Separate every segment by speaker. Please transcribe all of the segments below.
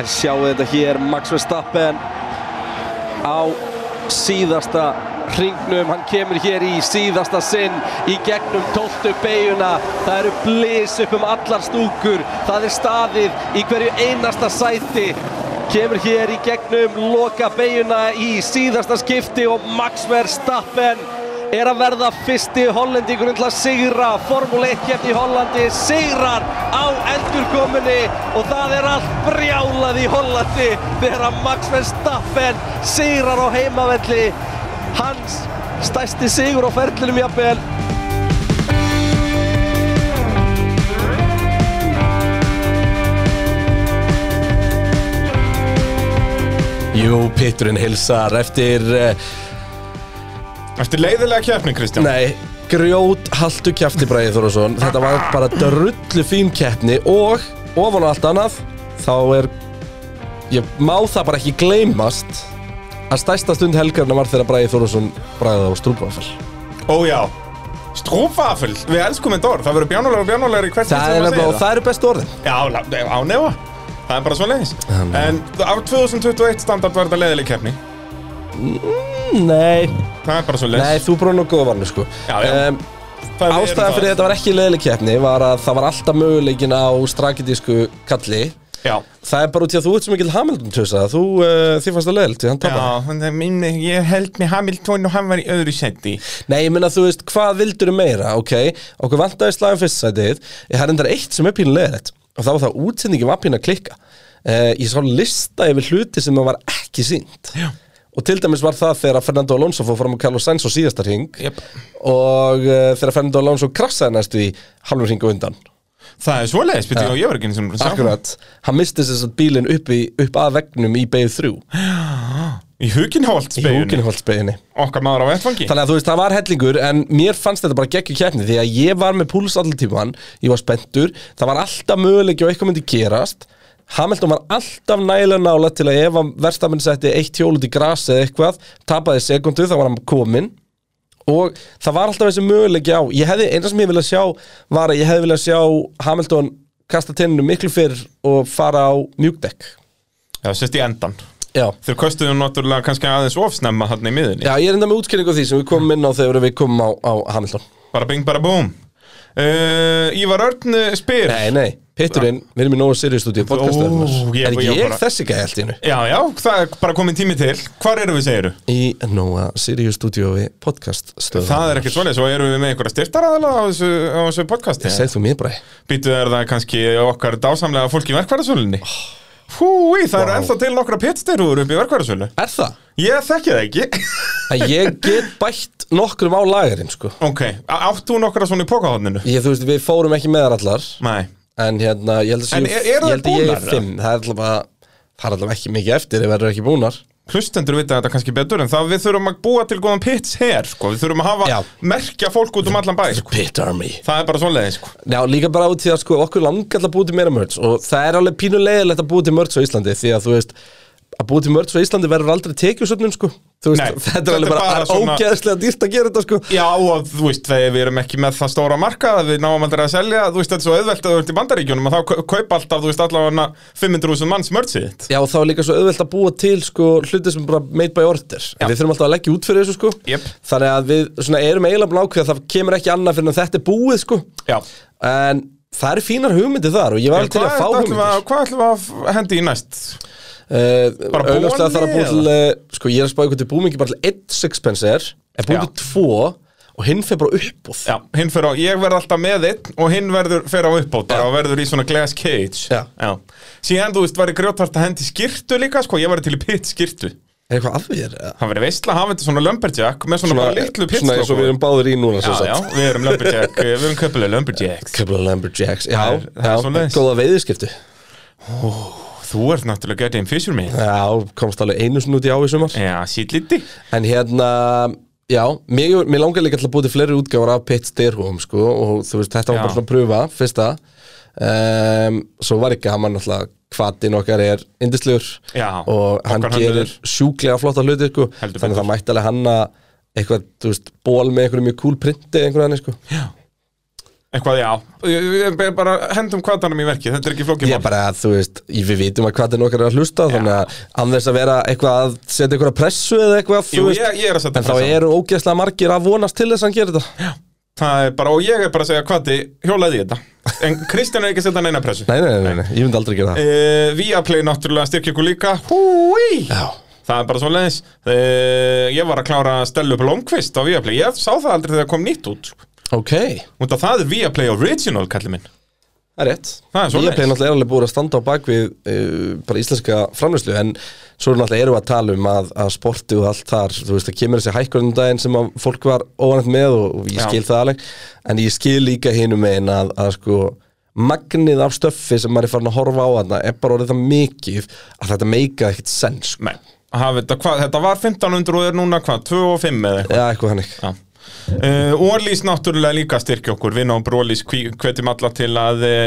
Speaker 1: En sjáu þetta hér, Max Verstappen á síðasta hringnum, hann kemur hér í síðasta sinn í gegnum 12. beiguna það eru blís upp um allar stúkur það er staðið í hverju einasta sæti kemur hér í gegnum loka beiguna í síðasta skipti og Max Verstappen er að verða fyrsti hollendingurinn til að sigra Formule 1 keppni í Hollandi sigrar á endurkominni og það er allt brjálað í Hollandi þegar að Max Verstappen sigrar á heimavelli hans stæsti sigur á ferlinum jafnvel
Speaker 2: Jú, Pitturinn hilsar eftir, eh,
Speaker 3: Eftir leiðilega keppni, Kristján
Speaker 2: nei, grjót haltu kjafti Bræði Þorvarsson Þetta var bara drullu fín keppni og ofan á allt annað þá er, ég má það bara ekki gleymast að stærsta stund helgarna var þegar Bræði Þorvarsson bræðið á strúbafell
Speaker 3: Ó já, strúfafel, við elskum þetta orð Það verður bjánulega og bjánulega í hvert
Speaker 2: Það er
Speaker 3: sem
Speaker 2: nefnilega, og
Speaker 3: maður segir
Speaker 2: það eru bestu orðin
Speaker 3: það Já, lá- á nefa, það er bara svo leiðis
Speaker 2: nei.
Speaker 3: En á 2021 standart var þetta leiðilega keppni
Speaker 2: Nei,
Speaker 3: Það er bara svo
Speaker 2: nei,
Speaker 3: leiðis
Speaker 2: þú brúin og góða varnu sko
Speaker 3: Já, já.
Speaker 2: Em, Ástæðan fyrir þetta var ekki leiðileg keppni var að það var alltaf möguleikin á strakitísku kalli
Speaker 3: Já,
Speaker 2: Það er bara út í að þú ert sem ekki Hamilton tjósa Þú, uh, þið fannst það leiðilegt, því hann
Speaker 3: já,
Speaker 2: tapar
Speaker 3: hann er mín, ég held með Hamilton og hann var í öðru seti
Speaker 2: Nei, ég meina þú veist, hvað vildur meira, ok Okkur vantaði slagum fyrstsætið Það er endar eitt sem er pínu leiðilegt Og það var það að útsendingin var pínu að klikka uh, Ég sá lista yfir hluti sem það var ekki sínt já. Og til dæmis var það þegar Fernando Alonso fór fram á Carlos Sainz á síðasta hring
Speaker 3: Jep.
Speaker 2: Og uh, þegar Fernando Alonso krassaði næstu í halvur hring og undan
Speaker 3: Það er svo leiðis, betur
Speaker 2: Já.
Speaker 3: ég og ég var ekki eins og
Speaker 2: Akkurat, hann misti þess að bílinn upp, í, upp að vegnum í beigð þrjú
Speaker 3: Í Huginholt
Speaker 2: Í húkinholtsbeginni
Speaker 3: Okkar maður á vettfangi
Speaker 2: Þannig að þú veist, það var hellingur en mér fannst þetta bara geggjur keppni því að ég var með púls allir tíman, ég var spenntur það var alltaf möguleiki og eitthvað myndi gerast Hamilton var alltaf nægilega nála til að ef að verstamenn setti eitt hjólut í gras eða eitthvað, tapaði sekundu þá var hann kominn og það var alltaf þessi möguleiki á ég hefði, eina sem ég vilja sjá var að ég hefði vilja sjá Hamilton kasta tenninu miklu fyrr og fara á mjúkdekk
Speaker 3: Já, sérst í endan
Speaker 2: Já
Speaker 3: Þau kostuðu náttúrulega kannski aðeins ofsnemma hann í miðinni
Speaker 2: Já, ég er enda með útskýringu á því sem við komum inn á þegar við komum á, á Hamilton
Speaker 3: Bara bing, bara búm uh, Ívar Örn uh, spyr
Speaker 2: Nei, nei, Pitturinn, við erum í Nóa Sirius stúdíu
Speaker 3: Ó,
Speaker 2: podcastöðunar
Speaker 3: ég-
Speaker 2: Er
Speaker 3: ég
Speaker 2: ég, ég
Speaker 3: bara-
Speaker 2: þessi gæði allt í hennu?
Speaker 3: Já, já, það er bara komið tími til Hvar eru við, segiru?
Speaker 2: Í Nóa Sirius stúdíu podcastöðunar
Speaker 3: Það er ekkert svoleiðis og eru við með einhverja styrtaraðala á þessu, á þessu podcasti
Speaker 2: Segð þú mér bara
Speaker 3: Býtu er það kannski okkar dásamlega fólk í verkvarðasölunni
Speaker 2: Oh.
Speaker 3: Húi, það eru ennþá til nokkra pittstyrur upp í verkvarðasölu
Speaker 2: Er það?
Speaker 3: Ég þekki það ekki
Speaker 2: Að ég get bætt nokkrum á lagarinn, sko
Speaker 3: Ok, á- átt þú nokkra svona í pokahóðninu?
Speaker 2: Ég, þú veist, við fórum ekki með þar allar
Speaker 3: Nei
Speaker 2: En hérna, ég held að séu
Speaker 3: En er- eru
Speaker 2: Ég
Speaker 3: þær
Speaker 2: held að ég
Speaker 3: búnar,
Speaker 2: er
Speaker 3: eða?
Speaker 2: fimm Það er allavega, það er allavega ekki mikið eftir ef það eru ekki búnar
Speaker 3: hlustendur vita þetta kannski betur en það við þurfum að búa til góðan pits her sko. við þurfum að hafa,
Speaker 2: Já.
Speaker 3: merkja fólk út um allan bæ sko.
Speaker 2: Pit Army
Speaker 3: það er bara svoleiði sko.
Speaker 2: Já, líka bara út í að sko, okkur langar alltaf að búa til meira mörds og það er alveg pínulegilegt að búa til mörds á Íslandi því að þú veist, að búa til mörds á Íslandi verður aldrei tekjusöfnun sko Þú veist,
Speaker 3: Nei,
Speaker 2: þetta er alveg bara, bara
Speaker 3: svona-
Speaker 2: ógeðslega dýrt að gera þetta sko
Speaker 3: já og þú veist þegar við erum ekki með það stóra marka við náum aldrei að selja, þú veist þetta er svo auðvelt að þú ert í bandaríkjunum að þá kau- kaupa alltaf þú veist allavega 500.000 manns mördsið þitt
Speaker 2: Já, og þá er líka svo auðvelt að búa til sko hluti sem er bara made by order
Speaker 3: Já.
Speaker 2: en við þurfum alltaf að leggja út fyrir þessu sko
Speaker 3: Jep.
Speaker 2: Þannig að við svona, erum eiginlega búin ákveð að það kemur ekki annað fyrir en þetta er búið sko
Speaker 3: já,
Speaker 2: En það eru fínar hugmyndir þar og ég var
Speaker 3: En
Speaker 2: alveg til
Speaker 3: hvað,
Speaker 2: að fá
Speaker 3: ætlum við
Speaker 2: hugmyndir
Speaker 3: að, hvað ætlum við að f- hendi í næst? Bara
Speaker 2: Bara bóli Það Eh, þarf að
Speaker 3: bóli,
Speaker 2: búið til, eh, sko ég er að spá eitthvað til búmingi bara til 1 sixpence er En búið
Speaker 3: Já.
Speaker 2: til 2 og hinn fer bara uppbúð
Speaker 3: Já, hinn fer á, ég verð alltaf með einn og hinn verður, fer á uppbót bara
Speaker 2: Já.
Speaker 3: og verður í svona glass cage
Speaker 2: Já.
Speaker 3: Síðan, þú veist, var í grjótvart að hendi skirtu líka, sko, ég var til í pitt skirtu
Speaker 2: Er eitthvað að því er eða?
Speaker 3: Það verið veistla að hafa þetta svona lumberjack með svona, bara litlu
Speaker 2: Svona eins og við
Speaker 3: pitslokku
Speaker 2: erum báðir í núna
Speaker 3: Já, já, við erum lumberjack, eh, við erum köpulega lumberjack
Speaker 2: Couple of Lumberjacks, já,
Speaker 3: Það er- það er
Speaker 2: já,
Speaker 3: svoleiðis.
Speaker 2: góða veiðiskiptu
Speaker 3: Þú ert náttúrulega getið um fisherman
Speaker 2: Já, komst alveg einu sinni út í á í sumar
Speaker 3: Já, sítt liti
Speaker 2: En hérna, já, mér, mér langar líka til að búið til fleiri útgáfur af Pitt Styrhúum, sko, og þú veist, þetta var
Speaker 3: Já.
Speaker 2: bara svona pröfa, fyrsta. Um, svo var ekki gaman alltaf hvatinn okkar er indislegur
Speaker 3: Já,
Speaker 2: og hann
Speaker 3: okkar
Speaker 2: gerir
Speaker 3: hönnuður.
Speaker 2: sjúklega flotta hluti, sko, þannig að
Speaker 3: Heldur betur.
Speaker 2: það mætti alveg hanna eitthvað, þú veist, ból með einhverju mjög cool printi einhverju hann, sko.
Speaker 3: Já Eitthvað, já Ég- ég- ég- Bara hendum kvatanum í verki, þetta er ekki flókið
Speaker 2: Ég er
Speaker 3: mál.
Speaker 2: bara, þú veist, ég- við vitum að hvað er nokkar að hlusta Þannig að án þess að vera eitthvað að setja einhverja pressu eða eitthvað þú
Speaker 3: Jú,
Speaker 2: veist,
Speaker 3: ég, ég er að setja
Speaker 2: En þá
Speaker 3: pressa.
Speaker 2: eru ógeðslega margir að vonast til þess að hann gerir þetta
Speaker 3: Það er bara, og ég er bara að segja kvati, hjólaði í þetta En Kristján er ekki að setja neina pressu
Speaker 2: nei, nei, nei, nei, ég myndi aldrei gera það
Speaker 3: uh, Viaplay náttúrulega styrkja ykkur líka Húi
Speaker 2: Já,
Speaker 3: Það er bara svo leiðis Ég var að klára að stella upp Longquist á Viaplay Ég sá það aldrei þegar það kom nýtt út sko.
Speaker 2: ok Það
Speaker 3: Út af það er Viaplay Original, kallir minn
Speaker 2: er rétt
Speaker 3: Það er svoleiðis.
Speaker 2: Viaplay náttúrulega er alveg búið að standa á bakvið uh, bara íslenska framlýslu en svo er náttúrulega eru að tala um að, að sporti og allt þar, þú veist, það kemur þessi hækkurinn um daginn sem að fólk var óanætt með og, og ég
Speaker 3: Já.
Speaker 2: skil það alveg en ég skil líka hinum einn að, að sko magnið af stöffi sem maður er farin að horfa á þarna er bara orðið það mikið að þetta meika ekkert sens sko.
Speaker 3: Nei, haf, þetta, hva, þetta var 1500 og er núna hvað, 2 og 5 eða eitthvað
Speaker 2: Já, eitthvað hannig
Speaker 3: Já. Uh, Orlís náttúrulega líka styrkja okkur Vinn og Brólís hvetjum um alla til að uh,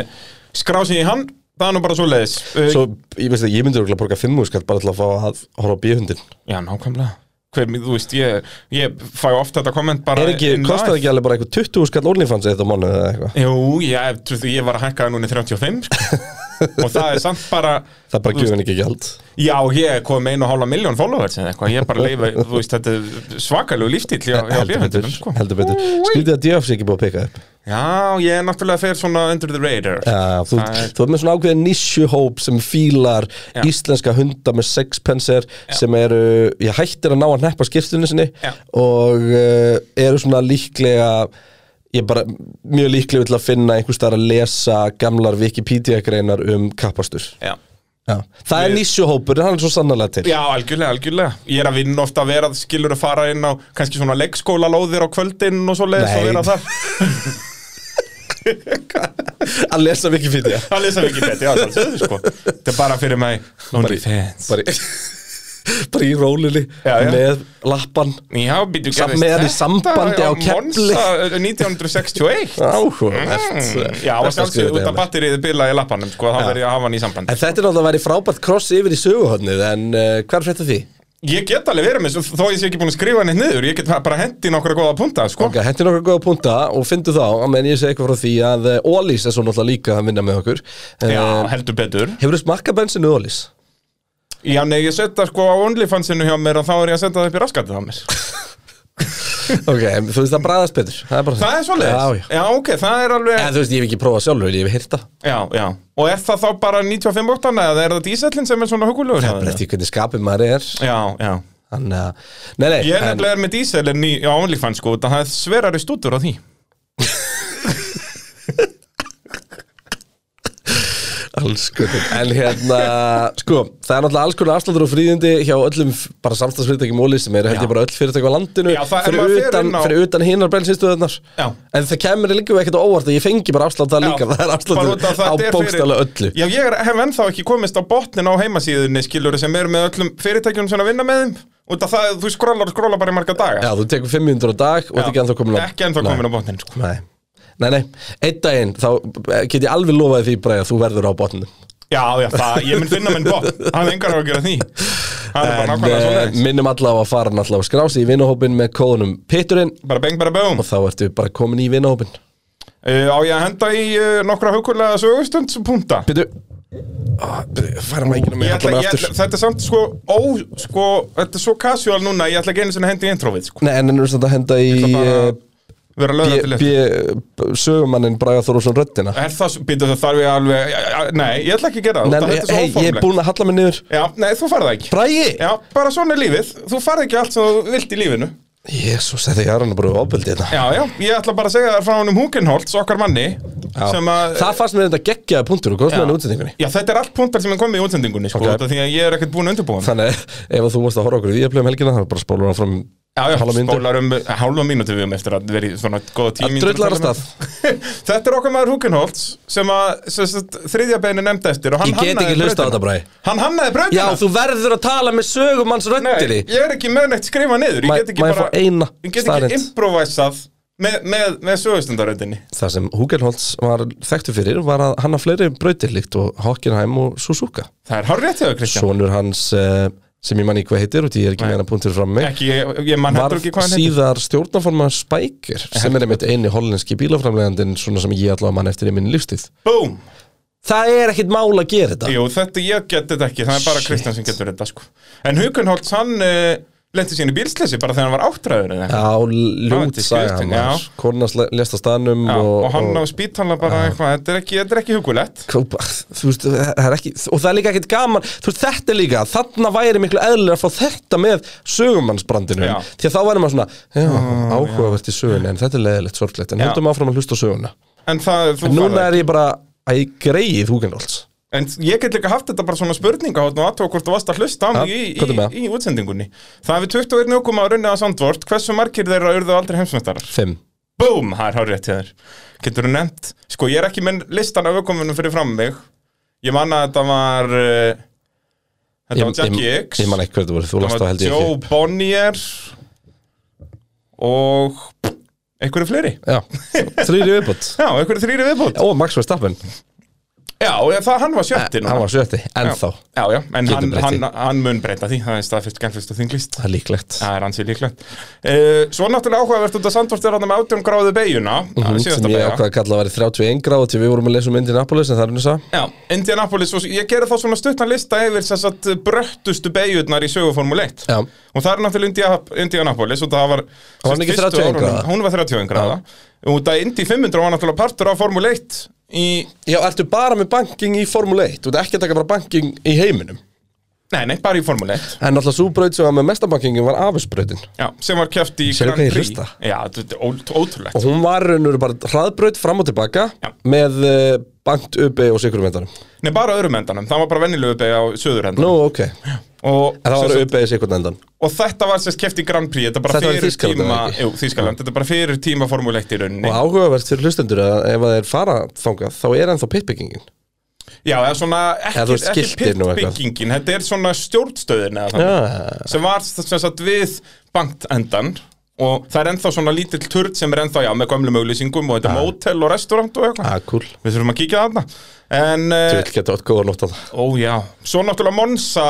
Speaker 3: skrá sig í hann Það er nú bara svo leiðis uh,
Speaker 2: Svo, ég veist að ég myndi örugglega að borga 5 skall bara til að fá að horfa á bíhundin
Speaker 3: Já, nákvæmlega Hver, þú veist, ég, ég fæ oft þetta komment bara
Speaker 2: Er ekki,
Speaker 3: in
Speaker 2: kostar
Speaker 3: life.
Speaker 2: ekki alveg bara eitthvað 20 skall OnlyFans eitt á mánu eða eitthvað
Speaker 3: Jú, ég, trú- því ég var að hækka það núna í 35 sko. og það er samt bara
Speaker 2: Það er bara
Speaker 3: Þú veist-
Speaker 2: gjöfin ekki gjald
Speaker 3: já, ég er komið með einu og hálfa miljón followers eða eitthvað, ég er bara að leifa, þú veist, þetta er svakalegu lífstíl hjá, hjá
Speaker 2: Heldur betur,
Speaker 3: bíóhundinum, sko.
Speaker 2: heldur betur Skrítið að DF sé ekki búið að peka upp
Speaker 3: Já, ég er náttúrulega fer svona under the radar
Speaker 2: Já, þú,
Speaker 3: Það er-
Speaker 2: þú er með svona ákveðin nisjuhóp sem fílar
Speaker 3: Já.
Speaker 2: íslenska hunda með sexpenser sem eru, ég hættir að ná að neppa skiptunni sinni
Speaker 3: Já.
Speaker 2: og uh, eru svona líklega ég er bara mjög líklega til að finna einhvers þar að lesa gamlar Wikipedia greinar um kappastur
Speaker 3: Já.
Speaker 2: Já. Það er
Speaker 3: Við-
Speaker 2: nisjuhópur, hann er svo sannarlega til
Speaker 3: já, algjörlega, algjörlega Ég er að vinna ofta að vera, skilur að fara inn á kannski svona leggskólalóðir á kvöldin og svo leiðis
Speaker 2: Nei.
Speaker 3: og vera það
Speaker 2: að lesa Wikipedia
Speaker 3: Það lesa við ekki betur, já, það sko Þetta er bara fyrir mig, lonely fans
Speaker 2: bara, í- bara í rólinni
Speaker 3: Já, já.
Speaker 2: með lappan
Speaker 3: Já, býtu
Speaker 2: Samt með hann í sambandi á Kefli.
Speaker 3: Monsa eh, 1961
Speaker 2: áhugavert
Speaker 3: Mm. Já,
Speaker 2: Þetta
Speaker 3: og
Speaker 2: skrifaði
Speaker 3: sjálfsögðu út
Speaker 2: Ellen.
Speaker 3: af batterið bilaði lappanum, sko, þá verður ég að hafa hann í samband
Speaker 2: En þetta er náttúrulega að vera frábært kross yfir í söguhotnið En uh, hvað er frétta því?
Speaker 3: Ég get alveg verið með, þó ég sé ekki búin að skrifa henni niður Ég get bara hendi nokkra góða punta, sko
Speaker 2: Ok, hendur nokkra góða punta og fyndu þá að menn ég segi eitthvað frá því að eh, Ólís er svo náttúrulega líka að vinna með okkur
Speaker 3: Já,
Speaker 2: uh,
Speaker 3: heldur betur
Speaker 2: Hefur þú smakka bensinu Ólís?
Speaker 3: Já, nei, ég setja sko á OnlyFansinu hjá mér og þá er ég að setja það upp í raskatið á mér
Speaker 2: Ok, en þú veist það bræðast betur Það er, bara
Speaker 3: Það er svoleiðis
Speaker 2: Já, já
Speaker 3: Já, ok, það er alveg
Speaker 2: En þú veist, ég hef ekki prófað sjálfur, ég hef hýrt það
Speaker 3: Já, já Og er það þá bara 95 óttana eða er það dísellin sem er svona hugulegur
Speaker 2: Það er bara eftir hvernig skapið maður er
Speaker 3: Já, já
Speaker 2: Þannig að, nei, nei
Speaker 3: Ég er
Speaker 2: en-
Speaker 3: nefnilega er með dísellin í- á OnlyFans, sko Það er sverari stútur á því
Speaker 2: Alls konar En hérna, sko, það er náttúrulega alls konar afsláttur og fríðindi hjá öllum f- bara samstagsfyrirtækjum óli sem eru held ég
Speaker 3: Já.
Speaker 2: bara öll fyrirtæk á landinu
Speaker 3: Já, það- ef
Speaker 2: fyrir,
Speaker 3: maður fer
Speaker 2: utan,
Speaker 3: inn á-
Speaker 2: fyrir utan hinar bensinstöðunar
Speaker 3: Já.
Speaker 2: En það kemur líka ekkert á óvart að ég fengi bara afslátt það líka,
Speaker 3: Já,
Speaker 2: það er
Speaker 3: bara út af
Speaker 2: afsláttur
Speaker 3: það
Speaker 2: á
Speaker 3: þetta er
Speaker 2: bókstala öllu
Speaker 3: Já, ég er- hef ennþá ekki komist á botnin á heimasíðunni skilur sem eru með öllum fyrirtækjunum sem er að vinna með þeim Út af það, þú skrollar og skrollar bara í marga daga
Speaker 2: Já, þú tekur 500 á dag og
Speaker 3: Já,
Speaker 2: þetta ekki ennþá komin á
Speaker 3: Ekki ennþá komin á botnin, sko
Speaker 2: Nei, nei, nei, einn daginn þá eh, get ég alveg lofaði því bara að þú verður á botninu
Speaker 3: Já, já, það, ég mun finna minn botn Það er engar á að gera því Það er bara
Speaker 2: En
Speaker 3: nákvæmlega
Speaker 2: eh,
Speaker 3: svona
Speaker 2: minnum alla á að fara náttúrulega að skrási í vinahópin með kóðunum Pitturinn
Speaker 3: Bara beng, bara bögum
Speaker 2: og þá ertu bara komin í vinahópin
Speaker 3: uh, Á ég að henda í uh, nokkra hugurlega sögustundspunta
Speaker 2: Býtu Ah, býtu, Færa mækina mig,
Speaker 3: Ég
Speaker 2: halla
Speaker 3: ætla,
Speaker 2: mig
Speaker 3: ég
Speaker 2: aftur
Speaker 3: ætla, þetta er samt sko, ó, sko, þetta er svo casual núna, ég ætla ekki einu sinni að henda í introvið, sko.
Speaker 2: Nei, en ennur þetta að henda í
Speaker 3: Það bara vera lögða til Eh,
Speaker 2: eh, B- B- B- sögumannin Braga Þorússon röddina
Speaker 3: Er það, býta það þarf ég alveg ja, ja, Nei, ég ætla ekki að gera það,
Speaker 2: Nei,
Speaker 3: það
Speaker 2: ég,
Speaker 3: þetta er svo
Speaker 2: hey, ég er
Speaker 3: óformlegt.
Speaker 2: búinn að halla mig niður
Speaker 3: Já, nei, þú farð það ekki
Speaker 2: Bragi!
Speaker 3: Já, bara svona er lífið, þú farð ekki allt sem þú vilt í lífinu
Speaker 2: Jésús, þetta er hann að bara ofbeldi hérna. þetta
Speaker 3: Já, já, ég ætla bara að segja þér frá honum Húkenholtz, okkar manni
Speaker 2: Já.
Speaker 3: sem að,
Speaker 2: Það fannst mér þetta geggjaði punktur og komst með
Speaker 3: Já.
Speaker 2: hann í útsendingunni
Speaker 3: já, þetta er allt punktar sem er komið í útsendingunni, sko,
Speaker 2: Ok.
Speaker 3: okay. því að ég er ekkert búin að undirbúa mig.
Speaker 2: Þannig að ef þú varst að horfa okkur í Víaplay um helgina þá bara spólur hann fram
Speaker 3: Já, já,
Speaker 2: hálfa myndu
Speaker 3: spólar um hálfa mínútu við um eftir að verið svona góða tími
Speaker 2: Drullar að stað
Speaker 3: um. Þetta er okkar maður Húkenholtz sem að sem sagt, þriðja beinu nefndi eftir og hann
Speaker 2: Ég get
Speaker 3: hannaði
Speaker 2: ekki hlusta á
Speaker 3: brautina.
Speaker 2: þetta, Bragi.
Speaker 3: Hann hannaði
Speaker 2: Já,
Speaker 3: brautina
Speaker 2: þú verður að tala með sögumanns
Speaker 3: Nei,
Speaker 2: röddinni
Speaker 3: ég er ekki með neitt skrifa niður Ég
Speaker 2: Má-
Speaker 3: get ekki
Speaker 2: má ég
Speaker 3: bara
Speaker 2: fá eina
Speaker 3: Ég get
Speaker 2: staðreynd?
Speaker 3: ekki improvisað með, með, með sögustundaröndinni
Speaker 2: Það sem Hugelholtz var þekktu fyrir var að hann hafði fleiri brautir líkt og Hockenheim og Suzuka
Speaker 3: Það er hár rétt hjá þér, Kristján
Speaker 2: Sónur hans uh, sem ég man ekki hvað heitir og því ég er ekki
Speaker 3: Nei.
Speaker 2: með hana punktur fram mig
Speaker 3: ekki, ég, ég man
Speaker 2: var
Speaker 3: heldur ekki hvað hann heitir
Speaker 2: síðar stjórnaforma Spækir sem er einmitt eini hollenski bílaframlegandinn svona sem ég allavega mann eftir í minni lífstíð
Speaker 3: Búm,
Speaker 2: Það er ekkit mál að gera þetta
Speaker 3: jú þetta ég get þetta ekki það er bara
Speaker 2: Shit.
Speaker 3: Kristján sem getur þetta sko en Hugunholt hann uh, lendi sín í bílsleysi bara þegar hann var áttræður eða eitthvað.
Speaker 2: Já, ljút
Speaker 3: Dramatísk
Speaker 2: sagði
Speaker 3: listin,
Speaker 2: hann
Speaker 3: já.
Speaker 2: Kornas lest að staðnum
Speaker 3: Já,
Speaker 2: og,
Speaker 3: og hann á spítala bara eitthvað þetta er ekki, þetta er ekki hugulegt
Speaker 2: Kópa, þú veist, það er ekki, og það er líka ekkert gaman þú veist, þetta er líka, þarna væri miklu eðlilega að fá þetta með sögumannsbrandinu
Speaker 3: Já.
Speaker 2: því að þá væri maður svona, Ah, já, áhugavert í sögunni en þetta er leðilegt sorglegt, en
Speaker 3: Já.
Speaker 2: höldum áfram að hlusta á söguna
Speaker 3: en það, þú
Speaker 2: en núna
Speaker 3: færð-
Speaker 2: er ég bara að ég greið húkinólds
Speaker 3: En ég get líka haft þetta bara svona spurninga og aðtóa hvort þú varst að hlusta á mig
Speaker 2: Ja,
Speaker 3: í,
Speaker 2: hvað er með það?
Speaker 3: í, í útsendingunni. Það er við 21 okkum að runna að sandvort. Hversu margir þeirra urðu aldrei heimsmeistarar?
Speaker 2: 5,
Speaker 3: Búm, það er hár rétt hjá þér. Getur þú nefnt? Sko, ég er ekki með listan af ökumunum fyrir fram um mig. Ég man að þetta var... Uh, þetta
Speaker 2: ég,
Speaker 3: var Jackie
Speaker 2: ég,
Speaker 3: X.
Speaker 2: ég man ekki hverðu voru, þú last
Speaker 3: það
Speaker 2: það
Speaker 3: var
Speaker 2: held ég
Speaker 3: Joe
Speaker 2: ekki
Speaker 3: Bonnier. Og... Einhverju fleiri.
Speaker 2: já, þrýri viðbútt
Speaker 3: Já, einhverju þrýri viðbútt.
Speaker 2: og Max Verstappen,
Speaker 3: Já, það, hann var sjötti núna.
Speaker 2: Eh, hann var sjötti ennþá,
Speaker 3: Já, já, en
Speaker 2: Getur
Speaker 3: hann,
Speaker 2: breytt því.
Speaker 3: hann, hann mun breyta því, það er staðfyrst gælfyrst og þinglist
Speaker 2: það er líklegt
Speaker 3: Það er ansið líklegt uh, Svo náttúrulega áhugavert út að Sandvort er hann með 18 gráðu beiguna
Speaker 2: Mhm, sem ég ákvað að kalla að vera 31 gráð til við vorum að lesa um Indianapolis en það er nýsa
Speaker 3: Já, Indianapolis, og ég gerði þá svona stuttan lista yfir þess að bröttustu beigurnar í söguformul 1
Speaker 2: Já.
Speaker 3: Og það er náttúrulega India- Indianapolis og það var
Speaker 2: Var hún ekki 31
Speaker 3: fyrstu árunum-
Speaker 2: gráða?
Speaker 3: Hún var 31 gráða Og það Indy 500 var náttúrulega partur af formul 1 í...
Speaker 2: Já, ertu bara með banking í Formule 1 Þú ert ekki að taka bara banking í heiminum
Speaker 3: Nei, nei, bara í formul 1
Speaker 2: En alltaf svo braut sem var með mestabankingin var afisbrautin
Speaker 3: Já, sem var keft í
Speaker 2: Sérðu hvað ég hlusta?
Speaker 3: Já, þetta er ó- ótrúlegt
Speaker 2: Og hún var raunur bara hraðbraut fram og tilbaka
Speaker 3: Já.
Speaker 2: Með uh, bankt uppi og sikurumvendanum
Speaker 3: Nei, bara öðrum endanum, það var bara vennilegu uppi á söðurhendan
Speaker 2: Nú, ok En
Speaker 3: og,
Speaker 2: það var
Speaker 3: sem sagt-
Speaker 2: uppi í sikurumvendan
Speaker 3: og þetta var sérst keft í Grand Prix Þetta er bara
Speaker 2: Þetta var í
Speaker 3: fyrir
Speaker 2: Þýskalandi,
Speaker 3: tíma
Speaker 2: ekki?
Speaker 3: jú, Þýskaland, þetta er bara fyrir tíma formulegt í rauninni
Speaker 2: Og áhugavert fyrir hlustendur að ef það er fara þangað Þá er ennþá pitbyggingin
Speaker 3: Já, eða svona
Speaker 2: Eða
Speaker 3: ekki,
Speaker 2: þú veist,
Speaker 3: ekki
Speaker 2: skiltin og eitthvað.
Speaker 3: pitbyggingin Þetta er svona stjórnstöðin eða þannig
Speaker 2: Já.
Speaker 3: sem var sem sagt við bankendan og það er ennþá svona lítill turd sem er ennþá já, með gömlum auglýsingum og þetta er mótel og restaurant og eitthvað
Speaker 2: Ah, cool
Speaker 3: Við þurfum að kíkja þarna En,
Speaker 2: Þú
Speaker 3: eh,
Speaker 2: vil geta átt góða nótt að það
Speaker 3: ó já, svo náttúrulega Monsa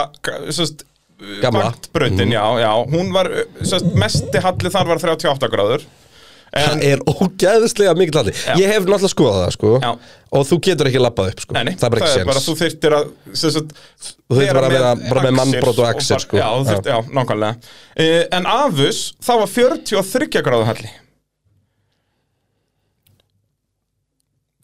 Speaker 3: sérst,
Speaker 2: Gamla. Mhm.
Speaker 3: Vaktbrautin, já, já, hún var sérst, mesti halli þar var 38 gráður En,
Speaker 2: Það er ógæðislega mikið halli Ég hef náttúrulega skoðað það sko
Speaker 3: Já.
Speaker 2: Og þú getur ekki labbað upp sko
Speaker 3: nei, nei,
Speaker 2: Það er bara ekki séns
Speaker 3: þú þyrftir að sem sagt,
Speaker 2: Þú þyrftir
Speaker 3: vera
Speaker 2: bara að vera-
Speaker 3: með
Speaker 2: bara með
Speaker 3: axir
Speaker 2: mannbrot og axir,
Speaker 3: bara-
Speaker 2: sko.
Speaker 3: Já, þú þyrftir, já, nákvæmlega uh, En Afus, það var 43 gráðu halli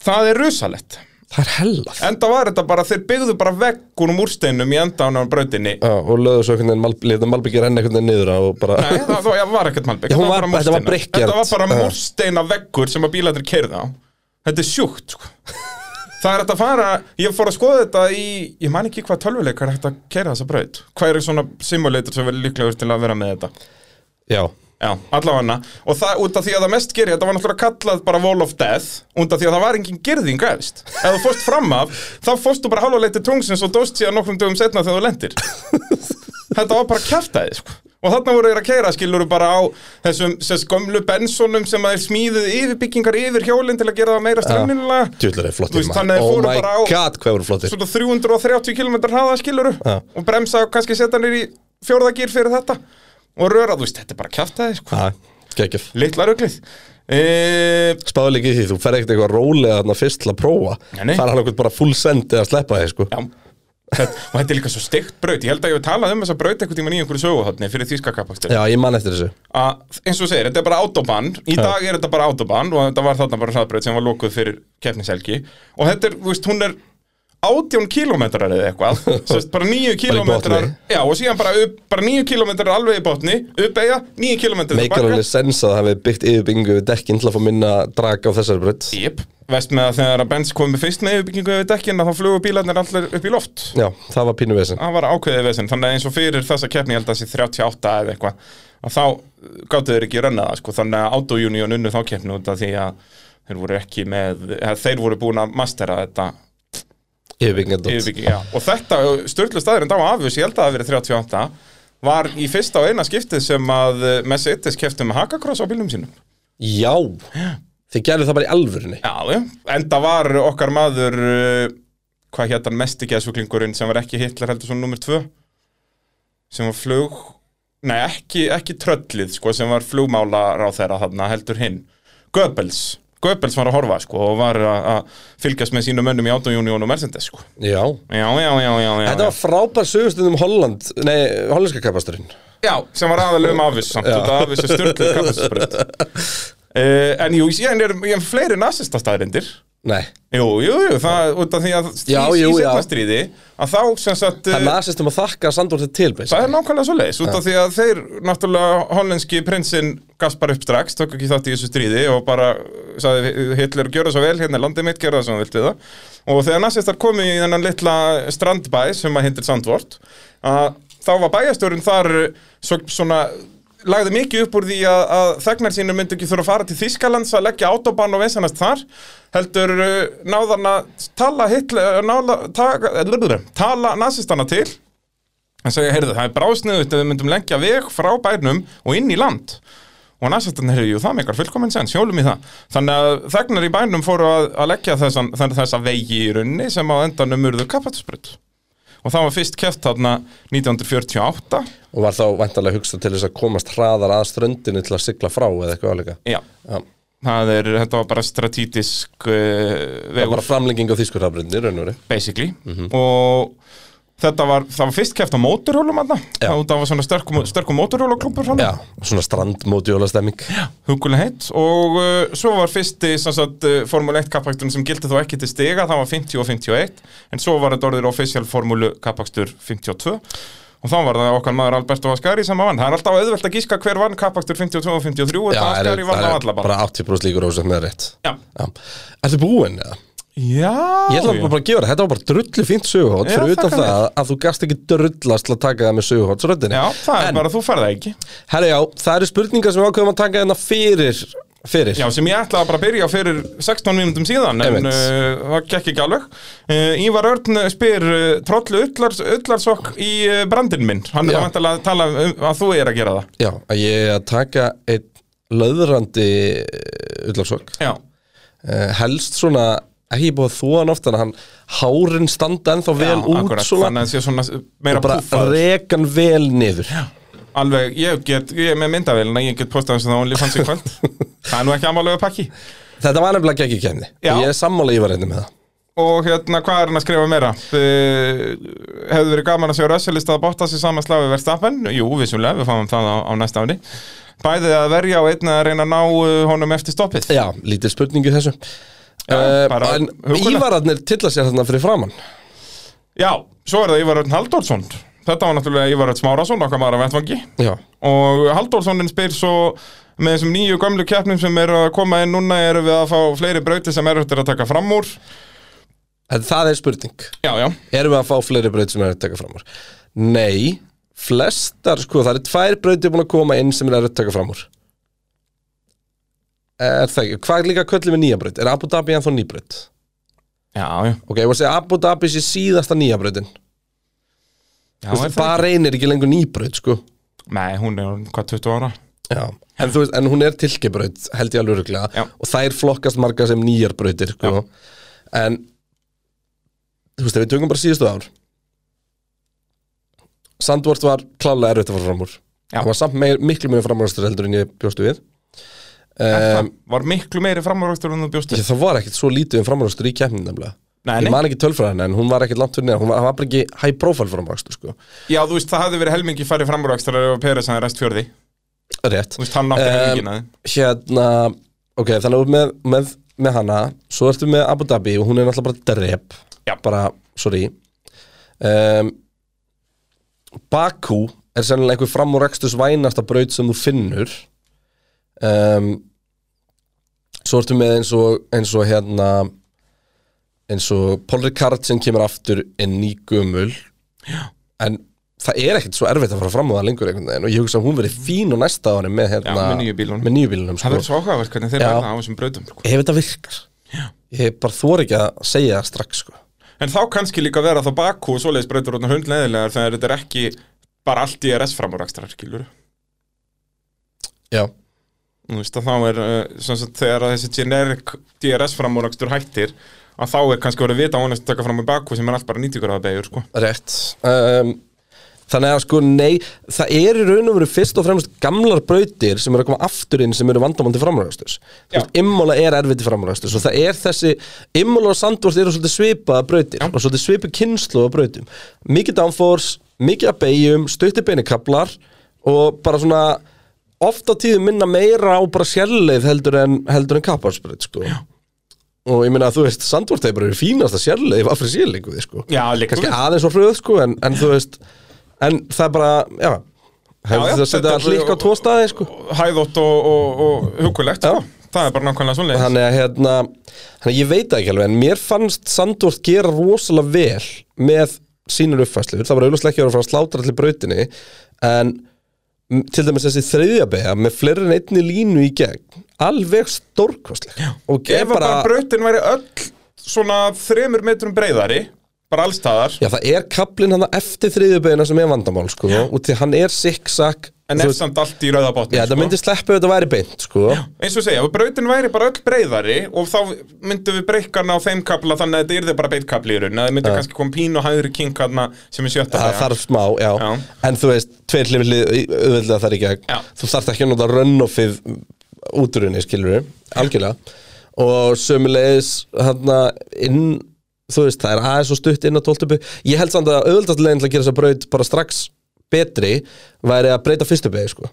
Speaker 3: Það er rusalett
Speaker 2: Það er hellað
Speaker 3: Enda var þetta bara, þeir byggðu bara vegg úr múrsteinum í endan á brautinni
Speaker 2: Já, og lögðu svo einhvern veginn, mal, leta malbyggja renna einhvern veginn niður á og bara
Speaker 3: Nei, það, það var ekkert malbygg
Speaker 2: Já, hún var- þetta var Uh. brickjard.
Speaker 3: Þetta var bara
Speaker 2: Já.
Speaker 3: múrsteina veggur sem að bílarnir keirði á Þetta er sjúkt sko. Það er hægt að fara Ég fór að skoða þetta í Ég man ekki hvað tölvuleikar er hægt að keira þessa braut Hvað eru svona simulator sem verður líklegur til að vera með þetta
Speaker 2: Já,
Speaker 3: Já, allavega Og það út af því að það mest gerir Þetta var náttúrulega kallað bara Wall of Death Út af því að það var engin gerðing efst Ef þú fórst fram af Þá fórst þú bara halva leið til tungsins Og dóst síðan nokkrum dögum setna þegar þú lendir Þetta var bara kjaftaði sko Og þarna voru þeir að keira skilur bara á þessum sess gömlu bensónum sem að þeir smíðuðu yfirbyggingar yfir hjólinn til að gera það meira strömminlega
Speaker 2: djúlar er flott
Speaker 3: Þú
Speaker 2: í
Speaker 3: veist,
Speaker 2: maður
Speaker 3: þannig að þeir
Speaker 2: Oh
Speaker 3: fóru
Speaker 2: my
Speaker 3: bara á-
Speaker 2: god, hvað voru flottir
Speaker 3: svona 330 km hraða skiluru
Speaker 2: Já.
Speaker 3: og bremsa og kannski setja nýr í fjórðagýr fyrir þetta og röra, þú veist, þetta er bara kjaftaði sko.
Speaker 2: Já, geggjaf
Speaker 3: litla ruglið e,
Speaker 2: Spáðu líka í því, þú fer ekkert eitthvað rólega þarna fyrst til að prófa
Speaker 3: Nei, nei.
Speaker 2: Það er hann okkur bara full send eða sleppa þig, sko
Speaker 3: já Þetta, og þetta er líka svo steikt braut, ég held að ég hef talað um þessa braut einhvern tímann í einhverju söguhotni fyrir þýska kappakstur
Speaker 2: Já, ég man eftir þessu
Speaker 3: að eins og þú segir, þetta er bara autobahn í dag er þetta bara autobahn og þetta var þarna bara hraðbraut sem var lokuð fyrir keppniselgi og þetta er, þú veist, hún er 18 kilometrar eða eitthvað Sest, bara 9 kilometrar
Speaker 2: botni.
Speaker 3: já, og síðan bara, upp, bara 9 kilometrar alveg í botni upp eiga, 9 kilometrar
Speaker 2: Meikar alveg sens að það hefði byggt yfirbyggingu við dekkin til að fá minna drag á þessari breytt
Speaker 3: Jep, vest með að þegar að Benz komið fyrst með yfirbyggingu yfir dekkin að þá flugu bílarnir allir upp í loft
Speaker 2: Já, það var pínu vesinn
Speaker 3: það var ákveðið vesinn, þannig að eins og fyrir þessa keppni ég held að það sé 38 eða eitthvað að þá gáttu þeir ekki rönnað sko, þannig að Auto Union unnu þá keppni út af því að þeir voru ekki með eða, þeir voru búin að mastera þetta
Speaker 2: Yfirbyggingu
Speaker 3: yfirbyggi, já. og þetta störtlu staðurinn á afus, ég held að það hafi verið 38 var í fyrsta og eina skiptið sem að eh, Mercedes keppti með Hakakross á bílnum sínum
Speaker 2: Já, þið gerðu það bara í alvörinni
Speaker 3: Já, já, enda var okkar maður eh, hvað hétt hann mesti geðsuglingurinn sem var ekki Hitler heldur svona nummer tvö sem var flug nei, ekki, ekki tröllið sko, sem var flugmála ráðherra þarna heldur hinn Goebbels, Goebbels var að horfa sko, og var að að fylgjast með sínum mönnum í Autounion og Mercedes sko.
Speaker 2: Já
Speaker 3: já, já, já, já, já,
Speaker 2: Þetta var frábær sögustund um Holland Nei, hollenska kapasturinn
Speaker 3: já sem var aðalega um afviss samt, þetta afviss er styrklið kapasisbrönd uh, en jú, ég er, ég er fleiri nasistastæðrindir
Speaker 2: Nei,
Speaker 3: Jú, jú, jú, það, út af því að
Speaker 2: Já,
Speaker 3: í,
Speaker 2: jú,
Speaker 3: í
Speaker 2: já.
Speaker 3: setna stríði, að þá sem sagt
Speaker 2: það er
Speaker 3: eh,
Speaker 2: nasistum að þakka Sandor til til
Speaker 3: það er
Speaker 2: basically.
Speaker 3: nákvæmlega svo leiðis, út af því að þeir náttúrulega hollenski prinsinn gafst bara upp strax, tók ekki þátt í þessu stríði og bara sagði Hitler gjöra svo vel, hérna er landið mitt, gjöra það sem þú vilt við það og þegar nasistar komu í þennan litla strandbæ sem að hindir Sandvort að þá var bæjastjórun þar svo, svona lagði mikið upp úr því að, að þegnar sínur myndi ekki þurfa að fara til Þýskalands að leggja autobahn og vesanast þar heldur uh, náðan að tala, Hitler, nála, taka, eh, tala nasistana til en segja, heyrðu, það er brásniðut ef við myndum lengja veg frá bænum og inn í land og nasistan, heyrðu, jú, það meikar fullkominn sens, hjólum í það þannig að þegnar í bænum fóru að, að leggja þessan, þann- þessa vegi í runni sem á endanum urðu kapatusbrut og það var fyrst keft þarna 1948
Speaker 2: Og var þá væntalega hugsa til þess að komast hraðar að ströndinu til að sigla frá eða eitthvað álíka
Speaker 3: já,
Speaker 2: Já
Speaker 3: það er, þetta var bara stratítisk uh,
Speaker 2: Það var
Speaker 3: vegur,
Speaker 2: bara Mhm. framlenging á þýskurhafrinni, raun og verið.
Speaker 3: basically og þetta var, það var fyrst keft á móturhjólum þarna,
Speaker 2: Já.
Speaker 3: það var svona sterkum, sterkum móturhjólaklúmpur svona,
Speaker 2: Já, svona strandmótjóla stemming.
Speaker 3: hugulega heitt og uh, svo var fyrsti sem sagt, uh, Formule 1 kappaksturinn sem gildi þó ekki til stiga það var 50 og 51 en svo var þetta orðið official Formule kappakstur 52 og þá var það okkar maður Alberto Ascari sem að vann það er alltaf auðvelt að gíska hver vann kappakstur 52 og 53 og
Speaker 2: Já,
Speaker 3: þetta
Speaker 2: er,
Speaker 3: Ascari vann á
Speaker 2: er
Speaker 3: alla bara
Speaker 2: bara 80% líkur á þess að með rétt.
Speaker 3: já,
Speaker 2: Já. Ertu búinn eða?
Speaker 3: já,
Speaker 2: Ég ætla
Speaker 3: já.
Speaker 2: bara að gefa það, þetta var bara drullu fínt söguhótt
Speaker 3: Já,
Speaker 2: fyrir utan
Speaker 3: þakka
Speaker 2: það að þú gast ekki drullast til að taka það með söguhóttsröndinni.
Speaker 3: já, það er bara, þú færða ekki
Speaker 2: Herra já, það eru spurningar sem við ákveðum að taka hérna fyrir, fyrir.
Speaker 3: Já, sem ég ætlaði bara að byrja á fyrir 16 mínútum síðan, en
Speaker 2: Einmitt.
Speaker 3: uh, það gekk ekki alveg. Uh, Ívar Örn spyr uh, Trollu Ullars, Ullarsokk í uh, brandin minn. Hann
Speaker 2: Já.
Speaker 3: er það vantilega að tala um að þú er að gera það.
Speaker 2: Já, að ég er að taka einn löðrandi ullarsokk.
Speaker 3: Já,
Speaker 2: Uh, helst svona, ekki búið að þóa hann ofta en hann, hárin standa ennþá vel
Speaker 3: Já,
Speaker 2: út
Speaker 3: akkurat,
Speaker 2: svona.
Speaker 3: Þannig að það sé svona meira
Speaker 2: bara
Speaker 3: púffaður.
Speaker 2: rekan vel niður
Speaker 3: Alveg, ég, get, ég er með myndavélina, ég get postað þess að það only fanns í kvöld. það er nú ekki amalega pakki.
Speaker 2: Þetta var nefnilega ekki kemni
Speaker 3: Já.
Speaker 2: Ég er sammála ég var hérna með það
Speaker 3: Og hérna, hvað er hann að skrifa meira? Uh, hefðu verið gaman að sjá Rössilist að botta sig saman slagi verðstappen? Jú, vissulega, við fáum það á, á næsta ári. Bæðið að verja og einna að reyna að ná uh, honum eftir stoppið.
Speaker 2: Já, lítið spurningu í þessu uh,
Speaker 3: bara
Speaker 2: En
Speaker 3: hugulegt.
Speaker 2: Ívararnir tilla sér þarna fyrir framann
Speaker 3: Já, svo er það Ívar Örn Halldórsson. Þetta var náttúrulega Ívar Örn Smárasson, okkar maður að vettvangi.
Speaker 2: Já,
Speaker 3: Og Halldórssonin spyr svo með þessum nýju gömlu keppnum sem eru að koma inn núna erum við að fá fleiri brauti sem eru eftir að taka fram úr.
Speaker 2: en það er spurning
Speaker 3: Já, já,
Speaker 2: Erum við að fá fleiri braut sem er að taka fram úr? Nei, flestar sko, það eru tvær brautir búin að koma inn sem er að taka fram úr Er það ekki? Hvað er líka köllum við nýja braut? Er Abu Dhabi ennþá ný braut?
Speaker 3: já, já.
Speaker 2: Ok, ég var að segja Abu Dhabi sé síðasta nýja brautin
Speaker 3: já er það
Speaker 2: Bara reynir ekki lengur ný braut sko
Speaker 3: ekki? Nei, hún er orðin hvað 20 ára.
Speaker 2: Já, en, þú veist, en hún er tilkibraut held ég alveg röglega
Speaker 3: Já.
Speaker 2: og þær flokkast marga sem nýjar brautir sko. en þú veist, ef við tökum bara síðustu ár Sandvort var klálega erfitt að fara fram úr
Speaker 3: Já.
Speaker 2: hann var samt meir, miklu mjög framúrastur heldur en ég bjóstu við
Speaker 3: Það
Speaker 2: um,
Speaker 3: var miklu meiri framúrvöxtur en þú bjóst við.
Speaker 2: ég, það var ekkit svo lítið um framúrastur í keppnin nefnilega
Speaker 3: Nei,
Speaker 2: ég
Speaker 3: nei.
Speaker 2: man ekki tölfræðan en hún var ekkit langt fyrir neðan hún var, hann var bara ekki high profile framúrastur sko.
Speaker 3: Já, þú veist, það hafði verið helmingi færri framúrvöxtur og Peres hann rest fjörði.
Speaker 2: rétt
Speaker 3: Þú veist, hann átti
Speaker 2: Em,
Speaker 3: helmingina þið.
Speaker 2: hérna ok, þannig að þú ert með, með, með hana svo ertu með Abu Dhabi og hún er náttúrulega bara drep
Speaker 3: Já.
Speaker 2: bara, sorry um, Baku er sennilega einhver fram úr ekstus vænasta braut sem þú finnur um, svo ertu með eins og, eins og hérna eins og Paul Ricard sem kemur aftur en ný gömul en það er ekkert svo erfitt að fara fram á það lengur einhvern veginn og ég hugsa að hún verið fín á næsta ári með hérna
Speaker 3: Já, með nýju bílunum.
Speaker 2: með nýju bílunum
Speaker 3: Það
Speaker 2: sko.
Speaker 3: verður svo áhugavert hvernig þeir
Speaker 2: Já.
Speaker 3: verða á þessum brautum. sko.
Speaker 2: ef þetta virkar ég bara þor ekki að segja það strax sko.
Speaker 3: En þá kannski líka vera þá Bakú og svoleiðis brautur orðnar hundleðilegar þegar þetta er ekki bara allt í RS framúrakstrar, skilur.
Speaker 2: já,
Speaker 3: Þú veist að þá er, uh, sem sagt, þegar að þessi generic DRS framúrakstur hættir, að þá er kannski verið vita ánægst að taka fram í Bakú sem er allt bara nýtíkur að beigur, sko.
Speaker 2: rétt um, þannig að sko nei, það er í raun og veru fyrst og fremst gamlar brautir sem eru að koma aftur inn sem eru vandamándi framræðasturs
Speaker 3: Já.
Speaker 2: Immola er erfitt framræðasturs og það er þessi, Immola og Sandvort eru svolítið svipaða brautir og svolítið svipu kynslu af brautum mikið downforce, mikið að beigjum stutti beinikablar og bara svona ofta tíðum minna meira á bara sérleif heldur en, heldur en kapparsbreyt sko. Já og ég meina að þú veist, Sandvort er bara verið fínasta sérlega í vaffri sérleiku við sko
Speaker 3: Já, liggur
Speaker 2: kannski
Speaker 3: við.
Speaker 2: aðeins á fröð sko en, en þú veist, en það er bara já, hefur
Speaker 3: já,
Speaker 2: þetta að
Speaker 3: þetta
Speaker 2: setja
Speaker 3: er bara-
Speaker 2: hlikk á tvo staði sko
Speaker 3: hæðótt og, og, og hugulegt
Speaker 2: Já.
Speaker 3: sko. það er bara nákvæmlega svona
Speaker 2: þannig að hérna, þannig að ég veit það ekki alveg en mér fannst Sandvort gera rosalega vel með sínur uppfæslu það var auðvitað ekki að vera að fara að slátra allir brautinni en m- til dæmis þessi þriðjabega með fleiri en einni línu í gegn alveg stórkostleg og er
Speaker 3: ef bara, bara brautin væri öll svona þremur metrum breiðari bara allstaðar
Speaker 2: Já, það er kaplinn hann eftir þriðjuböðina sem er vandamál, sko, og því hann er siksak,
Speaker 3: en sko. er samt allt í rauðabotni
Speaker 2: já, það myndi sleppa ef þetta væri beint, sko.
Speaker 3: eins og segja, ef brautin væri bara öll breiðari og þá myndum við breykana á þeim kapla þannig að þetta yrði bara beitkapli í raun það myndi kannski koma pín og hægri kinkarna sem er sjötta
Speaker 2: Það
Speaker 3: beygjan.
Speaker 2: þarf smá, já.
Speaker 3: Já.
Speaker 2: en þú veist, tveir hlifið auðvitað þar í gegn,
Speaker 3: Já.
Speaker 2: þú þarft ekki að nota runoffið útrunni, skilur við, algjörlega, og sömulegis, hann inn, þú veist, það er aðeins og stutt inn á tóltubu, ég held samt að auðvitað leginn til að gera þess að braut bara strax betri væri að breyta fyrstu beig, sko.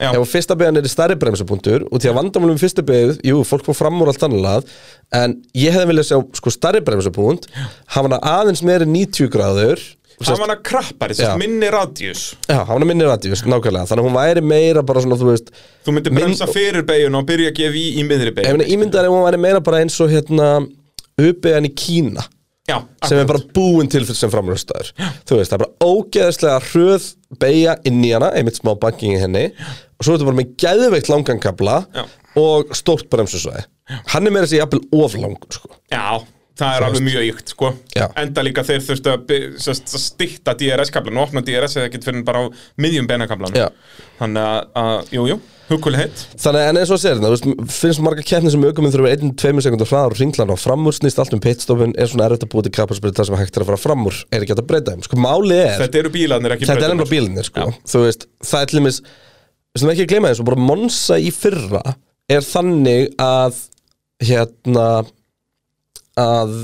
Speaker 3: Já.
Speaker 2: ef að fyrsta beigjan er í stærri bremsupunktur og því að vandamálum við fyrsta beigð, jú, fólk fór fram úr allt annað, en ég hefði viljað sjá sko stærri bremsupunkt, hafa hana aðeins meiri 90 gráður
Speaker 3: það var hann að krappari,
Speaker 2: Já.
Speaker 3: sérst, minni radius
Speaker 2: Já, hafa hana minni radíus, nákvæmlega, þannig að hún væri meira bara svona, þú veist,
Speaker 3: þú myndir
Speaker 2: Minn-
Speaker 3: bremsa fyrir beiguna og byrja að gefa í í miðri
Speaker 2: ég
Speaker 3: beigun
Speaker 2: meina ímyndar ef hún væri meira bara eins og hérna uppeigjan í Kína,
Speaker 3: já,
Speaker 2: sem er bara búin til fyrir sem framröstaður þú veist, það er bara ógeðslega hröð beigja inn í hana, einmitt smá banking í henni og svo ertu bara með geðveikt langan kabla
Speaker 3: Já.
Speaker 2: og stórt bremsusvæði hann er meira þessi jafnvel oflangur sko.
Speaker 3: Já, það er alveg mjög ykt sko
Speaker 2: Já.
Speaker 3: Enda líka þeir þurftu að by- sem sagt, að stytta DRS-kablan og opna DRS eða ekkert fyrir bara á miðjum benakablan
Speaker 2: Já.
Speaker 3: Þannig að, að, jú, jú, huggulegheit
Speaker 2: þannig en eins og sér, þú veist, finnst marga keppni sem aukuminn þurfum 1-2 sekundar hraðar og ringlan á framúr snýst allt um pitstopun, er svona erfitt að búið til kapparsbyrð þar sem hægt er að fara framúr, er ekki hægt að breyta þeim sko, máli er,
Speaker 3: Þetta eru bílarnir ekki
Speaker 2: þetta er
Speaker 3: brautirnar.
Speaker 2: ennlega bílinni sko. þú veist, það er til dæmis sem ekki að gleyma þessu, bara Monsa í fyrra er þannig að hérna að,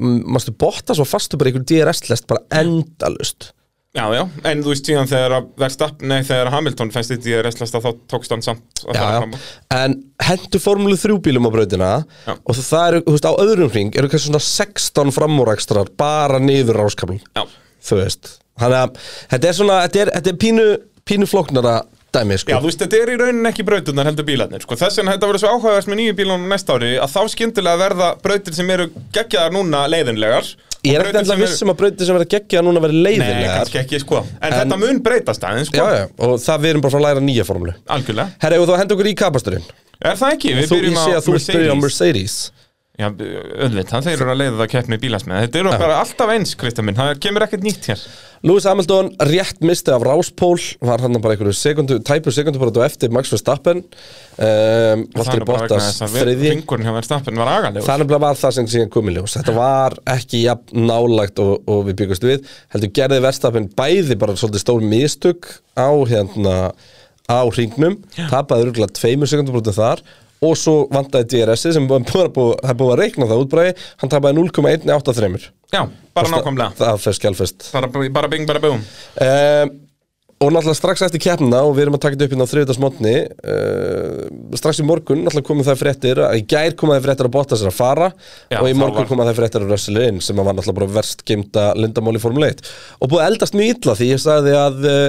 Speaker 2: mástu, Bottas var fastur bara í einhver DRS-lest bara endalust
Speaker 3: Já, já, en þú veist síðan þegar að Verstapp, nei, þegar Hamilton fæst í DRS-lasta þá tókst hann samt að
Speaker 2: já,
Speaker 3: fara
Speaker 2: já.
Speaker 3: fram á.
Speaker 2: en hendur formúlu 3 bílum á brautina
Speaker 3: Já.
Speaker 2: og það eru, þú veist, á öðrum hring eru kannski svona 16 framúrækstrar bara niður ráskabl
Speaker 3: Já.
Speaker 2: þú veist, þannig að þetta er svona, þetta er, þetta er pínu, pínu flóknara dæmi, sko
Speaker 3: Já, þú veist, þetta er í rauninni ekki brauturnar heldur bílarnir, sko. Þess vegna þetta verður svo áhugaðast með nýju bílunum næsta ári að þá skyndilega verða brautir sem eru geggjaðar núna leiðinlegar.
Speaker 2: Ég er
Speaker 3: Og
Speaker 2: ekkert
Speaker 3: brautir
Speaker 2: alltaf
Speaker 3: sem eru-
Speaker 2: viss um að brautir sem verða geggja núna verði
Speaker 3: Nei,
Speaker 2: leiðinlegar
Speaker 3: kannski ekki, sko. En, þetta mun breytast
Speaker 2: já,
Speaker 3: aðeins, sko.
Speaker 2: já, og það við erum bara að fara að læra nýja formúlu
Speaker 3: Algjörlega.
Speaker 2: Herra, ef þú hendur okkur í kapasturinn
Speaker 3: Er það ekki? Við
Speaker 2: Þú, ég
Speaker 3: byrjum á
Speaker 2: sé að þú ert byrjað á Mercedes
Speaker 3: Já, auðvitað, þeir eru að leiða það keppni bílasmið Þetta eru bara alltaf eins, Kristján minn, það kemur ekkert nýtt hér
Speaker 2: Lewis Hamilton rétt misti af ráspól var hann bara einhverju sekundu, tæpur sekundu bara á eftir Max Verstappen um,
Speaker 3: Það
Speaker 2: Valtteri
Speaker 3: er bara vegna
Speaker 2: Bottas
Speaker 3: þess að við-
Speaker 2: þriði
Speaker 3: Fingurinn hjá verðstappin var agalegur
Speaker 2: Það nefnilega var það sem síðan kom í ljós Þetta var ekki jafn nálægt og, og við byggust við heldur gerði verstafinn bæði bara svolítið stór mistök á hérna á hringnum, tapaði rúglega tveimur sekundum brútið þar og svo vantaði DRS-ið sem var bara búið, það er búið að reikna það útbræði, hann tapaði 0,183
Speaker 3: Já, bara nákvæmlega
Speaker 2: Það fer skjálfest
Speaker 3: Bara, bara bing, bara búm
Speaker 2: um, Og náttúrulega strax eftir keppna og við erum að taka þetta upp hérna á þriðutasmotni uh, strax í morgun náttúrulega komið það fréttir að í gær koma það fréttir að Bottas er að fara
Speaker 3: Já,
Speaker 2: og í
Speaker 3: það
Speaker 2: morgun
Speaker 3: var-
Speaker 2: var... koma það fréttir að Russell inn sem að var náttúrulega bara verst geimta lindamál í Formule 1 og búið að eldast mjög illa því ég sagði að uh,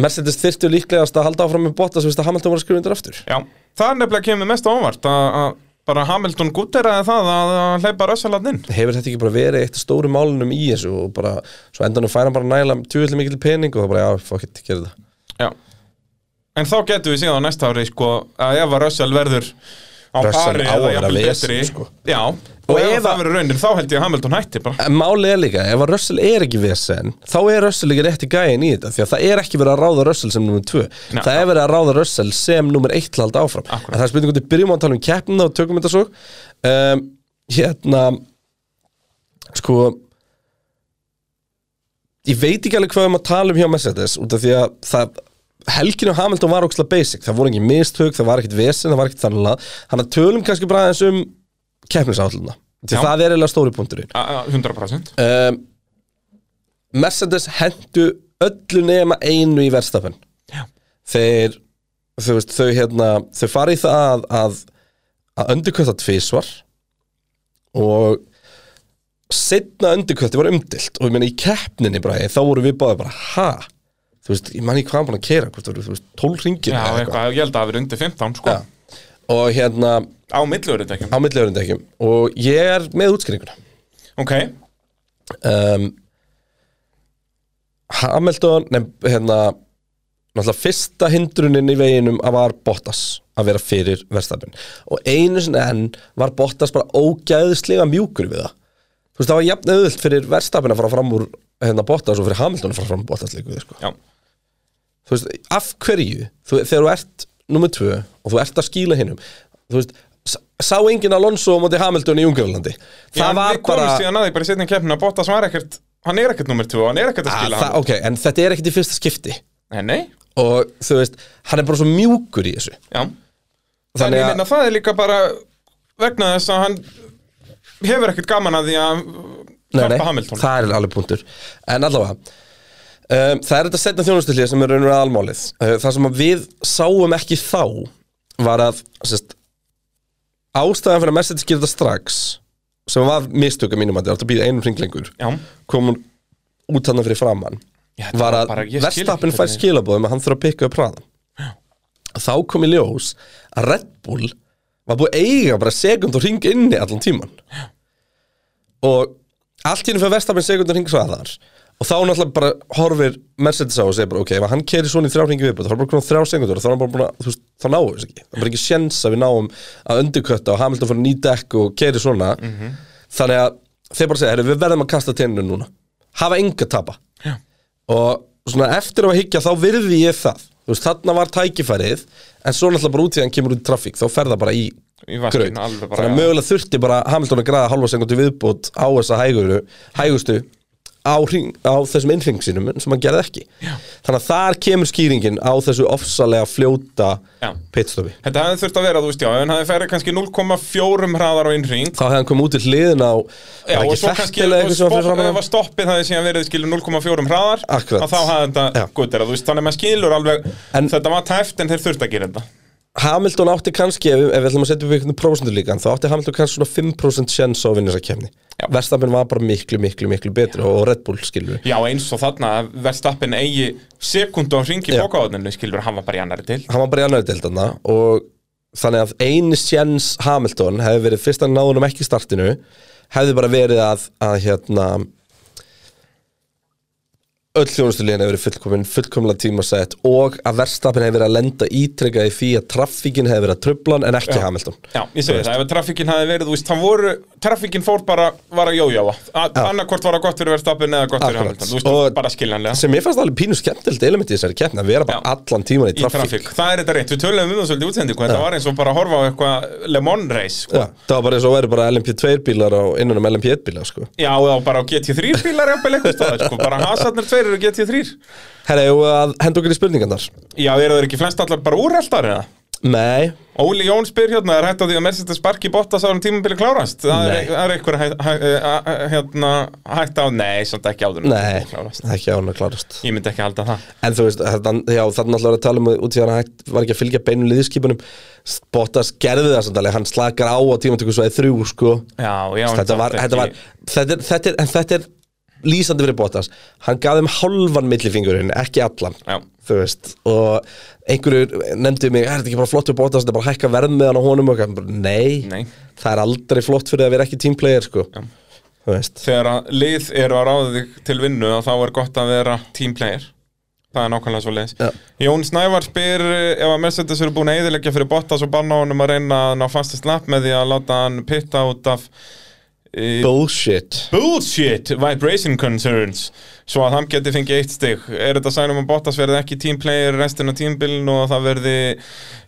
Speaker 2: Mercedes þyrftu líklegast að halda áfram með Bottas viðst að Hamilton var að skrifa undir aftur
Speaker 3: Já, það er nefnilega kemur mest á óvart að að bara Hamilton gútteraði það að að hleypa rössalarninn
Speaker 2: hefur þetta ekki bara verið eitt af stóru málunum í þessu og bara, svo endanum fær hann bara nægilega tjúvillig mikil pening og það bara, já, fuck it, gerðu það
Speaker 3: Já En þá getum við síðan á næsta ári, sko, að ef að rössal verður á
Speaker 2: Russell
Speaker 3: pari
Speaker 2: á að
Speaker 3: eða
Speaker 2: vera
Speaker 3: jafnvel
Speaker 2: vesen,
Speaker 3: betri
Speaker 2: sko.
Speaker 3: Já,
Speaker 2: Og
Speaker 3: og ef
Speaker 2: ef að-
Speaker 3: það verður raunin, þá held ég að Hamilton hætti bara
Speaker 2: En málið er líka, ef að Russell er ekki vesen þá er Russell ekki rétti gæin í þetta því að það er ekki verið að ráða Russell sem nummer 2
Speaker 3: Nei.
Speaker 2: það er verið að ráða Russell sem nummer 1 til að halda áfram,
Speaker 3: Akkúrat.
Speaker 2: en það er spurning hvernig byrjum á að tala um keppnina og tökum þetta svo um, hérna sko ég veit ekki alveg hvað um að tala um hjá Mercedes út af því að það helginu Hamilton var óksla basic, það voru ekki mistök það var ekkit vesen, það var ekkit þannlega þannig að tölum kannski bara aðeins um keppnisálluna, því
Speaker 3: Já.
Speaker 2: það er eiginlega stóri punkturinn
Speaker 3: A- a- 100%
Speaker 2: um, Mercedes hendu öllu nema einu í verðstafan þeir þau, veist, þau, hérna, þau fari í það að, að undirkvöta tvisvar og setna undirkvöti var umdilt og ég meina í keppninni bara, þá voru við báðið bara ha þú veist, ég manni hvað hann búin að keira hvort það voru, þú veist, 12 ringir
Speaker 3: Já, eitthvað, ég held að það hafi verið undir 15 sko
Speaker 2: Já. og hérna
Speaker 3: Á millurindekjum
Speaker 2: á milliðurinn ekki og ég er með útskýringuna
Speaker 3: Ok,
Speaker 2: um, Hamilton nefn, hérna náttúrulega fyrsta hindrunin í veginum að var Bottas að vera fyrir verðstafin og einu sinni enn var Bottas bara ógæðislega mjúkur við það þú veist það var jafn auðvilt fyrir verðstafin að fara fram úr hérna Bottas og fyrir Hamilton að fara fram úr Bottas líka við sko.
Speaker 3: já
Speaker 2: þú veist, af hverju þú, þegar þú ert nummer tvö og þú ert að skýla hinnum þú veist, s- sá enginn Alonso á móti Hamilton í Ungarlandi
Speaker 3: Já,
Speaker 2: það
Speaker 3: en
Speaker 2: var
Speaker 3: Við komum
Speaker 2: bara
Speaker 3: síðan að því bara í setning keppnum að Bottas var ekkert Hann er ekkert nummer 2, hann er ekkert að
Speaker 2: að,
Speaker 3: skila
Speaker 2: Ah, það, ok, en þetta er ekkit í fyrsta skipti
Speaker 3: hann Nei, nei,
Speaker 2: og þú veist, hann er bara svo mjúkur í þessu
Speaker 3: já En
Speaker 2: þannig
Speaker 3: ég
Speaker 2: að,
Speaker 3: meina það er líka bara vegna þess að hann hefur ekkert gaman að því að
Speaker 2: nei, nei,
Speaker 3: hjálpa Hamilton
Speaker 2: það er alveg punktur en allavega um, það er þetta setna þjónustilíð sem er raunverið almálið uh, það sem að við sáum ekki þá var að sérst, ástæðan fyrir að Mercedes gera þetta strax sem var mistöka mínum að þetta átt að býða einum hring lengur
Speaker 3: Já,
Speaker 2: kom hún út hann fyrir framann
Speaker 3: Já, þetta
Speaker 2: var
Speaker 3: var
Speaker 2: að
Speaker 3: bara- ég skil ekki
Speaker 2: verstappin fær
Speaker 3: hvernig-
Speaker 2: skilabóðum að hann þurfa að pikka upp hraðan þá kom í ljós að Red Bull var búið að eiga bara sekund og ring inni allan tíman og allt hérna fyrir verstappin sekund og ring hraðar og þá náttúrulega bara horfir Mercedes á og segir bara ok, ef hann keri svona í þrjá ringi viðbúð þá er bara konar þrjá sekundur og þá er hann bara búin að þú veist, þá náum við þess ekki, það er bara ekki sjens að við náum að undirkötta og Hamilton fyrir ný dekk og keri svona
Speaker 3: Mhm.
Speaker 2: þannig að þeir bara segja, "Heyrðu, við verðum að kasta tennu núna hafa enga tapa og svona eftir á að higgja þá virði ég það þú veist, þarna var tækifærið en svo náttúrulega bara út í hann kemur út í trafík þá fer það bara í
Speaker 3: í
Speaker 2: graut
Speaker 3: vaskinn alveg bara
Speaker 2: þannig að mögulega þurfti bara Hamilton að græða halva sekundu viðbútt á þessa hæguru, hægustu á, hring, á þessum innfing sínum sem hann gerði ekki Já. þannig að þar kemur skýringin á þessu ofsalega fljóta
Speaker 3: Já.
Speaker 2: pitstofi
Speaker 3: Þetta hefði þurft að vera, þú veist, já, en hann hefði ferið kannski 0,4 hraðar á innring
Speaker 2: þá hefði hann komið út í hliðin á
Speaker 3: Já,
Speaker 2: var
Speaker 3: og
Speaker 2: ekki
Speaker 3: svo kannski,
Speaker 2: Vettel eða
Speaker 3: og
Speaker 2: eitthvað sem var fyrir
Speaker 3: stopp,
Speaker 2: framan hann?
Speaker 3: ef að stoppið hefði síðan verið skilur 0,4 hraðar
Speaker 2: Akkurat.
Speaker 3: að þá hefði þetta
Speaker 2: Já.
Speaker 3: guttir, þú veist, þannig að maður skilur alveg
Speaker 2: En-
Speaker 3: þetta var tæft en þeir þurft að gera þetta
Speaker 2: Hamilton átti kannski, ef, ef við ætlum að setja upp einhvern prósentur líka, þá átti Hamilton kannski svona 5% sjens á að vinna þessa kemni
Speaker 3: Já.
Speaker 2: Verstafinn var bara miklu, miklu, miklu betri og Red Bull skilur við
Speaker 3: Já, eins og þarna að Verstappen eigi sekundu á hring í
Speaker 2: Já.
Speaker 3: bókaðuninu skilur hann var bara í annari til
Speaker 2: Hann var bara í annari deildana og þannig að eini sjens Hamilton hefði verið fyrst að náðunum ekki í startinu hefði bara verið að, að hérna öll þjónustulíðin hefur verið fullkomin, fullkomlega tímasett og að verstafinn hefði verið að lenda ítrekka í því að traffíkin hefði verið að tröflan en ekki Hamilton
Speaker 3: Já, ég segi það, ef traffíkinn hafi verið, þú veist, hann voru, traffíkinn fór bara, var að jójáa Annarkvort var það gott fyrir Verstappen eða gott fyrir
Speaker 2: Akkurat.
Speaker 3: Hamilton, þú veist,
Speaker 2: Og-
Speaker 3: bara skiljanlega
Speaker 2: sem ég fannst alveg pínu skemmtilegt element í þessari keppni að vera bara
Speaker 3: Já.
Speaker 2: allan tíman í
Speaker 3: í
Speaker 2: trafík
Speaker 3: trafík Það er þetta reynt, við töluðum um það svolítið í útsendingu Þetta var eins og bara að horfa á eitthvað Le Mans race sko.
Speaker 2: Já, það var bara eins og væri bara LMP2 bílar á innan um LMP1 bílar sko.
Speaker 3: Já, eða bara á GT3 bílar jafnvel eitthvað staðar sko. Bara hasarnir tveir eru GT3
Speaker 2: Herra, ég að henda okkur í spurningarnar
Speaker 3: Já, eru þeir ekki flest allar bara úreltar eða?
Speaker 2: Nei,
Speaker 3: Óli Jón spyr hérna, er hægt á því að Mercedes sparki Bottas á hann tímabili klárast? Það
Speaker 2: Nei.
Speaker 3: er, það er einhver hæ, hæ, hæ, hérna, hægt á, nei, samt ekki áður en
Speaker 2: nei,
Speaker 3: klárast.
Speaker 2: ekki á hann að klarast
Speaker 3: Ég myndi ekki halda það
Speaker 2: En þú veist, þannig að náttúrulega er að tala um að út í hann hægt var ekki að fylgja beinum liðskipunum Bottas gerði það samt alveg, hann slakar á á tímatöku svo eða þrjú sko
Speaker 3: Já, já, en
Speaker 2: þetta
Speaker 3: samt
Speaker 2: var,
Speaker 3: ekki-
Speaker 2: þetta var þetta er, þetta er, en þetta er lýsandi fyrir Bottas hann gaf þeim hálfan millifingurinn, ekki allan
Speaker 3: Já.
Speaker 2: þú veist, og einhverjur nefndu mig, er þetta ekki bara flott fyrir Bottas þetta er bara að hækka verð með hann á honum og hann bara, nei,
Speaker 3: Nei.
Speaker 2: það er aldrei flott fyrir að vera ekki teamplayer, sko
Speaker 3: Já.
Speaker 2: þú veist,
Speaker 3: Þegar að lið eru að ráða þig til vinnu að þá er gott að vera teamplayer Það er nákvæmlega svo leiðis
Speaker 2: Já.
Speaker 3: Jón Snævar spyr eh, ef að Mercedes eru búin að eðilegja fyrir Bottas og banna honum að reyna að ná fastist lapp með því að láta hann pitta út af eh,
Speaker 2: Bullshit
Speaker 3: Bullshit Vibration Concerns Svo að hann geti fengið eitt stig Er þetta sænum að Bottas verði ekki teamplayer restin af tímbilin og að það verði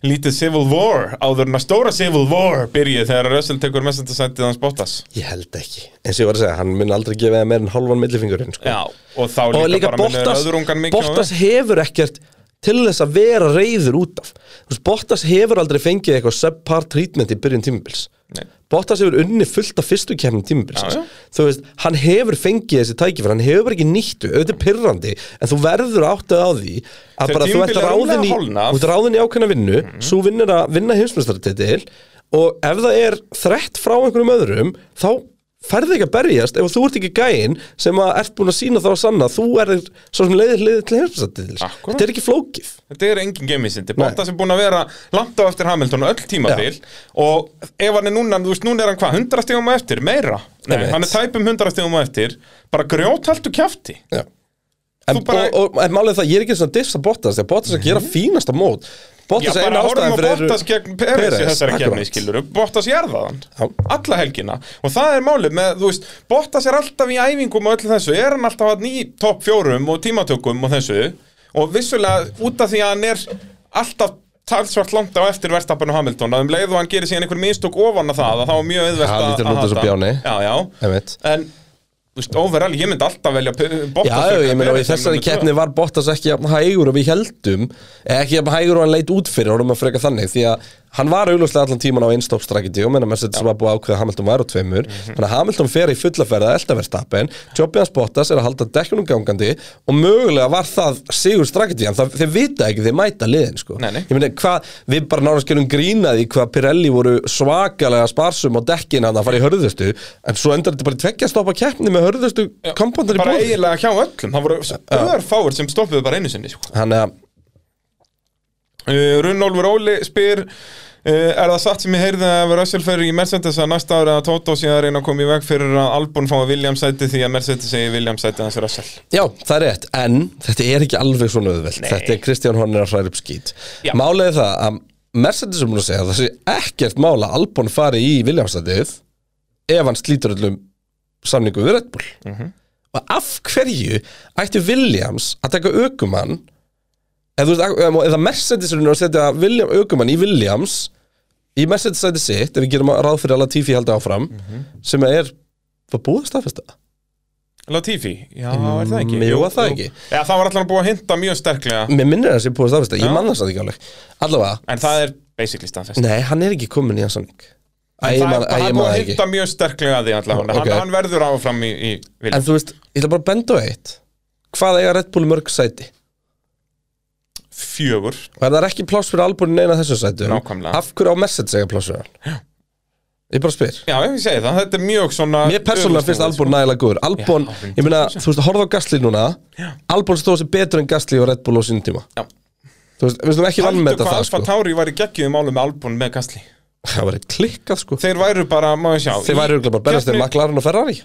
Speaker 3: lítið Civil War áður en að stóra Civil War byrjið þegar Russell tekur mestendasættið hans Bottas
Speaker 2: Ég held ekki Eins og ég var að segja, hann mun aldrei gefa það meir en hálfan millifingurinn sko.
Speaker 3: Já Og þá líka,
Speaker 2: Og líka
Speaker 3: bara munur
Speaker 2: Bottas,
Speaker 3: öðrungan mikið á
Speaker 2: Bottas hefur ekkert til þess að vera reyður út af Þú veist, Bottas hefur aldrei fengið eitthvað subpar treatment í byrjun tímubils
Speaker 3: Nei.
Speaker 2: Bottas hefur unni fullt af fyrstu kemni tímubils
Speaker 3: Já, já.
Speaker 2: Þú veist, hann hefur fengið þessi tækifæri, hann hefur bara ekki nýttu auðvitað er pirrandi, en þú verður áttið á því að
Speaker 3: Þegar
Speaker 2: bara þú ert
Speaker 3: tímabilið er
Speaker 2: ráðin í,
Speaker 3: rúmlega hálfnað.
Speaker 2: þú ert ráðin í ákveðna vinnu
Speaker 3: Mhm.
Speaker 2: mm svo vinnur að vinna heimsmyndstartitil og ef það er þrett frá einhverjum öðrum þá ferði ekki að berjast ef þú ert ekki gæinn sem að ert búin að sína þá að sanna að þú er svo sem leiðir leiðir til heimsmyndstartitil
Speaker 3: Akkúrat.
Speaker 2: þetta er ekki flókið
Speaker 3: Þetta er engin gemisindi, Bottas er búin að vera langt á eftir Hamilton öll tímabil og ef hann er núna, þú veist, núna er hann hvað, 100 stegum á eftir, meira? Nei,
Speaker 2: Einmitt.
Speaker 3: hann er tæpum 100 stegum á eftir, bara grjóthaltu kjafti
Speaker 2: Já. en,
Speaker 3: Þú bara- Mhm.
Speaker 2: og, og, en málið er það, ég er ekki svona diffs að Bottas þegar Bottas er að gera fínasta mót
Speaker 3: Já,
Speaker 2: Bottas er
Speaker 3: bara
Speaker 2: eina
Speaker 3: horfum
Speaker 2: ástæðan
Speaker 3: á
Speaker 2: fyrir
Speaker 3: Bottas gegn Peres í
Speaker 2: Perez,
Speaker 3: þessari
Speaker 2: akkurat.
Speaker 3: kefni, skilur Bottas jarðaðan,
Speaker 2: Já.
Speaker 3: alla helgina og það er málið með, þú veist, Bottas er alltaf í æfingum og öllu þessu, er hann alltaf hann í topp fjórum og tímatökum og þessu og vissulega út af því að hann er alltaf talsvart langt á eftir verðstappinu Hamilton að um leið og hann gerir síðan einhver mistök ofan að það að þá er mjög auðvelt
Speaker 2: Já,
Speaker 3: að
Speaker 2: lítur út
Speaker 3: að
Speaker 2: eins og
Speaker 3: hata.
Speaker 2: Bjáni.
Speaker 3: Já, já,
Speaker 2: Einmitt.
Speaker 3: en þú veist, overall, ég myndi alltaf velja Pe- Bottas
Speaker 2: Já,
Speaker 3: frekar
Speaker 2: já, ég meina
Speaker 3: Perez
Speaker 2: og í
Speaker 3: sem
Speaker 2: þessari
Speaker 3: númer tvö.
Speaker 2: keppni var Bottas ekki jafn hægur og við heldum eða ekki jafn hægur og hann leit út fyrir honum að freka þannig því að hann var augljóslega allan tíman á einstoppstrakiti og menna Mercedes var búið að ákveða að Hamilton var á tveimur
Speaker 3: Mhm.
Speaker 2: þannig að Hamilton fer í fullaferða eldaverstapen jobbið hans Bottas er að halda dekkunum gangandi og mögulega var það sigur strakiti en það, þeir vita ekki, þeir mæta liðin sko.
Speaker 3: Nei, nei.
Speaker 2: Ég meina, hvað, við bara náðum skilum grínaði hvað Pirelli voru svakalega sparsum á dekkin að það fara í hörðustu en svo endar þetta bara í tveggja stoppa keppni með hörðustu kompondar í
Speaker 3: bara
Speaker 2: bóði
Speaker 3: eiginlega hjá öllum, það voru örfáir sem stoppuðu bara einu sinni sko.
Speaker 2: Þannig að
Speaker 3: Uh, Runnólfur Óli spyr uh, Er það satt sem ég heyrði að Russell fer í Mercedes að næsta ára að Toto sé að reyna að koma í veg fyrir að Albon fái Williams sæti því að Mercedes segi Williams sæti hans Russell
Speaker 2: Já, það er rétt, en þetta er ekki alveg svona auðvelt Þetta er Kristján Horner að hræða upp skýt
Speaker 3: Já.
Speaker 2: Málið er það að Mercedes er múin að segja að það sé ekkert mála Albon fari í Viljámsætið ef hann slítur öllum samningu við Red Bull Og af hverju ætti Williams að taka aukumann eða, þú veist, ak- eða- eða Mercedes er að setja William, aukumann í Williams í Mercedes sæti sitt ef við gerum ráð fyrir að Latifi haldi áfram sem er, var búið að staðfesta það?
Speaker 3: Latifi, já, er það ekki?
Speaker 2: Mm, jú, er það ekki?
Speaker 3: Já, það var alltaf búið að hinta mjög sterklega
Speaker 2: Mér minnir að það sé búið að staðfesta, ég
Speaker 3: Já.
Speaker 2: manna það ekki alveg Allavega,
Speaker 3: En það er basically staðfest
Speaker 2: nei, hann er ekki komin í hans samning Æ,
Speaker 3: Það
Speaker 2: ég
Speaker 3: er
Speaker 2: man- æ,
Speaker 3: það
Speaker 2: ég
Speaker 3: er
Speaker 2: man
Speaker 3: búið
Speaker 2: það
Speaker 3: að
Speaker 2: ekki
Speaker 3: hinta mjög sterklega að því alltaf
Speaker 2: Ok.
Speaker 3: hann, hann verður áfram í, í Williams
Speaker 2: En þú veist, ég ætla bara að benda á eitt Hvað eiga Red Bull í mörg sæti?
Speaker 3: Fjögur
Speaker 2: Og ef það er ekki pláss fyrir albúrin neina þessum sætum
Speaker 3: Nákvæmlega.
Speaker 2: Af hverju á Mercedes eiga pláss fyrir hann? Ég bara spyr
Speaker 3: Já, ég segi það, þetta er mjög svona
Speaker 2: Mér persónulega finnst Albon nægilega góður Albon,
Speaker 3: Já,
Speaker 2: ég meina, þú veist, horfðu á Gasly núna Albon stóð sér betur en Gasly og Red Bull á sínum tíma
Speaker 3: Já.
Speaker 2: Þú veist, við slum ekki
Speaker 3: Haldur
Speaker 2: vannmeta
Speaker 3: hvað
Speaker 2: það,
Speaker 3: Alfa
Speaker 2: sko
Speaker 3: Tauri var í geggjum málum með Albon með Gastli
Speaker 2: Það var eitt klikkað, sko
Speaker 3: Þeir væru bara, má ég sjá
Speaker 2: Þeir
Speaker 3: í
Speaker 2: væri örugglega bara að berjast þeir
Speaker 3: keppni-
Speaker 2: McLaren og Ferrari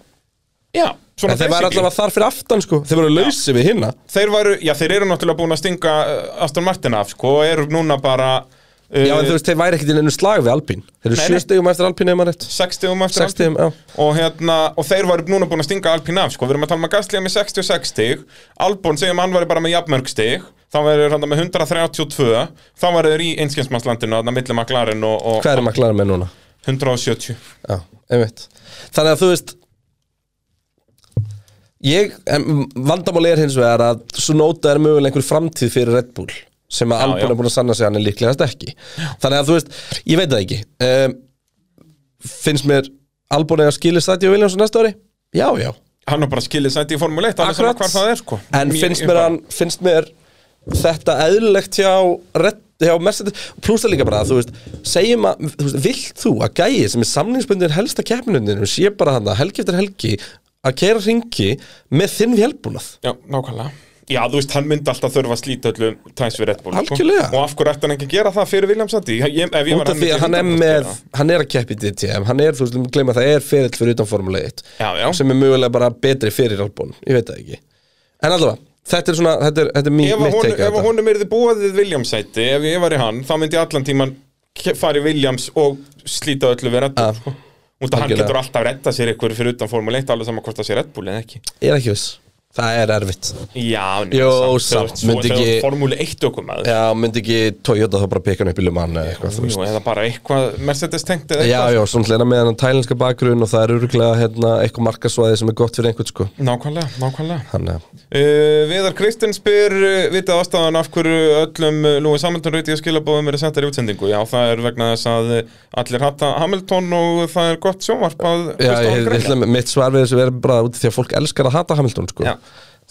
Speaker 3: Já, svona
Speaker 2: En þeir væri
Speaker 3: basically.
Speaker 2: allavega þar fyrir aftan sko Þeir voru lausi við hinna
Speaker 3: þeir væru, já þeir eru náttúrulega búin að stinga uh, Aston Martin af sko og eru núna bara uh,
Speaker 2: Já en þú veist þeir væri ekkert í einu slag við Alpín Þeir eru
Speaker 3: Nei, nei.
Speaker 2: sjöstegum eftir Alpín eða maður rétt
Speaker 3: 60 um eftir
Speaker 2: 60
Speaker 3: Alpine.
Speaker 2: já
Speaker 3: og, hérna, og þeir væru núna búin að stinga Alpine af sko, við erum að tala með Gastlíða með 66 stig Albon segjum hann væri bara með jafnmörg stig þá verður hann með 132 þá verður þeir í einskjensmannslandinu þarna milli McLaren og,
Speaker 2: Hvað er McLaren með núna?
Speaker 3: og 170
Speaker 2: Já, einmitt Þannig að þú veist Ég, en vandamáli er hins vegar að Sunóta er mögulega einhver framtíð fyrir Red Bull sem að
Speaker 3: Já, já.
Speaker 2: Albon er búin að sanna sig að hann er líklegast ekki Þannig að þú veist, ég veit það ekki um, Finnst mér Albon eða skilist það til Williamson næsta ári? Já, já
Speaker 3: hann er bara skilið sætti í Formule 1 alveg sama
Speaker 2: Akkurat.
Speaker 3: hvar það er sko
Speaker 2: En
Speaker 3: Mér-
Speaker 2: finnst
Speaker 3: ég
Speaker 2: mér,
Speaker 3: bara-
Speaker 2: hann, finnst mér þetta eðlilegt hjá, Red- hjá Mercedes Plus það líka bara að þú veist segjum að, þú veist, vilt þú að gæi sem er samlingsbundin helsta keppinundinu sé bara hann að helgi eftir helgi að keira ringi með þinn vélbúnað
Speaker 3: Já, nákvæmlega Já, þú veist, hann myndi alltaf þurfa að slíta öllu tæs við Red Bull sko.
Speaker 2: Algjörlega.
Speaker 3: Og af hverju ætti hann ekki að gera það fyrir William Sandi? Ég, ef ég var
Speaker 2: út af því
Speaker 3: myndi
Speaker 2: að hann er
Speaker 3: 100%
Speaker 2: með
Speaker 3: gera það.
Speaker 2: hann er að keppi DTM, hann er, þú veist, við gleyma að það er ferill fyrir utan Formule 1
Speaker 3: Já, já.
Speaker 2: sem er mögulega bara betri fyrir Albon, ég veit það ekki en allavega, þetta er svona, þetta er, þetta er mí-
Speaker 3: Ef að
Speaker 2: mitt
Speaker 3: honum-
Speaker 2: teika
Speaker 3: ef að honum er þið búið við Williams sæti Ef ég var í hann, þá myndi ég allan tíman ke- fara í Williams og slíta öllu við Red Bull sko. Út að hann
Speaker 2: Algjörlega.
Speaker 3: getur alltaf retta sér ykkur fyrir utan Formule 1 alveg saman hvort það sé Red Bull en ekki
Speaker 2: Ég er ekki viss Það er erfitt
Speaker 3: Já, nei,
Speaker 2: Jó, samt,
Speaker 3: þú ert-
Speaker 2: myndi
Speaker 3: þú ert- þú
Speaker 2: ekki-
Speaker 3: ert Formúlu 1 okkur maður
Speaker 2: Já, myndi ekki Toyota þá bara peka hann upp í Luman eða eitthvað, þú veist
Speaker 3: Jú, Eða bara eitthvað Mercedes tengt eða
Speaker 2: Já,
Speaker 3: eitthvað
Speaker 2: já, svona hlena með hann tælinska bakgrunn og það er örglega hérna, eitthvað markasvæði sem er gott fyrir einhvern sko
Speaker 3: Nákvæmlega, nákvæmlega
Speaker 2: Þannig að
Speaker 3: Uh, Viðar Kristinn spyr uh, vitið ástæðan af hverju öllum uh, Lúi Hamilton rauti að skilabóðum eru settar í útsendingu Já, það er vegna þess að uh, allir hatta Hamilton og það er gott sjónvarp að
Speaker 2: Já,
Speaker 3: hlusta á hérna.
Speaker 2: ég,
Speaker 3: hann
Speaker 2: ég,
Speaker 3: græja.
Speaker 2: ég, mitt svar við þessu verður bara út af því að fólk elskar að hata Hamilton sko
Speaker 3: Já.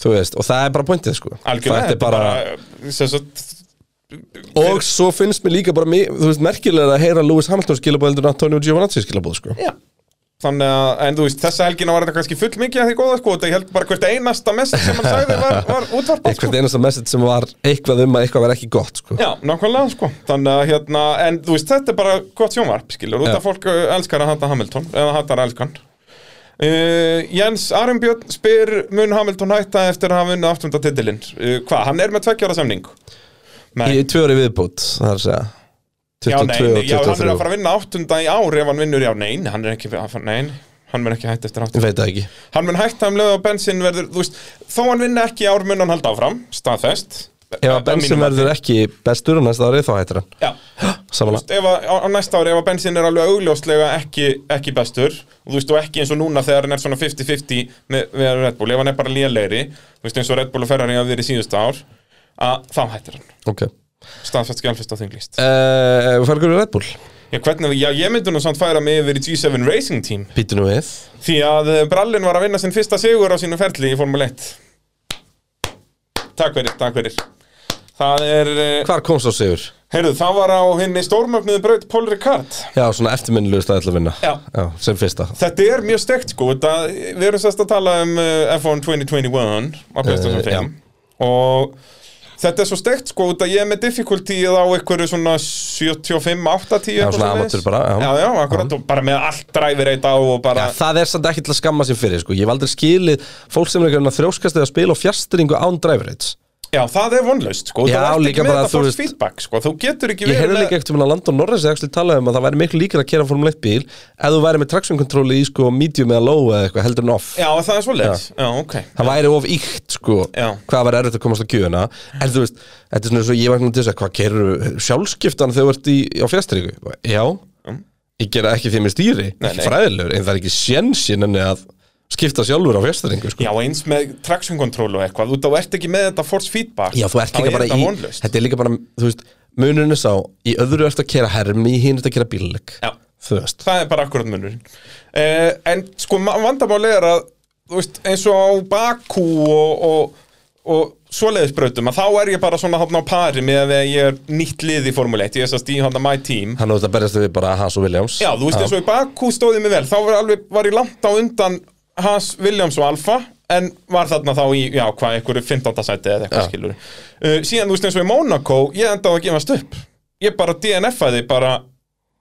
Speaker 2: Þú veist, og það er bara pointið sko
Speaker 3: Algjörlega,
Speaker 2: Þetta er bara,
Speaker 3: bara sem sagt,
Speaker 2: Og svo finnst mér líka bara, mi- þú veist, merkilega að heyra Lewis Hamilton skilabóð heldur en Antonio Giovanazzi skilabóð sko
Speaker 3: Já Þannig að, en þú veist, þessa helgina var þetta kannski full mikið að því góða sko, þetta ég held bara hvert einasta mest sem hann sagði var, var útvarpað sko.
Speaker 2: Eitthvað einasta message sem var eitthvað um að eitthvað verð ekki gott sko
Speaker 3: Já, nákvæmlega sko, þannig að hérna, en þú veist, þetta er bara gott sjónvarp, skilur, út
Speaker 2: Já.
Speaker 3: að fólk uh, elskar að hata Hamilton, eða hatar elskan. Uh, Jens Arnbjörn spyr, mun Hamilton hætta eftir að hafa vunnið áttunda titilinn? Uh, hvað, hann er með tveggjára semning? Nei,
Speaker 2: Í tvö ári viðbót, það er að segja
Speaker 3: já, nei,
Speaker 2: 22
Speaker 3: nei,
Speaker 2: og
Speaker 3: já, hann er að
Speaker 2: 23
Speaker 3: fara að vinna áttunda í ár ef hann vinnur, já, nein, hann er ekki, nein, hann mun ekki hætta eftir áttunda.
Speaker 2: Ég veit það ekki
Speaker 3: hann mun hætta um leið og bensin verður þú veist, þó hann vinna ekki í ár mun hann halda áfram staðfest
Speaker 2: Ef
Speaker 3: Að-
Speaker 2: að
Speaker 3: að
Speaker 2: Benson
Speaker 3: mínu mati.
Speaker 2: verður ekki bestur á næsta ári þá hættir hann
Speaker 3: Já. Þú
Speaker 2: Samanlega
Speaker 3: veist, ef að, á, á næsta ári ef að bensin er alveg augljóslega ekki, ekki bestur og þú veist, og ekki eins og núna þegar hann er svona 50-50 með, með Red Bull ef hann er bara lélegri, þú veist, eins og Red Bull og Ferrari hafa verið í síðustu ár að þá hættir hann,
Speaker 2: Ok
Speaker 3: staðfest skjálfist á þinglist
Speaker 2: uh, Færgur við Red Bull
Speaker 3: já, hvernig, já, ég myndi nú samt færa mig yfir í G7 Racing Team
Speaker 2: Býtu nú við
Speaker 3: Því að Brallin var að vinna sinn fyrsta sigur á sínu ferli í Formule 1 Takk fyrir, takk fyrir Það er, eh,
Speaker 2: Hvar komst á sigur?
Speaker 3: heyrðu, það var á henni stórmögnuðu braut Paul Ricard
Speaker 2: Já, svona eftirminnilegust að ætla að vinna
Speaker 3: Já.
Speaker 2: sem fyrsta
Speaker 3: Þetta er mjög stekt sko, þetta, við erum sérst að tala um eh, F1 2021 á PlayStation
Speaker 2: Eh,
Speaker 3: 5 og þetta er svo stekt sko, þetta ég er með difficultyið á einhverju svona 75-80
Speaker 2: Já, svona amateur bara, já.
Speaker 3: Já, já, akkurat, og bara með allt dræfir eitt á og
Speaker 2: Já,
Speaker 3: bara
Speaker 2: það er samt ekki til að skamma sér fyrir sko. Ég hef aldrei skilið fólk sem er ekki að þrjóskast eða spila og fjastringu án driver rates
Speaker 3: Já, það er vonlaust, sko,
Speaker 2: Já,
Speaker 3: þú ert
Speaker 2: líka
Speaker 3: ekki með
Speaker 2: bara,
Speaker 3: þetta
Speaker 2: þú
Speaker 3: fólks
Speaker 2: veist-
Speaker 3: feedback, sko, þú getur ekki
Speaker 2: Ég
Speaker 3: verið
Speaker 2: heyrði
Speaker 3: með-
Speaker 2: líka ekkert um að Landon Norris eða actually talaði um að það væri miklu líkir að kera Formule 1 bíl ef þú væri með traction control í sko, medium eða low eða eitthvað heldur en off
Speaker 3: Já, það er svoleiðis, já, ok
Speaker 2: Það væri of íkt sko
Speaker 3: Já.
Speaker 2: hvað var erfitt að komast á kjöðuna en þú veist, þetta er svona eins og ég vakna til þess að hvað kerur sjálfskiptan þegar þú ert í, á fjastringu Já, ég gera ekki því með stýri
Speaker 3: Nei,
Speaker 2: ekki
Speaker 3: nei.
Speaker 2: fræðilegur, en það er ekki sjensin enni að skipta sjálfur á fjastringu sko.
Speaker 3: Já, eins með traction control og eitthvað, þú þú ert ekki með þetta force feedback
Speaker 2: Já, þú ert
Speaker 3: þá
Speaker 2: líka
Speaker 3: er
Speaker 2: bara
Speaker 3: þetta
Speaker 2: í
Speaker 3: vonlaust.
Speaker 2: Þetta er líka bara, þú veist, munurinn er sá Í öðru ert að kera hermi, í hinn ert að kera bílleg
Speaker 3: Já.
Speaker 2: Þú veist
Speaker 3: Það er bara akkurat munur eh, En sko, ma- vandamál er að, þú veist, eins og á Bakú og, og, og svoleiðis brautum að þá er ég bara svona hafna á pari með að ég er nýtt lið í Formule 1, ég er sérst í hafna my team
Speaker 2: Hann átt að berjast við bara Hans og Williams
Speaker 3: Já, þú veist eins og í Bakú stóði mig vel þá var, alveg, var ég langt á undan Hans Williams og Alfa en var þarna þá í, já, hvað, einhverju 15. sæti eða eitthvað
Speaker 2: Já.
Speaker 3: skilur uh, síðan, þú veist eins og í Monaco, ég endaði að gefast upp ég bara DNF-aði bara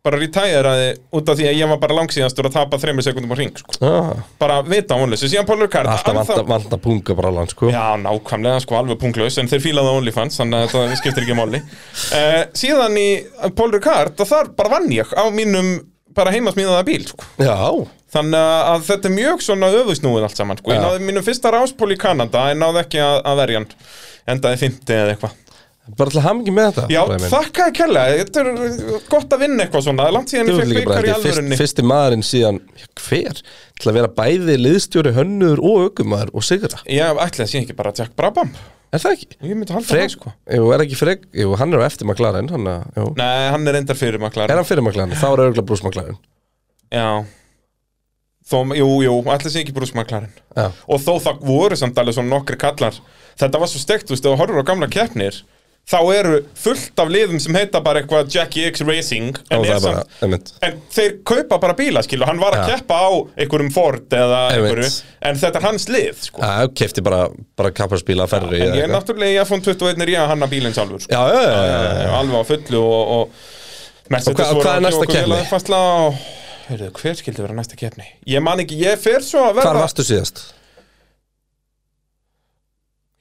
Speaker 3: bara retæraði út af því að ég var bara langsíðastur að tapa þreymur sekundum á ring sko.
Speaker 2: ah,
Speaker 3: bara vita á honleysu, síðan Pálur Kart
Speaker 2: Alltaf vanta, vanta punga bara land, sko
Speaker 3: Já, nákvæmlega, sko, alveg punglaus en þeir fílaði á OnlyFans, þannig að það skiptir ekki máli uh, síðan í Paul Ricard, að þar bara vann ég á mínum bara heimasmíðaða bíl, sko
Speaker 2: Já,
Speaker 3: þannig að þetta er mjög svona öfusnúið allt saman, sko, ég
Speaker 2: Já.
Speaker 3: náði mínum fyrsta ráspól í Kanada, en náði ekki að, að verja hann endaði fymti eða eitthvað
Speaker 2: bara til að hafa ekki með þetta
Speaker 3: Já,
Speaker 2: bræði minn.
Speaker 3: þakkaði kærlega, þetta er gott að vinna eitthvað svona, það er langt síðan
Speaker 2: Þú
Speaker 3: ég
Speaker 2: veist
Speaker 3: fekk
Speaker 2: líka bara, þetta
Speaker 3: byggar í
Speaker 2: er fyrst,
Speaker 3: alvörunni
Speaker 2: fyrsti maðurinn síðan já, Hver? Til að vera bæði liðstjóri hönnur og aukumæður og sigra
Speaker 3: Ég ætli að sé ekki bara Jack Brabham
Speaker 2: Er það ekki?
Speaker 3: Ég myndi halda
Speaker 2: Freg,
Speaker 3: það, sko
Speaker 2: jú, er ekki Freg, jú, hann er á eftir McLaren hann, að- jú.
Speaker 3: Nei, hann er endar fyrir maklar
Speaker 2: sko. Er hann fyrir McLaren? Þá er örgulega Bruce McLaren
Speaker 3: Já Þó, jú, jú, ætli sé ekki Bruce McLaren
Speaker 2: Já,
Speaker 3: Og þó það voru samt alveg svona nokkri kallar Þetta var svo steikt, þú veist, ef þú horfur á gamla keppnir Þá eru fullt af liðum sem heita bara eitthvað Jackie X Racing
Speaker 2: og það
Speaker 3: En, er
Speaker 2: er bara,
Speaker 3: samt,
Speaker 2: einmitt
Speaker 3: en þeir kaupa bara bíla, skilu Hann var að
Speaker 2: Já.
Speaker 3: keppa á einhverjum Ford eða
Speaker 2: Einmitt.
Speaker 3: einhverju En þetta er hans lið, sko
Speaker 2: Já, kefti bara, bara kapparspíla ferri
Speaker 3: En ég er náttúrulega í F1 21 er ég að hanna bílinn sjálfur, sko
Speaker 2: Já, já, já, já, já.
Speaker 3: Eh, Alveg á fullu og, og
Speaker 2: Og hvað- og hvað er næsta keppni?
Speaker 3: Fastla, og, heyrðu, hver skildi vera næsta keppni? Ég man ekki, ég fer svo að
Speaker 2: Hvar
Speaker 3: verða
Speaker 2: varstu síðast?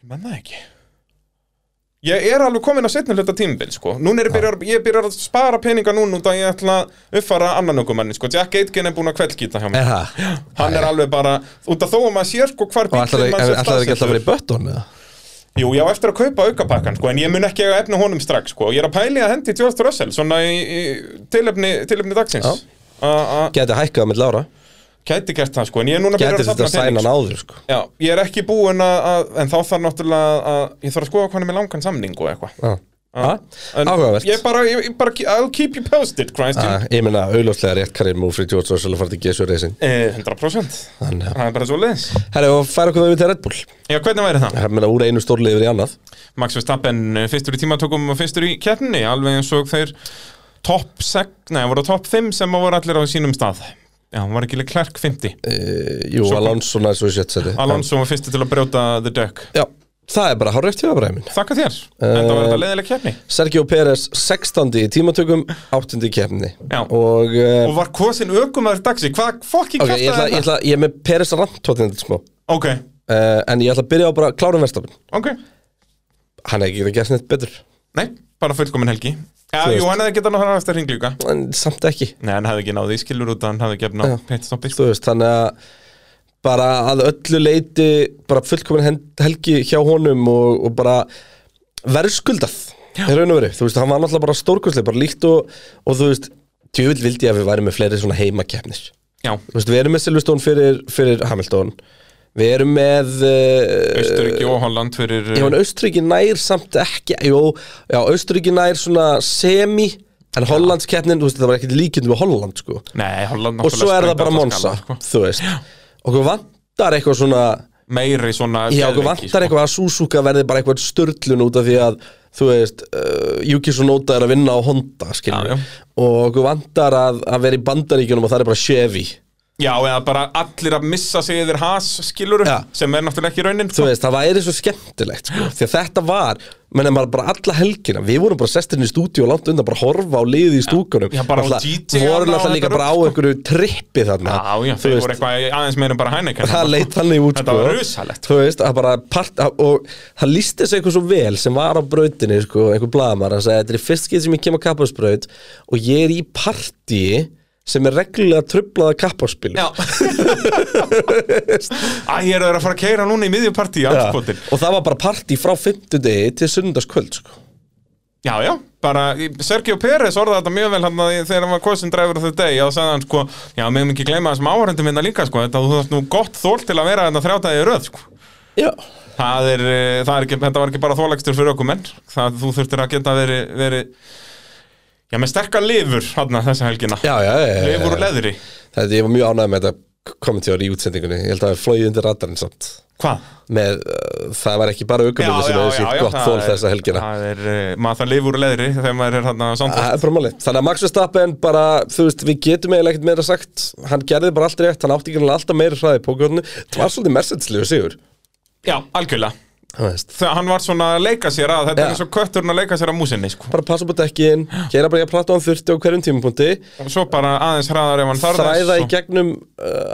Speaker 3: Ég menn það ekki Ég er alveg komin að setna hluta tímabil, sko. Núna er ég byrjar, ég byrjar að spara peninga núna út að ég ætla að uppfara annan ökumanni, sko. Jack Aitken er búin að kveldgýta hjá mér.
Speaker 2: Er það?
Speaker 3: Hann er alveg bara, út að þó að maður sér, sko, hvar
Speaker 2: Eh, Og ætlar
Speaker 3: bíllinn manns er
Speaker 2: það ekki alltaf að
Speaker 3: staðsettur.
Speaker 2: vera í bötton eða?
Speaker 3: Jú, ég á eftir að kaupa aukapakkan, sko, en ég mun ekki að efna honum strax, sko. Ég er að pæli að hendi George Russell, svona í, í tilefni, tilefni dagsins. A- a-
Speaker 2: Gæti hækkað með Lára
Speaker 3: Gæti gert það, sko, en ég er núna
Speaker 2: Gæti
Speaker 3: byrjar
Speaker 2: þetta
Speaker 3: að
Speaker 2: að
Speaker 3: safna
Speaker 2: sæna
Speaker 3: pening,
Speaker 2: hann áður sko
Speaker 3: Já, ég er ekki búin að, að en þá þarf náttúrulega að, ég þarf að skoða hvað hann er með langan samning og eitthvað.
Speaker 2: Já. Ha?
Speaker 3: En
Speaker 2: Áhugavert
Speaker 3: Ég bara, ég, ég bara, I'll keep you posted, Christian.
Speaker 2: Ah, Ég meina auðljóslega rétt Karim Múfri George Russell að fara til GSU Racing
Speaker 3: Eh, 100%.
Speaker 2: Þannig að
Speaker 3: Það er bara svo leiðis.
Speaker 2: Herra, og færa okkur það við til Red Bull
Speaker 3: Já, hvernig væri það?
Speaker 2: Eh, Ég meina úr einu stórliður í annað
Speaker 3: Max Verstappen eh, fyrstur í tímatökum og fyrstur í keppninni, alveg eins og þeir top 6, nei, voru top 5 sem voru allir á sínum stað. Já, hann var ekki leik klerk 50.
Speaker 2: uh, Jú,
Speaker 3: Svo kom-
Speaker 2: Alonso næst og sjötsæti
Speaker 3: Alonso var fyrstur til að brjóta the duck.
Speaker 2: Já, það er bara hárreitt hjá Bræmin
Speaker 3: Þakka þér, en það var þetta leiðileg keppni.
Speaker 2: Sergio Pérez 16. í tímatökum 8. í kefni
Speaker 3: Já.
Speaker 2: Og uh,
Speaker 3: Og var kosin ökumæður dagsins, hvað fokkin
Speaker 2: Ok, ég ætla, ég, ætla, ég er með Peres randtóttin þetta smá uh,
Speaker 3: Ok,
Speaker 2: En ég ætla að byrja á bara Klárum Verstafn
Speaker 3: ok,
Speaker 2: Hann er ekki að gera neitt betur
Speaker 3: nei, bara fullkomin helgi. Eh, Já,
Speaker 2: Þú
Speaker 3: jú,
Speaker 2: veist.
Speaker 3: hann hefði getað náttúrulega eftir hring líka.
Speaker 2: En samt ekki
Speaker 3: Nei, hann hefði ekki náði í skilur út að hann hefði gefna
Speaker 2: Já.
Speaker 3: pitstoppi.
Speaker 2: Þú veist, þannig að bara að öllu leiti bara fullkomin hen- helgi hjá honum og, og bara verðskuldað í raun og verið, þú veist, hann var náttúrulega bara stórkoslega, bara líkt og, og þú veist djúvill vildi ég að við væri með fleiri svona heimakefnir
Speaker 3: Já,
Speaker 2: þú veist, við erum með Silveston fyrir, fyrir Hamilton við erum með uh,
Speaker 3: Östuríki og Holland fyrir... eh,
Speaker 2: Ég meina, Austuríki nær samt ekki Jó, já, Austuríki nær svona semi En Hollands keppnin, þú veist, það var ekkert líkind við Holland, sko
Speaker 3: Nei, Holland
Speaker 2: Og svo
Speaker 3: náttúrulega
Speaker 2: er það
Speaker 3: sprengdi
Speaker 2: bara
Speaker 3: alla
Speaker 2: Monza,
Speaker 3: skala, sko.
Speaker 2: þú veist Okkur vantar eitthvað svona
Speaker 3: Meiri svona...
Speaker 2: Já,
Speaker 3: sko. geðveiki,
Speaker 2: okkur vantar eitthvað að Suzuka verði bara eitthvað störlun út af því að Þú veist, uh, Yuki Sunoda er að vinna á Honda,
Speaker 3: Já, já.
Speaker 2: skiljum Og okkur vantar að, að vera í bandaríkjunum og það er bara Chevy
Speaker 3: Já, eða bara allir að missa sig yfir has skiluru,
Speaker 2: Já.
Speaker 3: sem er náttúrulega ekki raunin sko.
Speaker 2: Þú veist, það væri svo skemmtilegt, sko Því að þetta var, menn maður bara alla helgina Við vorum bara sestirinn í stúdíu og langt undan bara að horfa á liði í stúkunum
Speaker 3: já, bara á
Speaker 2: Náttúrulega
Speaker 3: DJ
Speaker 2: Voru
Speaker 3: þarna og
Speaker 2: náttúrulega líka
Speaker 3: þetta
Speaker 2: bara á
Speaker 3: rugl, sko.
Speaker 2: einhverju trippi þarna
Speaker 3: Já, já,
Speaker 2: Þú
Speaker 3: þeir voru eitthvað aðeins meira en bara Heineken
Speaker 2: það leit þannig út sko.
Speaker 3: Þetta var rusalegt.
Speaker 2: Þú veist, að bara part að- Og það lísti þessu eitthvað svo vel sem var á brautinni sko, einhver blaðamar, hann sagði, þetta er í fyrst getur sem ég kem á kapparsbraut og ég er í partíi sem er reglulega trublaða kapparspilu
Speaker 3: Já Æ, ég er að fara að keira núna í miðjupartí andskotin
Speaker 2: og það var bara partí frá fimmtudegi til sunnudagskvöld sko.
Speaker 3: Já, já, bara Sergio Pérez orðaði þetta mjög vel hann að þegar hann var kosin driver of the day og sagði hann sko, já, mig ekki gleyma þessum áhörendum minna líka sko, þetta þú þarfst nú gott þól til að vera þetta þrjátaði röð sko.
Speaker 2: Já,
Speaker 3: það er, eh, það er ekki, þetta var ekki bara þólagstur fyrir okkur menn, það þú þurftir að geta verið, veri, já, með sterkar lifur hann þessa helgina
Speaker 2: já, já, já, já,
Speaker 3: lifur
Speaker 2: já.
Speaker 3: og leðri,
Speaker 2: Þetta, ég var mjög ánægð með þetta kommentívar í útsendingunni Ég held að það flóið undir radarinn samt
Speaker 3: hvað?
Speaker 2: með, uh, Það var ekki bara aukumölu sem hefði sýtt gott
Speaker 3: það
Speaker 2: þól
Speaker 3: er-
Speaker 2: þessa helgina
Speaker 3: það er, eh, maður það lifur úr leðri þegar maður er hann að samt
Speaker 2: Það er bara málið. Þannig að Max Verstappen bara, þú veist, við getum eiginlega ekkert meira sagt Hann gerði bara allt rétt, hann átti ekki alltaf meira hraði í pókjörnu Það var svolítið mersetslegu sigur
Speaker 3: já, algjörlega
Speaker 2: Þú veist,
Speaker 3: þegar hann var svona að leika sér að þetta
Speaker 2: Já.
Speaker 3: er eins og kötturinn að leika sér að músinni sko.
Speaker 2: Bara passa upp á dekkin, gera bara ég að plata án 30 á hverjum tímapunkti
Speaker 3: og svo bara aðeins hraðar ef hann þarf
Speaker 2: Þræða í
Speaker 3: þess og,
Speaker 2: gegnum uh,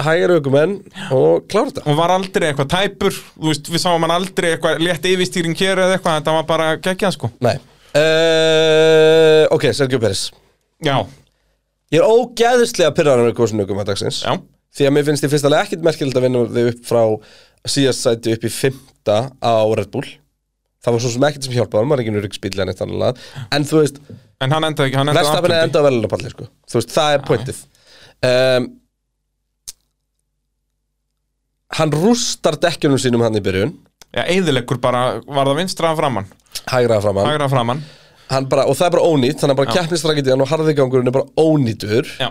Speaker 2: hægari aukumenn og klára þetta
Speaker 3: og var aldrei eitthvað tæpur Þú veist, við sáum hann aldrei eitthvað létt yfirstýring hér eða eitthvað, þetta var bara geggjað sko.
Speaker 2: Nei uh, Ok, Sergio Pérez
Speaker 3: já,
Speaker 2: Ég er ógeðislega pyrraður með kosin aukum að dagsins
Speaker 3: já,
Speaker 2: Því að mér finnst í fyrsta lega ekkit merkilegt að vinna þau upp frá síðast sæti upp í fymta á Red Bull Það var svo sem ekkert sem hjálpaði, maður er ekki nörg spýrlega neitt annað En þú veist,
Speaker 3: en hann endaði ekki hann endaði
Speaker 2: verðstafin er
Speaker 3: áttundi.
Speaker 2: enda að verðlega palli sko. Þú veist, það er pointið um, Hann rústar dekkjunum sínum hann í byrjun
Speaker 3: já, eðilegur bara, var það vinstra að framann
Speaker 2: Hægra framan
Speaker 3: hægra að framann,
Speaker 2: hann bara, Og það er bara ónýtt, þannig að bara
Speaker 3: Já.
Speaker 2: keppnistrakitiðan og harðigangurinn er bara ónýtur
Speaker 3: já,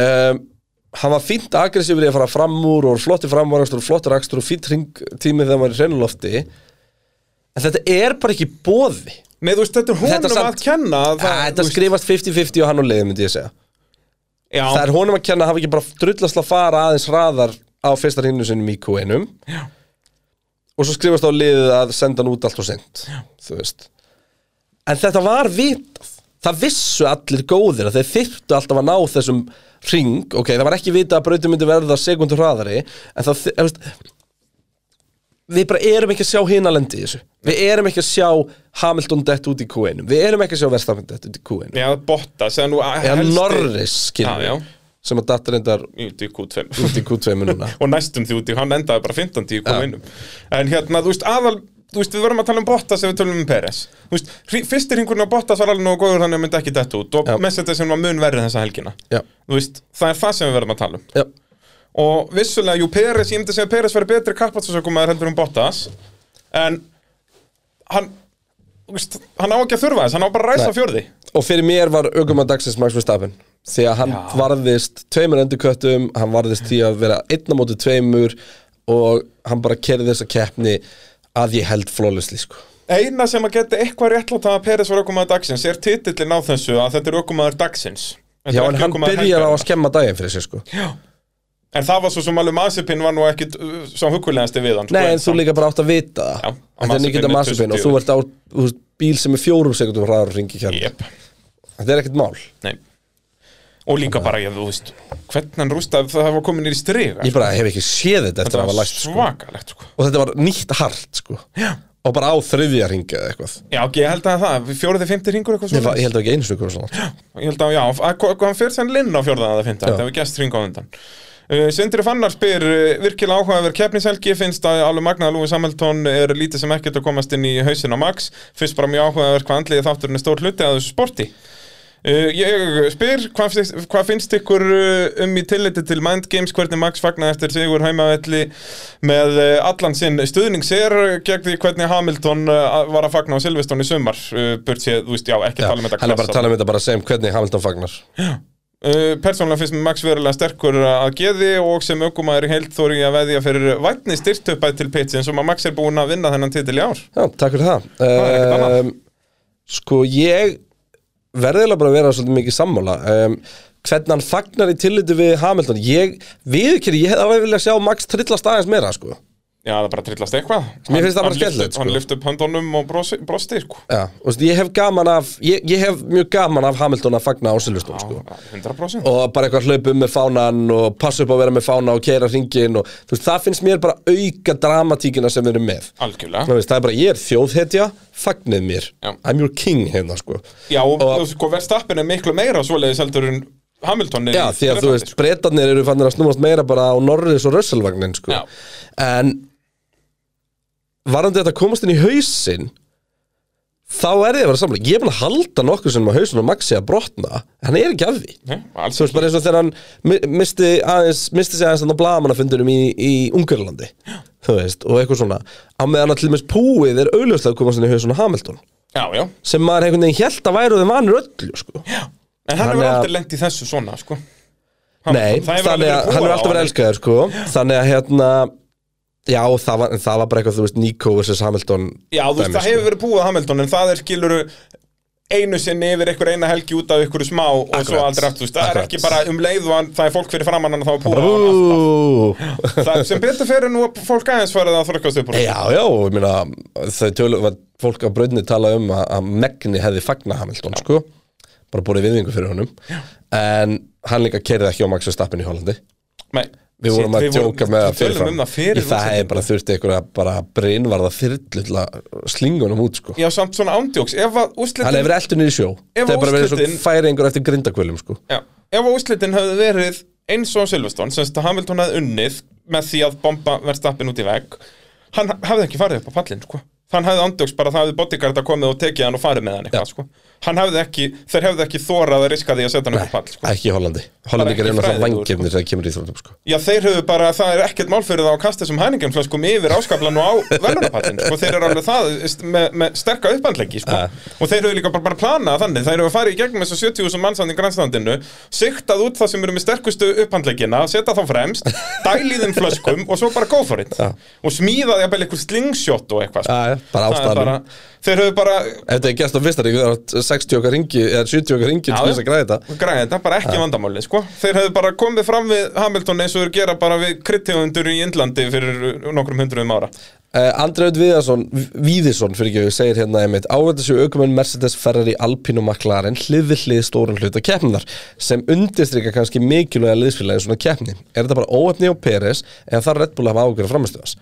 Speaker 2: um, hann var fínt agressífur í að fara fram úr og flotti framvarakstur og flottir akstur og fínt ringtími þegar maður er í reynulofti en þetta er bara ekki bóði
Speaker 3: Nei, þú veist, þetta er honum
Speaker 2: Þetta samt-
Speaker 3: að kenna að það,
Speaker 2: Ah, þetta
Speaker 3: þú veist-
Speaker 2: skrifast 50-50 og hann og leiði myndi ég segja
Speaker 3: já,
Speaker 2: það er honum að kenna að hafa ekki bara drullast að fara aðeins hraðar á fyrsta hrinnu sinum í Q1 og svo skrifast á liðið að senda hann út allt og sent þú veist en þetta var vitað það vissu allir góðir að þeir þyrftu alltaf að ná þessum ring ok, það var ekki vitað að brautum myndi verða sekundur hraðari en það, þú veist við bara erum ekki að sjá hina lendi í þessu Við erum ekki að sjá Hamilton dett út í Q1 Við erum ekki að sjá Verstappen dett út í Q1
Speaker 3: Já, botta, sem nú
Speaker 2: Eða
Speaker 3: helsti-
Speaker 2: Norris, skilur
Speaker 3: Já, já.
Speaker 2: við, sem að datt reyndar
Speaker 3: Út í Q2
Speaker 2: út í Q2 núna
Speaker 3: og næstum því út í, hann endaði bara 15 í
Speaker 2: Já.
Speaker 3: Q1 um. En hérna, þú veist, aðal Þú veist, við verðum að tala um Bottas ef við tölum um Peres Þú veist, hri- fyrsti hringurinn á Bottas var alveg nógu góður þannig að hann myndi ekki detta út og
Speaker 2: Já.
Speaker 3: Mercedes sem var mun verið þessa helgina
Speaker 2: Já,
Speaker 3: Þú veist, það er það sem við verðum að tala um
Speaker 2: já,
Speaker 3: og vissulega, jú, Peres, ég myndi segja að Peres verið betri kappatsvarsökumæður heldur um Bottas en hann þú veist, hann á ekki að þurfa þess, hann á bara að ræsa
Speaker 2: Nei.
Speaker 3: fjörði
Speaker 2: Og fyrir mér var aukumann dagsins Max Verstappen því að hann varðist tveimur endurköttum hann varðist því að vera einn á móti tveimur og hann bara kerði þessa keppni að ég held flawlessly sko.
Speaker 3: eina sem að geta eitthvað réttláta að Peres var ökumæður dagsins er titillin á þessu að þetta er ökumæður dagsins Þetta
Speaker 2: Já, en
Speaker 3: er ekki
Speaker 2: hann
Speaker 3: ökumaður
Speaker 2: byrjar á að
Speaker 3: helgarinnar.
Speaker 2: skemma daginn fyrir sér sko.
Speaker 3: en það var svo sem alveg Masipin var nú ekki svo hugulegasti við hann sko,
Speaker 2: Nei, en þú
Speaker 3: samt-
Speaker 2: líka bara átt að vita
Speaker 3: Já,
Speaker 2: það
Speaker 3: að
Speaker 2: Þetta er
Speaker 3: Mazepin
Speaker 2: ekki þetta
Speaker 3: er
Speaker 2: massupin og þú
Speaker 3: 24.
Speaker 2: ert á þú veist, bíl sem er fjórum sekundum hraðar og ringi kjörn
Speaker 3: Jep,
Speaker 2: Þetta er ekkert mál
Speaker 3: nei og líka bara, ég, þú veist, hvernig hann rústaði það var komin í striga
Speaker 2: Ég bara hef ekki séð þetta eftir að hafa læst sko.
Speaker 3: svakalegt sko.
Speaker 2: Og þetta var nýtt hart sko. Og bara á þriðja ringi eða eitthvað
Speaker 3: Já, ok, ég held að það, fjórið, fymti ringur eitthvað
Speaker 2: Ég
Speaker 3: svona
Speaker 2: held ekki einu snukur og svona
Speaker 3: Ég held að, já, að, hva- hvað hann fyrir þann linn á fjórðan að það finna,
Speaker 2: Já.
Speaker 3: það hefur gæst hring á undan uh, Sindri Fannar spyr uh, virkilega áhugaður keppnishelgi, finnst að alveg magnað að Lúi Samhæltón er lítið sem ekkert að komast inn í hausin á Max, finnst bara mjög áhugaður hvað andliði þátturinn er stór hluti að þessu sporti Uh, ég spyr, hvað finnst, hvað finnst ykkur uh, um í tilliti til Mind Games, hvernig Max fagnaði eftir sigur heimavelli með uh, allan sinn stuðning sér gegn því hvernig Hamilton uh, var að fagna á Silveston í sumar, uh, burt séð, þú veist, já, ekki tala um þetta
Speaker 2: Hann er bara
Speaker 3: klassa.
Speaker 2: að tala um þetta bara að segja um hvernig Hamilton fagnar
Speaker 3: Uh, persónulega finnst mér Max verulega sterkur að geði og sem aukumæður í heild þóri ég að veðja fyrir vætni styrtöpæð til pitsins og maður Max er búinn að vinna þennan titil í ár
Speaker 2: Já, takk fyrir það,
Speaker 3: er ekkert annað.
Speaker 2: um, Sko, ég verðilega bara að vera svolítið mikið sammála um, Hvernig hann fagnar í tillitu við Hamilton Ég, viðurkynni, ég hef alveg viljað sjá Max trillast aðeins meira sko.
Speaker 3: Já, það bara trillast eitthvað
Speaker 2: Mér finnst það
Speaker 3: Hann-
Speaker 2: bara
Speaker 3: hann lyfti-
Speaker 2: skemmtilegt, sko.
Speaker 3: Hann lyfti upp höndunum og brosi- brosti sko.
Speaker 2: Já, og veist, ég hef gaman af ég, ég hef mjög gaman af Hamilton að fagna á Silveston sko.
Speaker 3: Já, 100%
Speaker 2: og bara eitthvað hlaupa um með fánan og passa upp að vera með fána og keira hringin og þú veist, það finnst mér bara auka dramatíkina sem við erum með
Speaker 3: Algjörlega
Speaker 2: Ná, veist, það er bara, ég er þjóðhetja, fagnið mér
Speaker 3: Já.
Speaker 2: I'm your king hérna sko
Speaker 3: Já, og,
Speaker 2: Og-
Speaker 3: og sko, verðstappin er miklu meira svoleiðis heldur en Hamilton er
Speaker 2: Já,
Speaker 3: í sko.
Speaker 2: því að þú
Speaker 3: Bretlandi,
Speaker 2: veist, breytarnir eru fannir að snúast meira bara á Norris og Russellvagnin sko.
Speaker 3: Já.
Speaker 2: en varandi þetta að komast inn í hausinn þá er ég að vera samlega ég er búin að halda nokkuð sem á hausinn og Maxi að brotna, hann er ekki af því
Speaker 3: Nei, alls
Speaker 2: Þú veist bara eins og þegar hann mi- misti, aðeins, misti sig aðeins þannig á blagamannafundunum í, í Ungarlandi Þú veist, og eitthvað svona Á meðan að til dæmis púið er augljóslega að koma sinni í hausinn á Hamilton
Speaker 3: Já, já
Speaker 2: Sem maður einhvern veginn hélt að væru þeim vanur öllu, sko
Speaker 3: En hann
Speaker 2: Þannig
Speaker 3: hefur
Speaker 2: að-
Speaker 3: aldrei lent í þessu svona, sko
Speaker 2: Nei,
Speaker 3: það hefur
Speaker 2: þannig
Speaker 3: alveg
Speaker 2: að
Speaker 3: verið
Speaker 2: hann
Speaker 3: púað
Speaker 2: er
Speaker 3: á
Speaker 2: alltaf verið
Speaker 3: hann.
Speaker 2: elskaður, sko Þannig að hérna Já, það var, en það var bara eitthvað, þú veist, Nico vs. Hamilton
Speaker 3: Já, þú veist,
Speaker 2: dæmi, sko.
Speaker 3: það hefur verið búið á Hamilton en það er skiluru einu sinni yfir einhver eina helgi út af ykkur smá og svo
Speaker 2: Akkurat.
Speaker 3: aldrei aftur, þú veist, það er
Speaker 2: Akkurat.
Speaker 3: ekki bara um leið og hann, það er fólk fyrir framann hann og þá er búið á hann aftur.
Speaker 2: sko. Ú,
Speaker 3: það, sem betur fyrir nú að fólk aðeins farið að þorkast upp úr
Speaker 2: Eh, Já, já, ég meina þau tölum að fólk á brauninni tala um að, að Megni hefði fagna Hamilton, sko bara búið viðingu fyrir honum já. en hann líka kerði ekki á Max Verstappen í Hollandi
Speaker 3: Nei,
Speaker 2: við vorum að djóka með
Speaker 3: það fyrir um það fyrir
Speaker 2: Í það hefði bara þurfti einhverja bara brinvarða þyrlu til að slinga honum út, sko
Speaker 3: Já, samt svona ándjóks, ef að
Speaker 2: hann
Speaker 3: úslitin
Speaker 2: hefur eltun í sjó
Speaker 3: Ef
Speaker 2: það er bara verið svo
Speaker 3: úrslitin-
Speaker 2: færingur eftir grindakvölum, sko
Speaker 3: Já, ef að úslitin hefði verið eins og á Silveston, sem þetta Hamilton hefði unnið með því að bomba verðstappin út í vegg hann hefði ekki farið upp á pallin sko. hann hefði andjóks bara það hefði bodyguarda komið og tekið hann og farið með hann eitthvað sko. hann hefði ekki, þeir hefði ekki þórað að riska því að setja hann upp á pall sko.
Speaker 2: ekki í Hollandi Hollandingar
Speaker 3: ekki
Speaker 2: er náttúrulega
Speaker 3: fræðilegur, sko.
Speaker 2: vangefnir þegar kemur í þróttum, sko
Speaker 3: Já, þeir höfðu bara, það er ekkert mál fyrir það að kasta þessum hæningenflöskum yfir áskaplan og á velunapallin sko. þeir eru alveg það veist, með, með sterka upphandleggi sko.
Speaker 2: Ja.
Speaker 3: og þeir höfðu líka bara, bara planað þannig þeir höfðu farið í gegnum þessu 70.000 mannsandi grænstandinu siktað út það sem eru með sterkustu upphandleggina setja þá fremst, dælið þeim flöskum og svo bara go for it og smíðaði jafnvel eitthvað slingshot og eitthvað sko.
Speaker 2: Já, já, bara
Speaker 3: Það er
Speaker 2: ástæðanum.
Speaker 3: bara- þeir höfðu bara
Speaker 2: Ef þetta er gæst á fyrsta ringi, það er 60 okkar ringi eða 70 okkar ringi til
Speaker 3: Já, já.
Speaker 2: þess að græða þetta
Speaker 3: græði þetta bara ekki vandamáli sko. þeir hefðu bara komið fram við Hamilton eins og þeir gera bara við kritthjóðundur í Indlandi fyrir nokkrum hundruðum ára
Speaker 2: Uh, André Ödd Viðarsson, Víðisson fyrir ekki, segir hérna einmitt Ávættu séu aukumenn Mercedes, Ferrari, Alpine og McLaren hlið við hlið stóran hluta keppnar sem undirstrykja kannski mikilvæga liðsfélagi í svona keppni. Er þetta bara óöfni á Peres eða þarf Red Bull að hafa ágjörð framistuðas?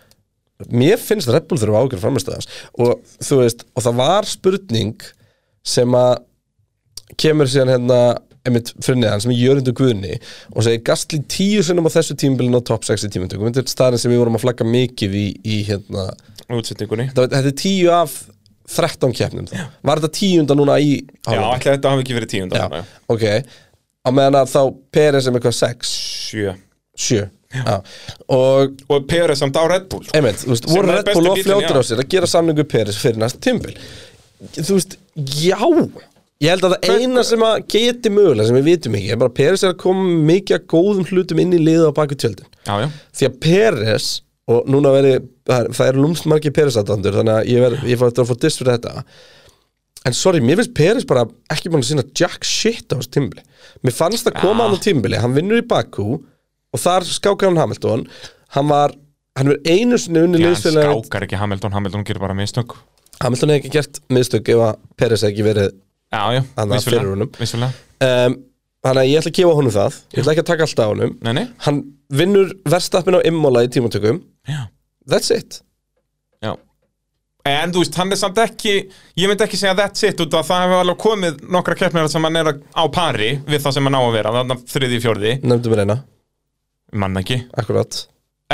Speaker 2: mér finnst Red Bull þurfa ágjör framistöðans og þú veist, og það var spurning sem að kemur síðan hérna einmitt fyrir neðan sem er Jörundur Guðni og segir Gastli tíu sinnum á þessu tímbilin og top 6 í tímindökum, þetta er staðin sem við vorum að flagga mikið í, í hérna
Speaker 3: útsetningunni
Speaker 2: þetta, var- þetta er tíu af 13 keppnum þá. var þetta tíunda núna í
Speaker 3: Já,
Speaker 2: Hálfleik?
Speaker 3: ætli þetta hafi ekki verið tíunda
Speaker 2: já, ok á meðan að þá Peres er með eitthvað 6,
Speaker 3: Sjö
Speaker 2: 7 já. og
Speaker 3: Og Peres samt á Red Bull sko.
Speaker 2: einmitt, þú veist,
Speaker 3: Sem
Speaker 2: voru
Speaker 3: er
Speaker 2: Red
Speaker 3: besti
Speaker 2: Bull og
Speaker 3: bíllinn,
Speaker 2: fljótur á
Speaker 3: já.
Speaker 2: sér að gera samningu Peres fyrir næsta tímbil þú veist, já ég held að það eina sem að geti mögulega sem við vitum ekki, er bara að Peres er að koma með mikið af góðum hlutum inn í liða á baku tjöldin
Speaker 3: Já, já
Speaker 2: því að Peres og núna veri, það er- það eru lúmst margir Peres aðdandur þannig að ég, ver, ég fór eftir að fá diss fyrir þetta en sorry, mér finnst Peres bara ekki búin að sína jack shit á þessu tímbili mér fannst að koma hann á tímbili, hann vinnur í Bakú og þar skákaði hann Hamilton hann var, hann verið einu sinni unni
Speaker 3: Já, hann
Speaker 2: liðsfélag,
Speaker 3: skákar ekki Hamilton, Hamilton gerir bara mistök
Speaker 2: Hamilton hefði ekki gert miðstök ef að Peres hefði ekki verið
Speaker 3: Já, já,
Speaker 2: Hann var fyrir honum.
Speaker 3: vissulega
Speaker 2: um, þannig að ég ætla að gefa honum það ég ætla ekki að taka allt á honum
Speaker 3: Nei, nei,
Speaker 2: hann vinnur verstappin á immola í tímatökum
Speaker 3: já,
Speaker 2: that's it
Speaker 3: já En þú veist, hann er samt ekki Ég myndi ekki segja that's it út af það hefur alveg komið nokkra keppnir sem hann er að- á pari við það sem hann á að vera, þannig að þriði, fjórði
Speaker 2: nefndum við reyna,
Speaker 3: mann ekki,
Speaker 2: akkurat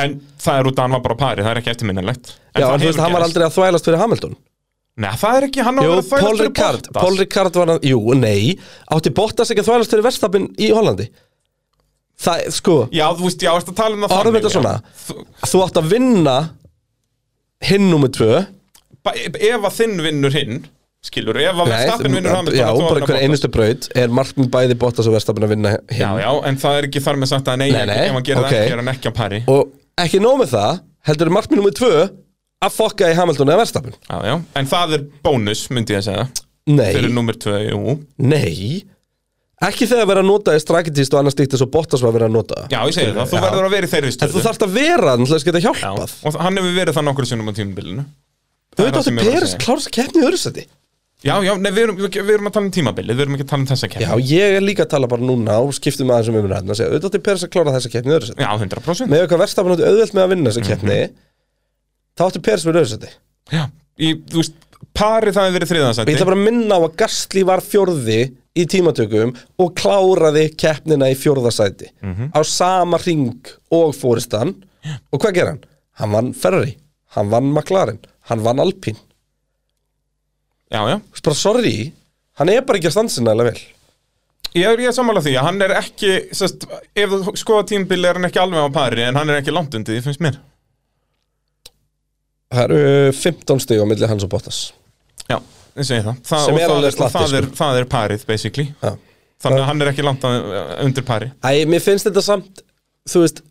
Speaker 3: en það er út af hann var bara á pari það er ekki eftirminnilegt en
Speaker 2: Já,
Speaker 3: það
Speaker 2: en þú veist,
Speaker 3: hefur
Speaker 2: hann var
Speaker 3: gerst.
Speaker 2: aldrei að þvælast fyrir Hamilton
Speaker 3: Nei, það er ekki, hann á að
Speaker 2: Jú,
Speaker 3: vera að þvælast
Speaker 2: Paul
Speaker 3: fyrir
Speaker 2: Ricard,
Speaker 3: Bottas.
Speaker 2: Paul Ricard var að, jú, nei Átti Bottas ekki að þvælast fyrir verstafinn í Hollandi Það, sko,
Speaker 3: Já, þú veist, já, ertu að tala um það
Speaker 2: orðum þetta
Speaker 3: já.
Speaker 2: svona
Speaker 3: Þú-
Speaker 2: Þú átt að vinna hinn nummer tvö
Speaker 3: ba- Ef að þinn vinnur hinn skilur, ef að Verstappen vinnur Hamilton
Speaker 2: já,
Speaker 3: þá þú að
Speaker 2: bara
Speaker 3: vinna
Speaker 2: hver
Speaker 3: Bottas.
Speaker 2: einustu braut Er markmið bæði Bottas og verstafinn að vinna hinn
Speaker 3: Já, já, en það er ekki þar með sagt að nei,
Speaker 2: Nei, nei,
Speaker 3: ef hann gerir
Speaker 2: ok.
Speaker 3: það ekki, er hann ekki á pari
Speaker 2: Og ekki nóg með það, heldur er markmið nummer tvö Að fokka í Hamilton eða verstafinn
Speaker 3: Já, já, en það er bónus, myndi ég að segja Fyrir
Speaker 2: Nei,
Speaker 3: nummer 2, jú
Speaker 2: nei Ekki þegar að vera að nota í strakitist og annars dýttist og Bottas var að vera að nota
Speaker 3: Já, ég segi það, þú verður að vera í þeirri
Speaker 2: En þú
Speaker 3: stöðu
Speaker 2: þarft að vera hann til þess að geta
Speaker 3: Já,
Speaker 2: hjálpað
Speaker 3: og hann hefur verið það nokkur sinnum á tímabilinu
Speaker 2: Þú
Speaker 3: það er
Speaker 2: veit
Speaker 3: það
Speaker 2: áttu
Speaker 3: sem ég var að
Speaker 2: Peres
Speaker 3: segja.
Speaker 2: klárast að keppni í öðru seti
Speaker 3: Já, já, nei, við erum, við erum að tala um tímabilið, við erum ekki að tala um þessa
Speaker 2: Já,
Speaker 3: kemur
Speaker 2: ég er líka að tala bara núna og skiptum aðeins um umræðin að segja Þú veit áttu Peres að klára þessa keppni í öðru seti
Speaker 3: Já, 100%
Speaker 2: Með eitthvað verstafan áttu auðvelt með að vinna þessa keppni Þá áttu Peres með öðru seti Ég
Speaker 3: Já, í, þú veist, parið það hefur verið þriðansætti
Speaker 2: ætla bara að minna á að Gastli var fjórði í tímatökum og kláraði keppnina í fjórðasæti á sama ring og fóristan og hvað ger hann? Hann vann Ferrari, hann vann McLaren, hann vann Alpine
Speaker 3: Já, já,
Speaker 2: Þú veist bara sorry, hann er bara ekki að stansa nægilega vel
Speaker 3: ég er, ég er sammála því að hann er ekki, sest, ef þú skoða tímabilið er hann ekki alveg á pari En hann er ekki langt undir, því finnst mér
Speaker 2: Það eru 15 stig á milli hans og Bottas
Speaker 3: Já, ég segi það, það
Speaker 2: Sem
Speaker 3: og
Speaker 2: er
Speaker 3: það,
Speaker 2: alveg sko.
Speaker 3: og
Speaker 2: slatti,
Speaker 3: það, er, það er parið, basically
Speaker 2: Já.
Speaker 3: Þannig að hann er ekki langt á, eh, undir pari
Speaker 2: Æ, mér finnst þetta samt Þú veist,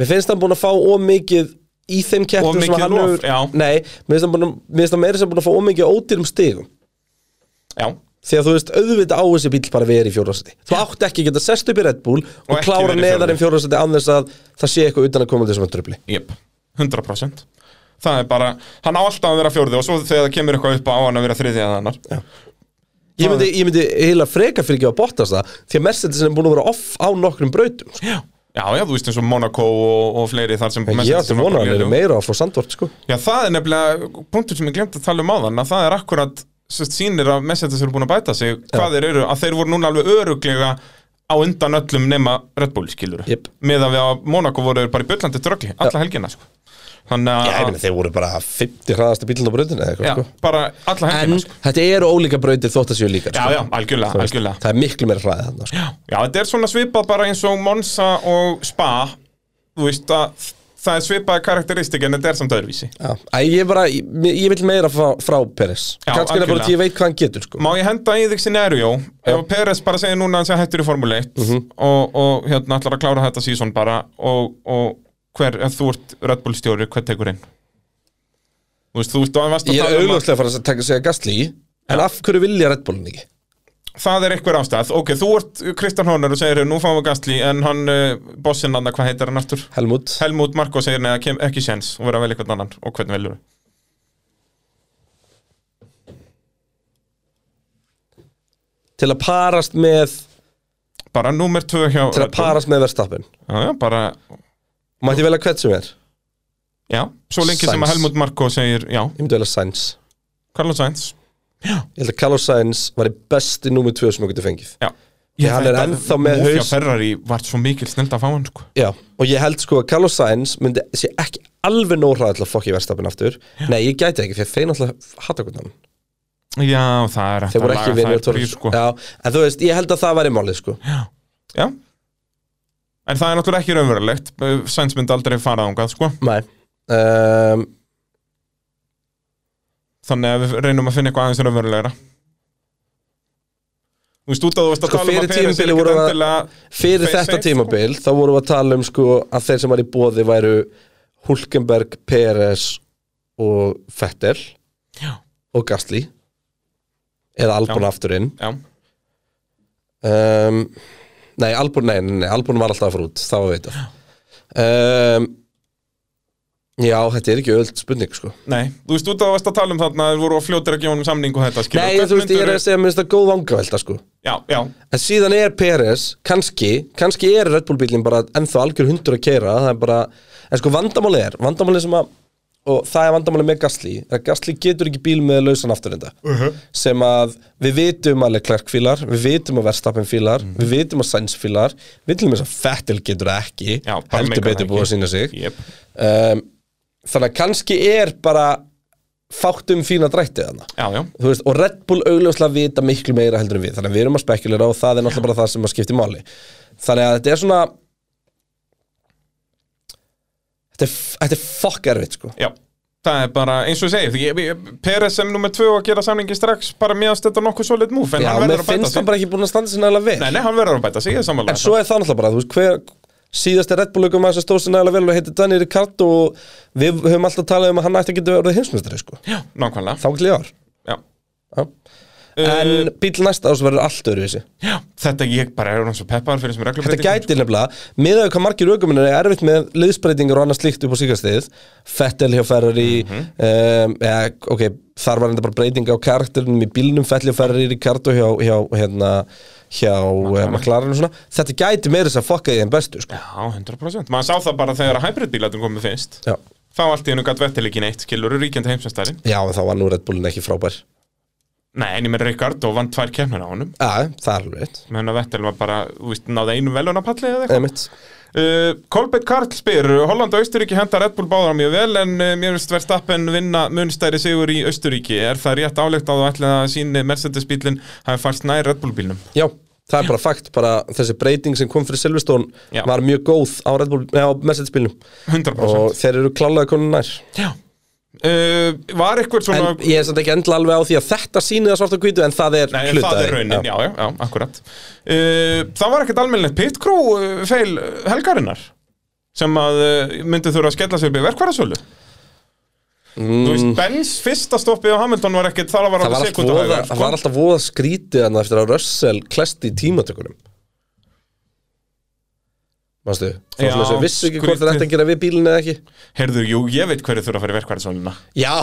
Speaker 2: mér finnst hann búin að fá ómikið í þeim
Speaker 3: Of
Speaker 2: kettum sem
Speaker 3: mikið
Speaker 2: hann
Speaker 3: lof,
Speaker 2: hefur
Speaker 3: já.
Speaker 2: Nei, mér finnst hann, búin, að- mér finnst hann meira sem búin að fá ómikið ódýrum stigum
Speaker 3: Já,
Speaker 2: Því að þú veist, auðvitað á þessi bíl bara verið í fjórðarsæti Þú átt ekki að geta sest upp í Red Bull og,
Speaker 3: ekki
Speaker 2: klára
Speaker 3: verið í
Speaker 2: neðar en fjórðarsæti án þess að það sé eitthvað utan að koma til þessum að dröfli
Speaker 3: jöp, 100% Það er bara, hann á alltaf að vera fjórði og svo þegar það kemur eitthvað upp á hann að vera þriði eða annar Já,
Speaker 2: Ég myndi, ég myndi heila freka fyrir ekki að Bottas það Því að Mercedes er búin að vera off á nokkrum brautum sko.
Speaker 3: já, já þú veist eins og Monaco og, og fleiri þar sem
Speaker 2: Ég átti
Speaker 3: sem var
Speaker 2: vona að hann
Speaker 3: bara
Speaker 2: eru
Speaker 3: lélegur.
Speaker 2: meira á frá Sandvort sko.
Speaker 3: Já, það er nefnilega punktur sem ég glemt að tala um áðan að það er akkurat sérst, sýnir að Mercedes eru búin að bæta sig hvað þeir eru, að þeir voru núna alveg öruglega á undan öllum nema Red Bull skilur
Speaker 2: Jep.
Speaker 3: með að við á Monaco voru þeir bara í byllandi dröggli alla helgina sko. þannig
Speaker 2: Já, ég
Speaker 3: að
Speaker 2: meina, þeir voru bara 50 hraðasta bílun á brautinu eða
Speaker 3: já,
Speaker 2: eitthvað, sko.
Speaker 3: bara alla
Speaker 2: En
Speaker 3: helgina sko.
Speaker 2: þetta eru ólíka brautir þótt að séu líka,
Speaker 3: já,
Speaker 2: sko.
Speaker 3: já, algjörlega, algjörlega
Speaker 2: Það er miklu meira hraðið þarna, sko.
Speaker 3: Já, þetta er svona svipað bara eins og Monza og Spa Þú veist að það er svipaði karakteristik en þetta er samt öðruvísi
Speaker 2: Já. Æ, ég bara, ég, ég vil meira frá, frá Peres.
Speaker 3: Já,
Speaker 2: Kannski er það bara
Speaker 3: algjörlega.
Speaker 2: því ég veit hvað hann getur, sko.
Speaker 3: Má ég henda í þig scenario Ef að Peres bara segir núna að hann sé hættur í Formule 1
Speaker 2: Mhm.
Speaker 3: og, og hérna ætlar að klára þetta sísón bara og, og hver, ef þú ert Red Bull stjóri, hvað tekur inn? Þú veist, þú veist, þú veist
Speaker 2: Ég er augljóslega að fara að taka segja Gastli í, en af hverju vilja Red Bullin ekki?
Speaker 3: Það er einhver ástæð, ok, þú ert Kristján Hónar og segir, nú fáum við Gastli en hann, uh, bossinn annar, hvað heitir hann aftur?
Speaker 2: Helmut?
Speaker 3: Helmut Marko segir, neða, kem ekki séns og verða vel eitthvað annan, og hvernig velur við?
Speaker 2: Til að parast með,
Speaker 3: Bara númer tvö hjá
Speaker 2: til
Speaker 3: Red
Speaker 2: að
Speaker 3: Bull.
Speaker 2: parast með verðstappin.
Speaker 3: Já, já, bara
Speaker 2: Mætti velja hvert sem er.
Speaker 3: Já, svo lengi sem
Speaker 2: Sainz.
Speaker 3: að Helmut Marko segir já,
Speaker 2: Ég myndi vel að Sainz
Speaker 3: Carlos Sainz
Speaker 2: Ég held að Carlos Sainz var í besti númið tvö sem þú getur fengið
Speaker 3: Já
Speaker 2: Því hann er ennþá með
Speaker 3: Mófja
Speaker 2: haus-
Speaker 3: Ferrari var svo mikil snild að fá hann sko
Speaker 2: Já, og ég held sko að Carlos Sainz myndi sé ekki alveg nóg hraða til að fokki verstafin aftur Nei, ég gæti ekki, fyrir þeir náttúrulega hata hvernig hann
Speaker 3: Já, það er hægt
Speaker 2: Þeir
Speaker 3: að
Speaker 2: voru
Speaker 3: laga
Speaker 2: ekki
Speaker 3: það
Speaker 2: vinir
Speaker 3: í
Speaker 2: Torres
Speaker 3: brýr, sko.
Speaker 2: Já, en þú veist, ég held að það væri málið sko
Speaker 3: Já En það er náttúrulega ekki raunverulegt Sainz myndi aldrei fara þangað sko
Speaker 2: Nei um,
Speaker 3: Þannig að við reynum að finna eitthvað aðeins raunverulegra Þú veist út að þú varst að
Speaker 2: Sko,
Speaker 3: tala um
Speaker 2: fyrir
Speaker 3: að Peres er
Speaker 2: tímabilið
Speaker 3: ekkert
Speaker 2: voru að-
Speaker 3: endilega sko.
Speaker 2: Fyrir
Speaker 3: Face
Speaker 2: þetta
Speaker 3: safe,
Speaker 2: tímabil, þá vorum við að tala um sko að þeir sem var í bóði væru Hulkenberg, Peres og Fettel
Speaker 3: Já.
Speaker 2: og Gastli eða Albon
Speaker 3: Já.
Speaker 2: aftur inn
Speaker 3: Já,
Speaker 2: um, Nei, Albon, nei, nei, nei, Albon var alltaf að fara út, það var veitað um, Já, þetta er ekki öll spurning sko
Speaker 3: nei, þú veist út að þú varst að tala um þarna Þeir voru að fljóta ekki honum samning og þetta skilur
Speaker 2: Nei, þú veist, ég er að segja, minnst það góð vangavelta sko
Speaker 3: Já, já,
Speaker 2: En síðan er Peres, kannski, kannski er Red Bull bílinn bara ennþá algjör hundur að keira, það er bara, en sko vandamáli er, vandamáli sem að, og það er vandamáli með Gasly, er að Gasly getur ekki bíl með lausan afturenda,
Speaker 3: Uh-huh.
Speaker 2: sem að við vitum að Leclerc fílar, við vitum að Verstappen fílar,
Speaker 3: Mm.
Speaker 2: við vitum að Sainz fílar, við vitum að Fettel getur það ekki,
Speaker 3: Já, bara
Speaker 2: heldur
Speaker 3: meikar það
Speaker 2: betur
Speaker 3: ekki.
Speaker 2: búið að sína sig,
Speaker 3: jep
Speaker 2: um, þannig að kannski er bara fátt um fína drættið hana
Speaker 3: Já, já,
Speaker 2: þú veist, og Red Bull augljóslega vita miklu meira heldur en við, þannig að við erum að spekulera og það er náttúrulega bara það sem að skipti máli þannig að þetta er svona þetta er, þetta er fokk erfitt sko
Speaker 3: já Það er bara, eins og ég segi, því ég- ég- Peres sem nummer tvö að gera samningi strax bara meðast þetta nokkuð solid move en
Speaker 2: Já,
Speaker 3: hann
Speaker 2: mér
Speaker 3: verður að bæta
Speaker 2: finnst
Speaker 3: sig
Speaker 2: það bara ekki búin að standa sér nægilega vel
Speaker 3: Nei, nei, hann verður að bæta sig, ég er sammála
Speaker 2: en svo er það náttúrulega bara, þú veist, hver síðasti Red Bull aukum að þess að stóð sér nægilega vel og heitir Danny Ricardo og við höfum alltaf talað um að hann ætti að geta orðið heimsmyndari sko,
Speaker 3: Já, nákvæmlega
Speaker 2: þá ekki í ár
Speaker 3: já.
Speaker 2: Já.
Speaker 3: Uh,
Speaker 2: en bíl næsta ás verður allt öðru
Speaker 3: já, þetta ég bara er hann svo peppar fyrir sem er
Speaker 2: Þetta
Speaker 3: reglubreitingum
Speaker 2: gæti nefnilega, miðað við hvað margir aukuminnar er erfitt með liðsbreytingar og annað slíkt upp á síkastíð Fettel hjá Ferrari um, ja, ok, þar var enda bara breytinga á karakterinum í bílnum Fettel hjá Ferrari, Ricardo hjá, hjá, hérna, hjá eh, McLaren og svona Þetta gæti meira þess að fokka því en bestu sko.
Speaker 3: Já, 100% Maður sá það bara þegar að hybridbílatum komið finnst
Speaker 2: Já.
Speaker 3: Þá allt í hennu gætt vettil ekki neitt, skilur ríkjandi heimsastæri
Speaker 2: Já, en þá var nú Red Bullin ekki frábær
Speaker 3: Nei, en ég með Rikard og vann tvær kemnir á honum
Speaker 2: Já, það er alveg rétt
Speaker 3: Menna vettil var bara, þú veist, náði einu velunapalli eða eitthvað
Speaker 2: Einmitt.
Speaker 3: Uh, Kolbett Karl spyr Holland og Austuríki henda Red Bull báðar mjög vel en uh, mér finnst Verstappen vinna munstæri sigur í Austuríki er það rétt álegt að þú ætla að síni Mercedes-bílinn hafi fælt nær Red Bull-bílnum
Speaker 2: Já, það er bara fakt, bara þessi breyting sem kom fyrir Silverstone
Speaker 3: Já.
Speaker 2: var mjög góð á, Red Bull, eh, á Mercedes-bílnum
Speaker 3: 100%
Speaker 2: og þeir eru klálega konun nær
Speaker 3: Já uh, Var eitthvað svona
Speaker 2: En ég er samt ekki endla alveg á því að þetta sýnið að svarta og hvítu en það er
Speaker 3: Nei,
Speaker 2: hluta
Speaker 3: það
Speaker 2: af
Speaker 3: er
Speaker 2: því.
Speaker 3: raunin, já, já, já, akkurat uh, Það var ekkert almennilegt pit crew uh, feil uh, helgarinnar sem að uh, myndi þurfa að skella sér við verkvarðasölu mm. Þú veist, Benz fyrsta stoppið á Hamilton var ekkert, það var
Speaker 2: Það var
Speaker 3: alveg
Speaker 2: alltaf voða,
Speaker 3: sekundahægar
Speaker 2: það var alltaf voða skrítið hann eftir að Russell klesti í tímatökunum Manstu? Það
Speaker 3: Já,
Speaker 2: var svona sem vissu ekki hvort
Speaker 3: skrítið.
Speaker 2: það ætti að gera við bílinn eða ekki
Speaker 3: Herðu, jú, ég veit hverju þurfa að fara í verkvæðarsólina
Speaker 2: Já,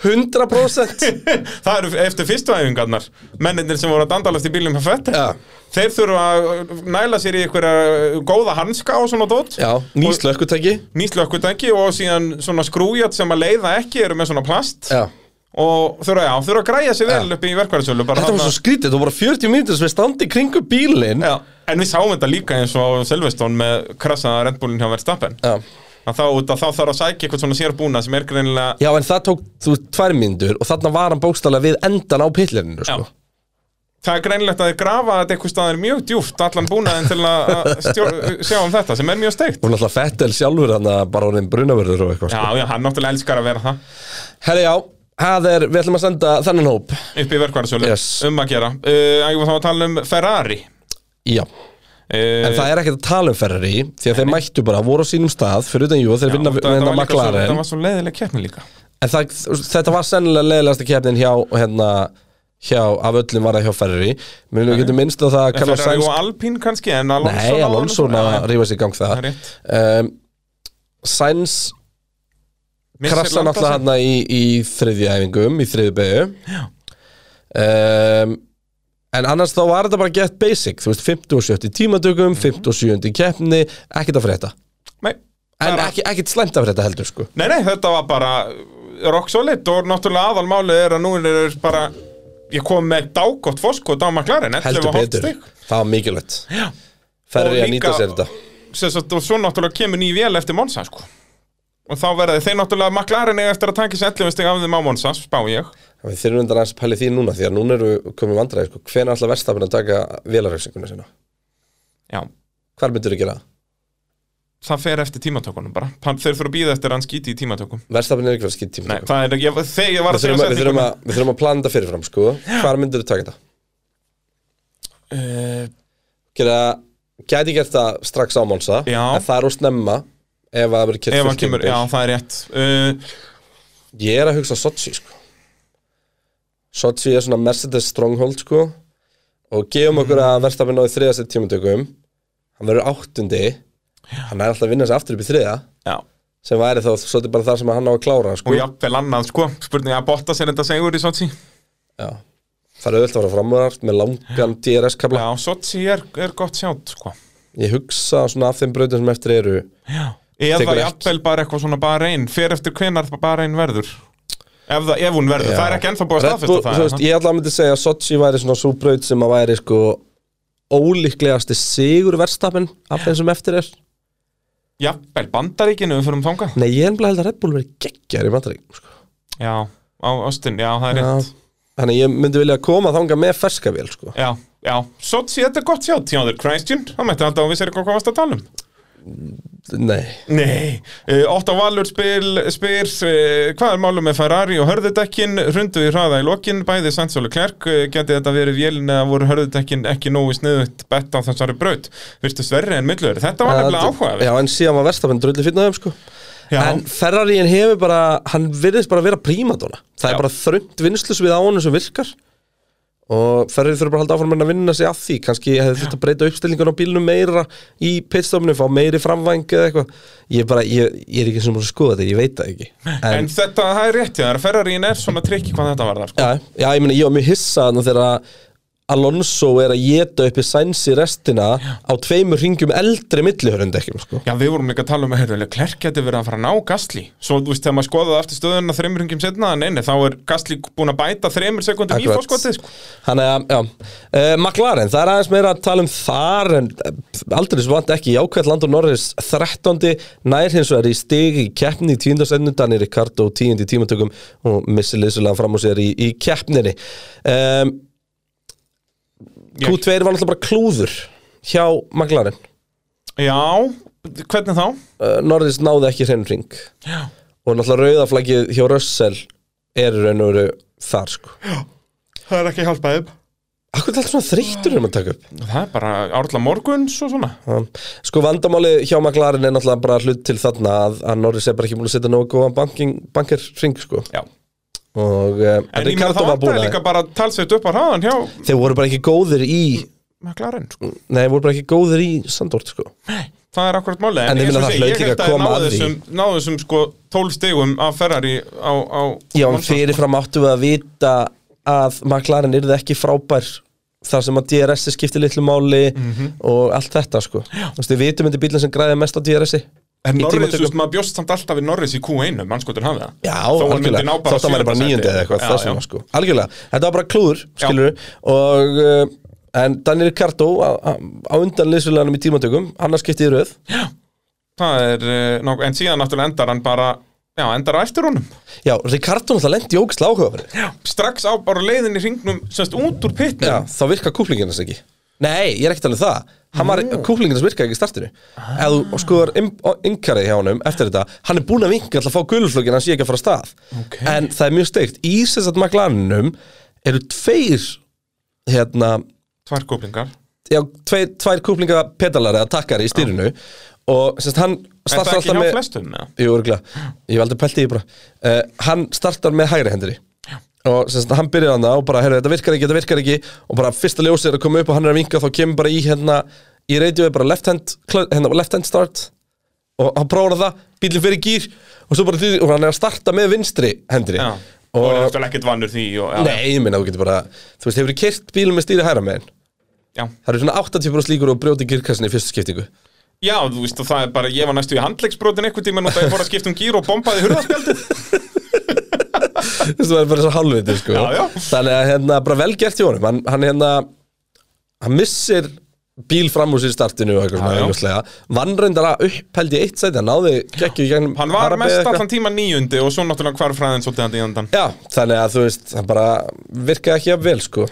Speaker 2: 100%
Speaker 3: Það eru eftir fyrstu æfingarnar Mennindir sem voru að dandalast í bílum með fett
Speaker 2: Já.
Speaker 3: Þeir þurfa að næla sér í einhverja uh, góða hanska og svona dót
Speaker 2: Já, ný slökkutæki
Speaker 3: Nýtt lökkutæki og síðan svona skrújat sem að leiða ekki eru með svona plast
Speaker 2: Já
Speaker 3: Og þurfa, já, þurfa að græja sér vel
Speaker 2: Já.
Speaker 3: upp í verkvæðarsölu
Speaker 2: Þetta var svo skrítið, það voru 40 mínútur sem við standi kringu bílinn
Speaker 3: Já, en við sáum þetta líka eins og á Silveston með krassaða Red Bullin hjá Verstappen
Speaker 2: Já.
Speaker 3: að þá, að þá þarf að sækja eitthvað svona sérbúna sem er greinilega
Speaker 2: Já, en það tók þú veist, tvær mínútur og þarna var hann bókstallega við endan á pillirinu sko.
Speaker 3: Það er greinilegt að þið grafa þetta eitthvað staðar mjög djúft allan búnaðin til að að stjó- sjá um þetta sem er mjög steikt.
Speaker 2: Og náttúrulega Fettel sjálfur hann bara orðin brunavörður og eitthvað
Speaker 3: Já,
Speaker 2: sko.
Speaker 3: já, hann náttúrulega elskar að vera það
Speaker 2: Herri já, það er, við ætlum að senda þennan hóp
Speaker 3: upp í verkvæðarsölu
Speaker 2: Yes.
Speaker 3: um að gera. Uh, ég var þá að tala um Ferrari.
Speaker 2: Já,
Speaker 3: Uh,
Speaker 2: en það er ekkert að tala um Ferrari Því að þeir mættu bara, voru á sínum stað Fyrir utan jú, þeir vinna, vinna
Speaker 3: Það
Speaker 2: McLaren
Speaker 3: var svo leiðileg keppni líka.
Speaker 2: En það, þetta var sennilega leiðilegasta keppnin hjá hérna, hjá, af öllum var það hjá Ferrari Mér við getum minnst á það að Carlos
Speaker 3: Ferrari
Speaker 2: Sainz
Speaker 3: og Alpine kannski, en Alonso...
Speaker 2: Nei,
Speaker 3: náði
Speaker 2: Alonso
Speaker 3: honum- Já,
Speaker 2: að rífa sig í gang
Speaker 3: Það
Speaker 2: það
Speaker 3: er rétt.
Speaker 2: um, Sainz
Speaker 3: Missir
Speaker 2: krassan
Speaker 3: Landa
Speaker 2: alltaf
Speaker 3: sig.
Speaker 2: hann í, í þriðja æfingum, í þriðju beigju um, En annars þá var þetta bara get
Speaker 3: Mhm.
Speaker 2: basic Þú veist, 50 og 70 tímatökum, 50 og 70 keppni Ekkert að frétta,
Speaker 3: Nei,
Speaker 2: En
Speaker 3: Bara-
Speaker 2: ekki, ekkit slæmt af þetta heldur sko
Speaker 3: Nei, nei, þetta var bara uh, rock solid og náttúrulega aðalmálið er að nú er bara ég kom með dágott foskot á McLaren 11
Speaker 2: Heldur
Speaker 3: og hálft
Speaker 2: betur,
Speaker 3: stig.
Speaker 2: það var mikilvægt
Speaker 3: Já.
Speaker 2: Ferri
Speaker 3: Og
Speaker 2: að nýta
Speaker 3: líka-
Speaker 2: sér þetta
Speaker 3: Sem sagt, og svo náttúrulega kemur ný vél eftir Monsa sko. og þá verði þeir náttúrulega McLaren eiga eftir að tanki sér 11 stig af þeim á Monsa spá ég
Speaker 2: En Við þurfum undan aðeins að pæli því núna Því að núna eru komið vandræði sko Hvenær ætla verðstafin að taka vélarhauksinguna sinna?
Speaker 3: Já,
Speaker 2: Hvar myndur þú gera það?
Speaker 3: það fer eftir tímatökunum bara Pan- þeir þurfa að býða eftir að hann skíti í tímatökum
Speaker 2: Verðstafin er ekki verið að skýt
Speaker 3: Nei,
Speaker 2: tíma
Speaker 3: það er, ég, þegar ég var
Speaker 2: Við
Speaker 3: að segja
Speaker 2: þurfum að, við þurfum
Speaker 3: setninguna-
Speaker 2: að, við þurfum að plana þetta fyrirfram sko Hvar myndur þú taka þetta?
Speaker 3: Eh,
Speaker 2: Gera, gæti gert það strax á Monsa
Speaker 3: Já.
Speaker 2: En það er úr snemma Ef að það verður kert
Speaker 3: ef hann
Speaker 2: fullt
Speaker 3: kemur,
Speaker 2: tímabil.
Speaker 3: já það er rétt uh,
Speaker 2: Ég er að hugsa Sochi sko Sochi er svona Mercedes stronghold sko og gefum okkur að verðstafin náði þriðast tímatökum hann verður áttundi hann er alltaf að vinna sig aftur upp í þriða
Speaker 3: Já,
Speaker 2: sem væri þá svolítið bara þar sem hann á að klára
Speaker 3: og
Speaker 2: sko.
Speaker 3: jafnvel annað sko spurning að botta sér þetta segur í Sochi
Speaker 2: Já. það er auðvitað að fara framöðar með langan DRS kabla
Speaker 3: Já, Sochi er, er gott sjátt sko
Speaker 2: ég hugsa svona af þeim brautum sem eftir eru
Speaker 3: Eða
Speaker 2: Tekur ekki.
Speaker 3: jafnvel bara eitthvað svona bara einn Fer eftir hvenar bara einn verður Ef, það, ef hún verður, það er ekki ennþá búið að
Speaker 2: Red Bull,
Speaker 3: staðfesta
Speaker 2: þú
Speaker 3: það
Speaker 2: veist, Ég ætla að myndi segja að Sochi væri svona svo braut sem að væri sko ólíklegasti sigur verðstafin af þeim sem eftir er
Speaker 3: Jafnvel bandaríkinu, við fyrir þangað
Speaker 2: Nei, ég er bara held að Red Bull verið geggjar í bandaríkjum sko.
Speaker 3: Já, á Austin, já, það er
Speaker 2: Já.
Speaker 3: rétt
Speaker 2: Þannig ég myndi vilja koma þanga með ferska vél sko.
Speaker 3: Já, já, Sochi, þetta er gott sjátt hjá þér Christian, það mætti alltaf að við sér eitthvað hvað varst að tala um
Speaker 2: Nei,
Speaker 3: Nei, uh, Otto Valur spil, spyr uh, hvað er málum með Ferrari og hörðudekkin rundu í hraða í lokin, bæði Sainz og Leclerc uh, geti þetta verið vélin eða voru hörðudekkin ekki nógu sniðut bett á þessari braut virtust verri en millur, þetta var nefnilega áhugaverð
Speaker 2: Já, en síðan var Verstappen drulli fyrir þeim sko.
Speaker 3: Já.
Speaker 2: En Ferraríin hefur bara Hann virðist bara að vera prímadóna Það
Speaker 3: Já.
Speaker 2: er bara þröngt vinslusvið á honum sem virkar Og Ferrari þurfa bara að halda áfram að vinna sig að því Kannski hefði þurft að breyta uppstillingun á bílnum meira Í pitstofnum, fá meiri framvæng eða eitthvað Ég, er bara, ég, ég er ekki sem búin að skoða þetta, ég veit það ekki
Speaker 3: en, þetta, það er rétt hjá þér, Ferrarin er svona trikki hvað þetta var þar sko.
Speaker 2: Já, já, ég meina, ég var mjög hissað þegar að Alonso er að geta upp í sænsi restina á tveimur ringjum eldri millihörundekkjum, sko.
Speaker 3: Já, við vorum líka að tala um að heyrðu, Leclerc geti verið að fara að ná Gastli Svo, þú veist, þegar maður skoðaði eftir stöðuna þreymur hringjum setna, nei, nei, þá er Gastli búin að bæta þreymur sekundum í
Speaker 2: Akkurat.
Speaker 3: fórskotið sko.
Speaker 2: Þannig að, já, uh, McLaren, það er aðeins meira að tala um þar en eh, aldrei svo vant ekki jákvæmt Landur Norris 13. nær hins vegar í stig í keppni í tíundasendun Danir Ricardo 10. í tímatökum og missi liðsulega fram úr sér í, í keppninni. Um,
Speaker 3: Ég-
Speaker 2: Q2 var náttúrulega bara klúður hjá McLaren.
Speaker 3: Já, hvernig þá?
Speaker 2: uh, Norris náði ekki hreinu ring
Speaker 3: Já.
Speaker 2: og náttúrulega rauðaflækið hjá Russell er í raun og veru þar sko
Speaker 3: Það er ekki hjálpaðið
Speaker 2: Akkur er alltaf svona þreyttur um að taka upp
Speaker 3: Það er bara árla morguns og svona
Speaker 2: Um, Sko vandamáli hjá McLaren er náttúrulega bara hlut til þarna að, að Norris er bara ekki múin að setja nógu góðan banking, banker ring sko
Speaker 3: Já.
Speaker 2: og uh,
Speaker 3: En ég meina
Speaker 2: Ricardo
Speaker 3: það
Speaker 2: var búin
Speaker 3: vantaði
Speaker 2: að
Speaker 3: líka bara talsett upp á hraðan hjá
Speaker 2: þeir voru bara ekki góðir í
Speaker 3: McLaren sko.
Speaker 2: nei, voru bara ekki góðir í Sandort sko
Speaker 3: Það er akkurat máli
Speaker 2: En ég meina það hlaut líka að koma að því.
Speaker 3: þessum, náðu þessum sko 12 stegum af Ferrari á, á
Speaker 2: Já, en
Speaker 3: Monza.
Speaker 2: fyrirfram áttum við að vita að McLaren yrði ekki frábær þar sem að DRS -ið skipti litlu máli
Speaker 3: Mhm.
Speaker 2: og allt þetta sko Þú veist, við vitum þetta er bílinn sem græði mest á DRS -i
Speaker 3: En
Speaker 2: í
Speaker 3: Norris, þú
Speaker 2: tímatökum.
Speaker 3: veist, maður bjóst samt alltaf við Norris í Q1 mannskotur hafið það
Speaker 2: Já,
Speaker 3: Þó hann myndi ná
Speaker 2: algjörlega,
Speaker 3: bara
Speaker 2: þótt að maður er bara
Speaker 3: sjöunda
Speaker 2: nýjöndi
Speaker 3: sæti.
Speaker 2: eða eitthvað,
Speaker 3: Já,
Speaker 2: það sem
Speaker 3: já.
Speaker 2: var sko Algjörlega, þetta var bara klúður, skilur við og, uh, en Daniel Ricardo á- á á undan liðsfélaganum í tímatökum annars skipti í röð
Speaker 3: Það er, eh, nokkuð- en síðan náttúrulega endar hann bara Já, endar á eftir honum
Speaker 2: Já, Ricardo náttúrulega lendi í ógæsla áhugaverði
Speaker 3: Strax á bara leiðin í ringnum, semst út úr
Speaker 2: Já,
Speaker 3: pitnum
Speaker 2: þá virka kúplingin þess ekki Nei, ég er ekkert alveg það Hann var,
Speaker 3: Mm.
Speaker 2: kúplingin þess virka ekki í startinu Ef
Speaker 3: Ah.
Speaker 2: þú skoður yngarið hjá honum eftir þetta Hann er búinn að vinka alltaf að fá gulflögin Hann sé ekki að fara af stað
Speaker 3: Ok.
Speaker 2: En það er mjög steikt Í þess að maglanum eru tveir Hérna,
Speaker 3: Tvær kúplingar
Speaker 2: já, tveir, tvær kúplinga pedalar eða takkar í styrinu Og semst hann
Speaker 3: Er það
Speaker 2: startar
Speaker 3: ekki
Speaker 2: alltaf
Speaker 3: hjá
Speaker 2: með
Speaker 3: flestum? eða?
Speaker 2: Jú, örgulega, ég hef aldrei pælt í því bara uh, Hann startar með hægri hendri og sem sagt, hann byrjar hann og bara, heyrðu, þetta virkar ekki, þetta virkar ekki og bara fyrsta ljósið er að koma upp og hann er að vinka þá kemur bara í hérna, í radioið bara left hand, cl- hérna, left hand start og hann prófar það, bílinn fyrir gýr og svo bara, því- og hann er að starta með vinstri hendri
Speaker 3: Já, og er
Speaker 2: og,
Speaker 3: eftir ekkert vannur því og, já,
Speaker 2: nei, ég minna, þú getur bara þú veist, hefur þú kert bílum með stýri hæra megin
Speaker 3: Já,
Speaker 2: það eru svona 80 brúst líkur og brjóti kirkassin í fyrstu skiptingu
Speaker 3: Já, þú veist, og það er bara, ég var næstu í handleggsbrotin einhvern tímann og það ég fór að skipta um gýr og bombaði hurðarspjaldið.
Speaker 2: það er bara svo halvviti sko.
Speaker 3: Já, já.
Speaker 2: þannig að hérna, bara vel gert hjá honum hann, hann hérna hann missir bíl fram úr sér startinu og eitthvað
Speaker 3: Já, já.
Speaker 2: svona augljóslega. vann reyndar að upphældi eitt sæti hann náði gekkju í gegnum
Speaker 3: Hann var
Speaker 2: Arabi
Speaker 3: mest
Speaker 2: eitthvað.
Speaker 3: allan tíma níundi og svo náttúrulega hvar fræðin svolítið hann í andan.
Speaker 2: já, þannig að þú veist hann bara virkaði ekki að vel sko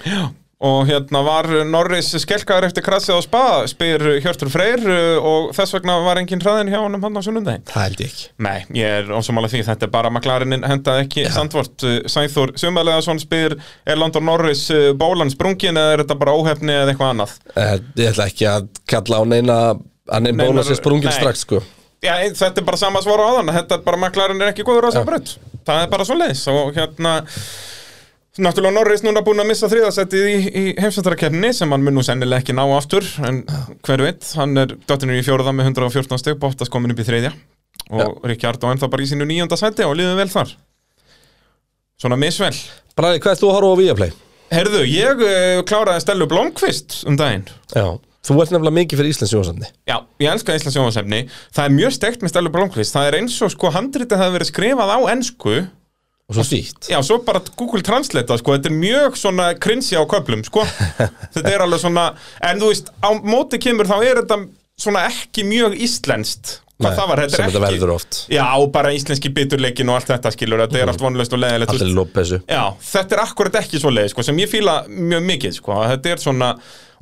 Speaker 3: Og hérna var Norris skelkaður eftir krassið á spa, spyr Hjörtur Freyr uh, og þess vegna var engin hraðin hjá honum hann á sunnundaginn.
Speaker 2: það held ég ekki
Speaker 3: Nei, ég er ósumála því, þetta er bara maklarinn hendaði ekki sandvort. Uh, Sæþór Sumalega spyr, er Landon Norris uh, bólan sprungin eða er þetta bara óhefni eða eitthvað annað?
Speaker 2: Eh, ég ætla ekki að kalla á neina að neina
Speaker 3: Neinar-
Speaker 2: bóla sér sprungin
Speaker 3: nei.
Speaker 2: strax sko
Speaker 3: Já, ein- þetta er bara sama svara á þann Þetta er bara maklarinn er ekki góður á þessar braut Það er bara svo leiðis og hérna Náttúrulega Norris núna búin að missa þriðasettið í, í heimsvættarakefni sem hann mun nú sennilega ekki ná aftur en hver veit, hann er dottinur í fjóruða með 114 steg, Bottas komin upp í þriðja og Ríkjard og ennþá bara í sínu nýjönda seti og liðum vel þar Svona misvel
Speaker 2: Bræði, hvað er þú að horfa á Viaplay?
Speaker 3: Herðu, ég uh, kláraði Stellu Blomqvist um daginn
Speaker 2: Já, þú ert nefnilega mikið fyrir Íslands Jónsandi
Speaker 3: Já, ég elska Íslands sjónvarsefni Það er mjög steikt með Stellu Blomqvist Það er eins og sko handritið hafi verið skrifað á ensku
Speaker 2: og svo sítt
Speaker 3: Já, svo bara Google Translate það, sko, þetta er mjög svona krinsi á köflum, sko Þetta er alveg svona, en þú veist, á móti kemur þá er þetta svona ekki mjög íslenskt Hvað það var, þetta
Speaker 2: sem
Speaker 3: er
Speaker 2: þetta
Speaker 3: ekki
Speaker 2: verður oft
Speaker 3: Já, bara íslenski biturleikin og allt þetta skilur, þetta er Mhm. allt vonlaust og leðilegt
Speaker 2: allir lópesu
Speaker 3: Já, þetta er akkurat ekki svo leið, sko, sem ég fíla mjög mikið, sko, að þetta er svona,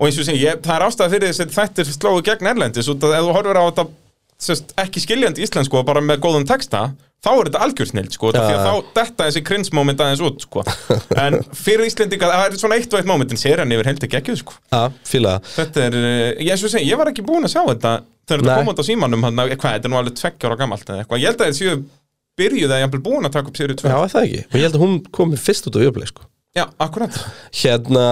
Speaker 3: og eins og ég segi, ég, það er ástæða fyrir þess að þetta er slóðu gegn erlendis, út að ef þú horfir á þetta, sérst, ekki skiljandi íslensku og bara með góðum texta, þá er þetta algjörsnild, sko, ja.
Speaker 2: Já.
Speaker 3: því að þá detta þessi cringe-moment aðeins út, sko, en fyrir Íslendinga, það er svona eitt og eitt moment, en sér hann yfir heldur geggjuð, sko,
Speaker 2: Já, fíla það
Speaker 3: þetta er, eh, ég eins og ég segi, ég var ekki búin að sjá þetta, þegar
Speaker 2: Nei.
Speaker 3: þetta kom út á símanum, hann, eh, hvað, þetta er nú alveg tveggja ára gamalt eða eitthvað, ég held að þeir séu byrjuð að ég hafði búin að taka upp sér í
Speaker 2: Já, er það ekki. Og ég held að hún komi fyrst út á Viaplay, sko.
Speaker 3: Já, akkurat.
Speaker 2: Hérna,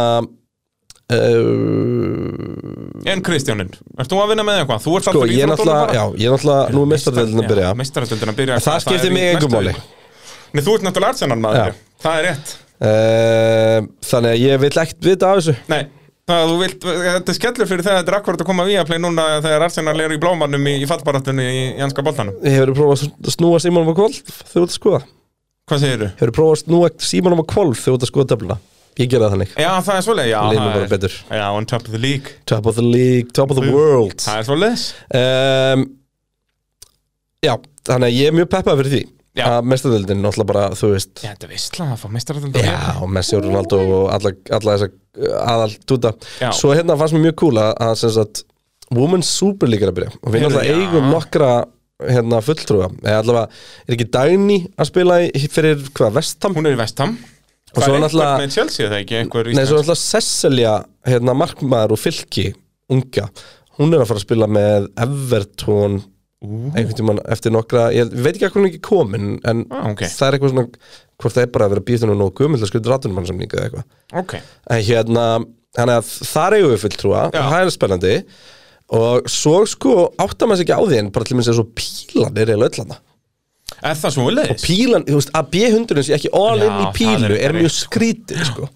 Speaker 2: uh,
Speaker 3: En Kristjáninn, ert þú að vinna með eitthvað? Þú ert
Speaker 2: sko, ég er náttúrulega, já, ég er náttúrulega, nú er meistardöldin að byrja.
Speaker 3: Meistaröldin að byrja
Speaker 2: En það skiptir
Speaker 3: er í
Speaker 2: mig
Speaker 3: næstu
Speaker 2: engum máli.
Speaker 3: viku. Nei, þú ert náttúrulega Arsenal maður
Speaker 2: Já.
Speaker 3: Það er rétt
Speaker 2: Uh, þannig að ég vil ekkert vita af þessu.
Speaker 3: Nei, það, þú vilt, þetta er skellur fyrir þegar þetta er akkurat að koma við að play núna þegar Arsenal er í blómanum í, í fallbarattunni í, í anska boltanum
Speaker 2: Ég hefur prófað að snúa símanum á kvolf þegar þú ert að skoða.
Speaker 3: Hvað segirðu?
Speaker 2: Hefur prófað að snúa símanum á kvolf þegar þú ert að skoða töfluna. Ég gera það þannig.
Speaker 3: Já, það er svoleið, já
Speaker 2: Leynum
Speaker 3: það
Speaker 2: bara
Speaker 3: er-
Speaker 2: betur.
Speaker 3: Já, on top of the league
Speaker 2: Top of the league, top of the world.
Speaker 3: Það er svoleiðis
Speaker 2: um, Já, þannig að ég er mjög peppað fyrir því.
Speaker 3: Já.
Speaker 2: Að meistardöldin, náttúrulega bara, þú veist,
Speaker 3: Já, þetta er veistla að fá meistaröldin
Speaker 2: Já, og Messi og Ronaldo og alla, alla þessa aðal túta
Speaker 3: Já.
Speaker 2: Svo hérna fannst mér mjög cool að, að sem sagt, Women's Super League er að byrja og við
Speaker 3: Heyrðu,
Speaker 2: náttúrulega
Speaker 3: já.
Speaker 2: eigum nokkra hérna, fulltrúa eða allavega, er ekki Dagný að spila í, fyrir hvað, Vestham?
Speaker 3: Hún er í vestam
Speaker 2: Og svo
Speaker 3: Það er
Speaker 2: náttúrulega-
Speaker 3: einhver með Chelsea, er það ekki? Einhver
Speaker 2: Nei, svo
Speaker 3: íslensk-
Speaker 2: alltaf Cecilia, hérna, markmaður og fylki, unga hún er að fara að spila með Everton einhvern tímann eftir nokkra ég veit ekki að hún er ekki komin en
Speaker 3: Ah, ok.
Speaker 2: það er eitthvað svona, hvort það er bara að vera býðt hennar nógu gömul að skrifa ratunum hann samninga eða eitthvað
Speaker 3: Ok,
Speaker 2: en hérna, þannig að þar eigum við fulltrúa og
Speaker 3: Já.
Speaker 2: það er spennandi og svo sko áttar maður sér ekki á því en bara til minn sér svo pílan er eiginlega öll hana
Speaker 3: er það svoleiðis?
Speaker 2: pílan, þú veist, að B100 sé ekki all
Speaker 3: Já,
Speaker 2: in í
Speaker 3: það
Speaker 2: pílu
Speaker 3: er
Speaker 2: er,
Speaker 3: rétt,
Speaker 2: mjög skrítið sko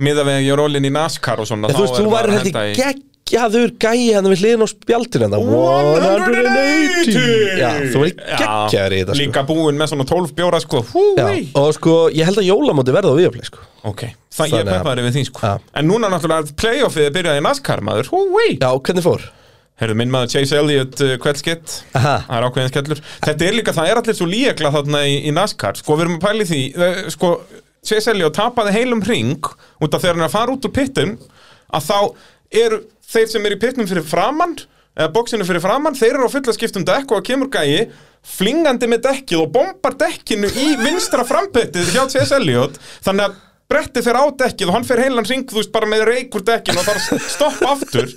Speaker 3: miða við að ég er ólinn í NASCAR og svona
Speaker 2: en þú veist, þú væri hætti geggjaður gæi hann við hliðin á spjaldinu hann
Speaker 3: 180
Speaker 2: já, þú væri geggjaður í þetta sko.
Speaker 3: Líka búinn með svona 12 bjóra sko
Speaker 2: Já,
Speaker 3: Húi
Speaker 2: og sko, ég held að jólamóti verða á viðafleik sko.
Speaker 3: Ok, það ég
Speaker 2: Þannig að-
Speaker 3: peppaði við því sko
Speaker 2: Já.
Speaker 3: En núna náttúrulega er playoffið er byrjað í NASCAR maður Húi
Speaker 2: já, hvernig fór?
Speaker 3: Herðu minn maður Chase Elliott uh, kveldskitt
Speaker 2: Aha.
Speaker 3: Það er ákveðin skellur Þetta er líka, það er allir svo líkla þarna í, í NASCAR Sko við erum að pæli því uh, Sko Chase Elliott tapaði heilum ring Út af þegar hann er að fara út úr pittum Að þá eru þeir sem eru í pittum fyrir framann Eða bóksinu fyrir framann Þeir eru á fulla skiptum dekk og að kemur gæi Flingandi með dekkið og bombar dekkinu Í vinstra frampettið hjá Chase Elliott Þannig að bretti fyrir á dekkið og hann fyrir heilan ring, þú veist, bara með reykur dekkin og þarf að stoppa aftur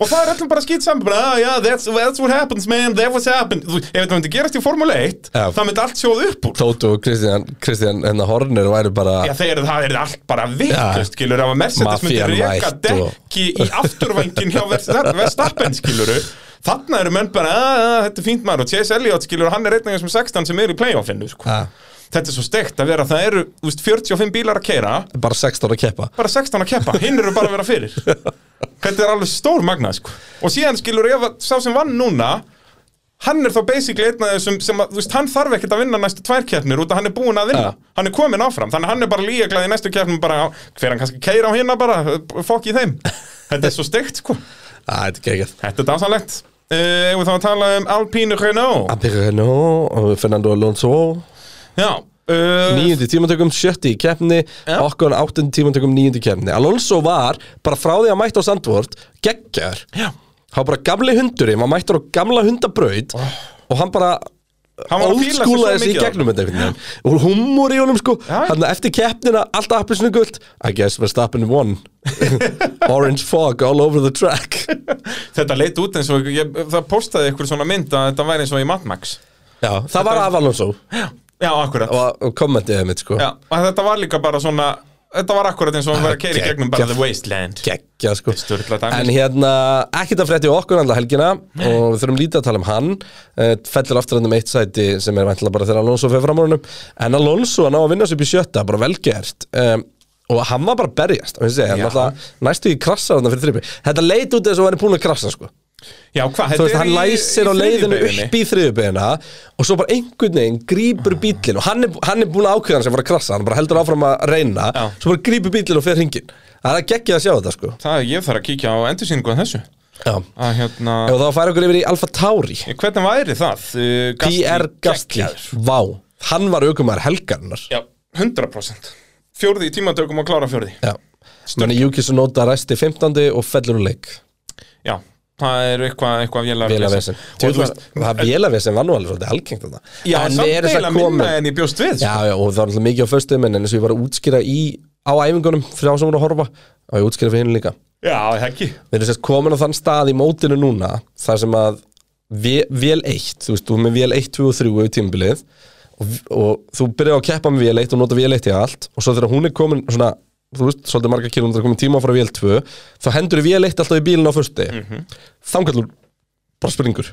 Speaker 3: og það er öllum bara skýt saman, bara, ah, yeah, that's, that's what happens, man, that was happened þú, ef þetta myndi gerast í Formule 1,
Speaker 2: Já.
Speaker 3: það myndi allt sjóð upp úr
Speaker 2: Tótu og Kristján, Kristján hennar Horner væri bara
Speaker 3: Já, þeir, það er allt bara vittust, skilur, ef að Mercedes myndi
Speaker 2: Mafían
Speaker 3: reyka
Speaker 2: mætt og-
Speaker 3: dekki í afturvængin hjá Verst- Verstappen, skilur þarna "Ah, eru menn bara, að, að, þetta er fínt maður og Chase Elliott, skilur, hann er einn af þessum 16 sem er í playoffinu, sko
Speaker 2: Já.
Speaker 3: þetta er svo steikt að vera það eru þú veist, 45 bílar að keira
Speaker 2: bara 16 ára að keppa
Speaker 3: bara 16 að keppa, hinn eru bara að vera fyrir þetta er alveg stór magnað sko. og síðan skilur ef að sá sem vann núna hann er þá basically einn af þessum sem að, þú veist, hann þarf ekkert að vinna næstu tvær keppnir út að hann er búinn að vinna
Speaker 2: Ja.
Speaker 3: hann er komin áfram, þannig að hann er bara líkaglæð í næstu keppnum bara, hver hann kannski keira á hinna bara fokk í þeim, þetta er svo steikt sko.
Speaker 2: Æ, þetta er geggjað
Speaker 3: þetta er dásanlegt uh, og þá að tala um Alpine Renault
Speaker 2: Abirino, Fernando Alonso
Speaker 3: já, uh,
Speaker 2: Níundi tímantökum, sjötti í keppni
Speaker 3: Já.
Speaker 2: Okkon áttundi tímantökum, níundi í keppni Alonso var, bara frá því að mæta á Sandvort Geggjar
Speaker 3: já,
Speaker 2: Það var bara gamli hundurinn, maður mættur á gamla hundabraut og hann bara
Speaker 3: Ah. Hann var að fíla sig svo
Speaker 2: óskúlaði sig í
Speaker 3: mikið á
Speaker 2: gegnum þetta einhvern veginn. og humor í honum sko
Speaker 3: Já.
Speaker 2: hann eftir keppnina, alltaf appisinu guld I guess we're stopping one orange fog all over the track
Speaker 3: þetta leit út eins og ég, það postaði ykkur svona mynd að þetta væri eins og í Mad Max
Speaker 2: Já, það var af Alonso
Speaker 3: já, akkurat
Speaker 2: og og kommentiði mitt sko
Speaker 3: Já, og þetta var líka bara svona Þetta var akkurat eins og hann var að keira í
Speaker 2: geggjað.
Speaker 3: gegnum bara The Wasteland
Speaker 2: geggja sko
Speaker 3: Sturla dæmi.
Speaker 2: en hérna, ekkert að frétti okkur alltaf helgina og við þurfum lítið að tala um hann uh, fellur aftur hann um eitt sæti sem er væntilega bara þegar Alonso fyrir framhórunum en Alonso hann á að vinna sér upp í sjötta, bara velgert um, og hann var bara að berjast og ég segi, hann
Speaker 3: Já.
Speaker 2: alltaf næstu í krassa hann fyrir þripi, þetta leit út eins og hann er búin að krassa sko
Speaker 3: Já, hvað,
Speaker 2: þú
Speaker 3: þetta
Speaker 2: veist,
Speaker 3: er
Speaker 2: hann
Speaker 3: í-
Speaker 2: læsir
Speaker 3: í
Speaker 2: á leiðinu
Speaker 3: þriðju
Speaker 2: upp í þriðubegina og svo bara einhvern veginn
Speaker 3: Ah.
Speaker 2: grípur bílinn og hann er, hann er búin að ákveða hann sem var að krassa hann bara heldur áfram að reyna
Speaker 3: Já.
Speaker 2: svo bara grípur bílinn og fer hringin það er geggjað að sjá þetta sko
Speaker 3: Það er ég þarf að kíkja á endursýningu af þessu
Speaker 2: Já.
Speaker 3: að, hérna,
Speaker 2: og þá færa okkur yfir í Alfa Tauri
Speaker 3: Hvernig væri það? Uh, Gasly
Speaker 2: PR Gastli
Speaker 3: geggjaður.
Speaker 2: Vá, hann var aukumar helgarnar
Speaker 3: Já, 100% Fjórði í tímatökum og klára fjórði
Speaker 2: Já Menni Juki sem nota resti 15. og fellur úr leik
Speaker 3: Já, það er eitthvað, eitthvað vélar
Speaker 2: Vélavesen
Speaker 3: Og þú veist
Speaker 2: Það vélavesen var nú alveg svolítið algengt þetta
Speaker 3: Já, samt deila minna en ég bjóst við sko.
Speaker 2: Já, já, og það var alltaf mikið á föstum en eins og ég var að útskýra í á æfingunum fyrir þá sem voru að horfa og ég útskýra fyrir hinn líka
Speaker 3: Já, ekki
Speaker 2: Við erum sérst komin á þann stað í mótinu núna þar sem að vé- vél 1 þú veist, þú er með vél 1, 2 og 3 yfir tímbilið og, og þú byrjar að keppa með vél 1 og nota vél 1 í allt og svo þegar hún er komin svona, þú veist, svolítið marga kilómetrar komin tíma frá vél 2 þá hendur vél 1 alltaf í bílinn á fyrsti mm
Speaker 3: Mhm.
Speaker 2: -hmm. þangalur bara springur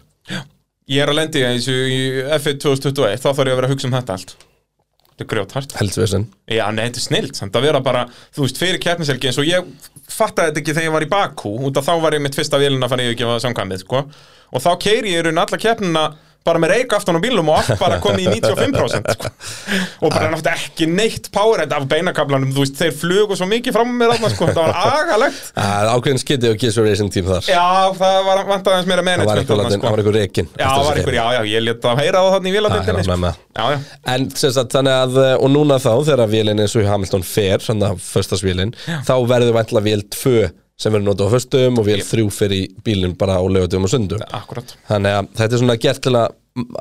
Speaker 3: Ég er að lendi eins og í F1 2021 Þá þarf ég að vera að hugsa um þetta allt Þetta er grjóthart
Speaker 2: heldsvesen
Speaker 3: Já, nei, þetta er snilt, samt að vera bara, þú veist, fyrir keppniselgi eins og ég fattaði þetta ekki þegar ég var í Bakú út af þá var ég mitt fyrsta vélina að fara yfir ekki að samkvæmið, sko og þá keiri ég í raun alla keppnina bara með reik aftan á bílum og allt bara komið í 95% sko. og
Speaker 2: Ah.
Speaker 3: bara náttúrulega ekki neitt powerhead af beinakablanum, þú veist, þeir flugu svo mikið fram með þarna, sko, það var agalegt
Speaker 2: Það er ákveðin skytti og Gizur Racing Team þar
Speaker 3: Já, það var vantaði aðeins meira
Speaker 2: Það var
Speaker 3: management
Speaker 2: eitthvað
Speaker 3: þarna, sko.
Speaker 2: latin- það var eitthvað rekin
Speaker 3: Já, það var einhver, já, já, ég lét að heyra það þannig í
Speaker 2: Já, ég
Speaker 3: véladildinni
Speaker 2: var með með.
Speaker 3: Já, já,
Speaker 2: En sem sagt, þannig að, eh, og núna þá, þegar vélinn eins og í Hamilton fer, þannig að föstasvélinn, þá verður vantla vél 2 sem verður notað á föstum og vél 3 fer í bílinn bara á lögutum og sundum.
Speaker 3: akkurat
Speaker 2: Þannig að þetta er svona gert til að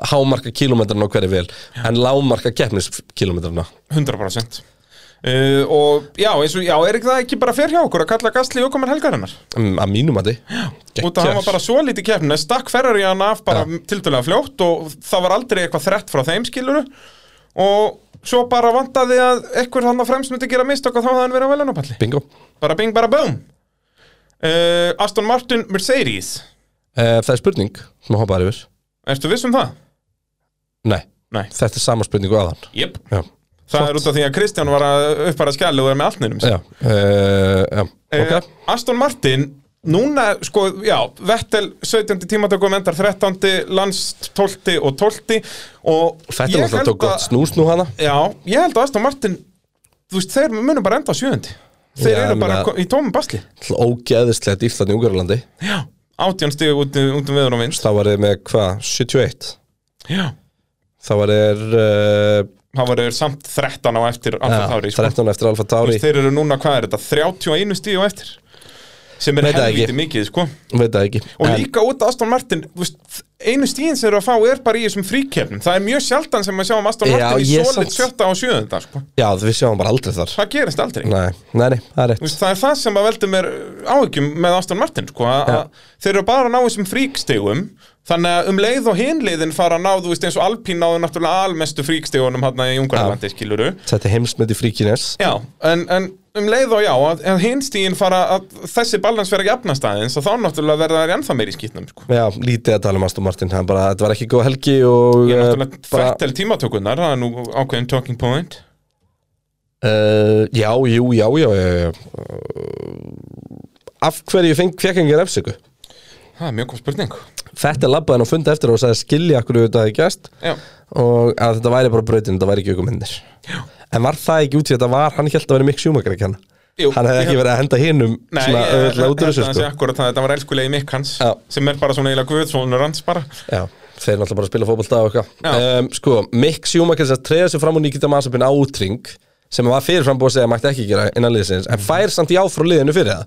Speaker 2: hámarka kílómetrarna á hverju vél, en lámarka keppniskílómetrarna.
Speaker 3: 100% uh, og já, eins og, já, er ekki það ekki bara fyrir hjá okkur að kalla Gastli Jókoman helgarinnar
Speaker 2: Mm, Að mínum að því.
Speaker 3: út af hann var bara svo lítið keppni stakk Ferrari hann af bara ja. tildulega fljótt og það var aldrei eitthvað þrett frá þeim skiluru og svo bara vantaði að ekkur hann á fremst myndi gera mistök og þá hafði hann verið á velunapalli
Speaker 2: Bingo.
Speaker 3: bara bing bara boom uh, Aston Martin Mercedes
Speaker 2: Eh, Það er spurning sem að hoppaði yfir.
Speaker 3: Ertu viss um það?
Speaker 2: Nei,
Speaker 3: Nei,
Speaker 2: þetta er sama spurningu aðan.
Speaker 3: jöp
Speaker 2: Já.
Speaker 3: Það er út af því að Kristján var að uppfæra skælu og er með um altninum
Speaker 2: Já, uh, já,
Speaker 3: okay.
Speaker 2: ok.
Speaker 3: Eh, Aston Martin Núna, sko, já, Vettel 17. tímatökum endar 13. Lans 12. og 12. Og
Speaker 2: Þetta er
Speaker 3: ég
Speaker 2: alltaf
Speaker 3: held
Speaker 2: tók gott
Speaker 3: að-
Speaker 2: snús nú hana.
Speaker 3: Já, ég held að Aston Martin Þú veist, þeir munum bara enda á 7. Þeir
Speaker 2: Já,
Speaker 3: eru
Speaker 2: en
Speaker 3: bara
Speaker 2: að-
Speaker 3: ko- í tómum basli
Speaker 2: Ógeðislega dýrt þannig í Ungarlandi.
Speaker 3: Já, átján stig út, út um viður og vinst
Speaker 2: þá var þið með hvað, 71
Speaker 3: Já,
Speaker 2: þá var þið uh,
Speaker 3: það var þeir samt 13 á eftir Alfa Tauri, sko.
Speaker 2: 13 eftir Alfa
Speaker 3: Þú
Speaker 2: Tauri
Speaker 3: veist, Þeir eru núna, hvað er þetta, 31 stig á eftir sem er
Speaker 2: Veit það
Speaker 3: helviti
Speaker 2: ekki.
Speaker 3: mikið, sko
Speaker 2: veit það ekki
Speaker 3: Og
Speaker 2: En-
Speaker 3: líka út af Aston Martin þú veist, Einu stíðin sem eru að fá er bara í þessum fríkefnum Það er mjög sjaldan sem að sjá um Aston
Speaker 2: Já,
Speaker 3: Martin
Speaker 2: ég
Speaker 3: í solid
Speaker 2: samt-
Speaker 3: sjötta og sjöðunda sko.
Speaker 2: já við sjáum bara aldrei þar
Speaker 3: Það gerist aldrei
Speaker 2: nei, nei, nei, það er rétt
Speaker 3: Þú veist, Það er það sem að veldur mér áhyggjum með Aston Martin sko, að
Speaker 2: Já.
Speaker 3: að Þeir eru bara að ná þessum fríkstegum Þannig að um leið og hinleiðin fara að ná Þú veist eins og Alpín náðu náttúrulega almestu fríkstegunum Hanna í Ungarlandi skiluru
Speaker 2: þetta er heimsmyndi fríkines
Speaker 3: Já, en, en um leið og já Að, að hinstíðin fara að þessi balans vera jafnastæðins Og þá náttúrulega verða þær ennþá meir í skýtnum sko.
Speaker 2: já, lítið að tala um Aston Martin, hann bara, þetta var ekki góð helgi og
Speaker 3: Ég er
Speaker 2: eh,
Speaker 3: náttúrulega fættel tímatökunar, það er nú ákveðin talking point.
Speaker 2: Uh, já, jú, já, já, já, já. Uh, Af hverju feng, fekk engin refsingu?
Speaker 3: Það er mjög góð spurning.
Speaker 2: Þetta labbaði hann á fundi eftir og sagði skilja okkur þetta hefði gæst
Speaker 3: Já.
Speaker 2: og að þetta væri bara brautin, þetta væri ekki okkur myndir En var það ekki út í að þetta var, hann held að vera Mick Schumacher ekki hann
Speaker 3: Jú,
Speaker 2: Hann hefði
Speaker 3: ég-
Speaker 2: ekki verið að henda hinum
Speaker 3: Nei,
Speaker 2: svona
Speaker 3: ég- ég-
Speaker 2: öðvöldlega út úr
Speaker 3: ég-
Speaker 2: þessu
Speaker 3: það sé
Speaker 2: sko
Speaker 3: akkurat það, þetta var elskulegi mikk hans,
Speaker 2: Já.
Speaker 3: sem er bara svona eiginlega guðsvonur hans bara.
Speaker 2: Já, þeir náttúrulega bara að spila fótbolta og eitthvað
Speaker 3: Já.
Speaker 2: um, Sko, Mick Schumacher sem treða sig fram úr Nikita Masapin átring sem var fyrirfram búið að segja að mætti ekki gera innan liðsins
Speaker 3: Mm.
Speaker 2: en fær samt í áfrú liðinu fyrir það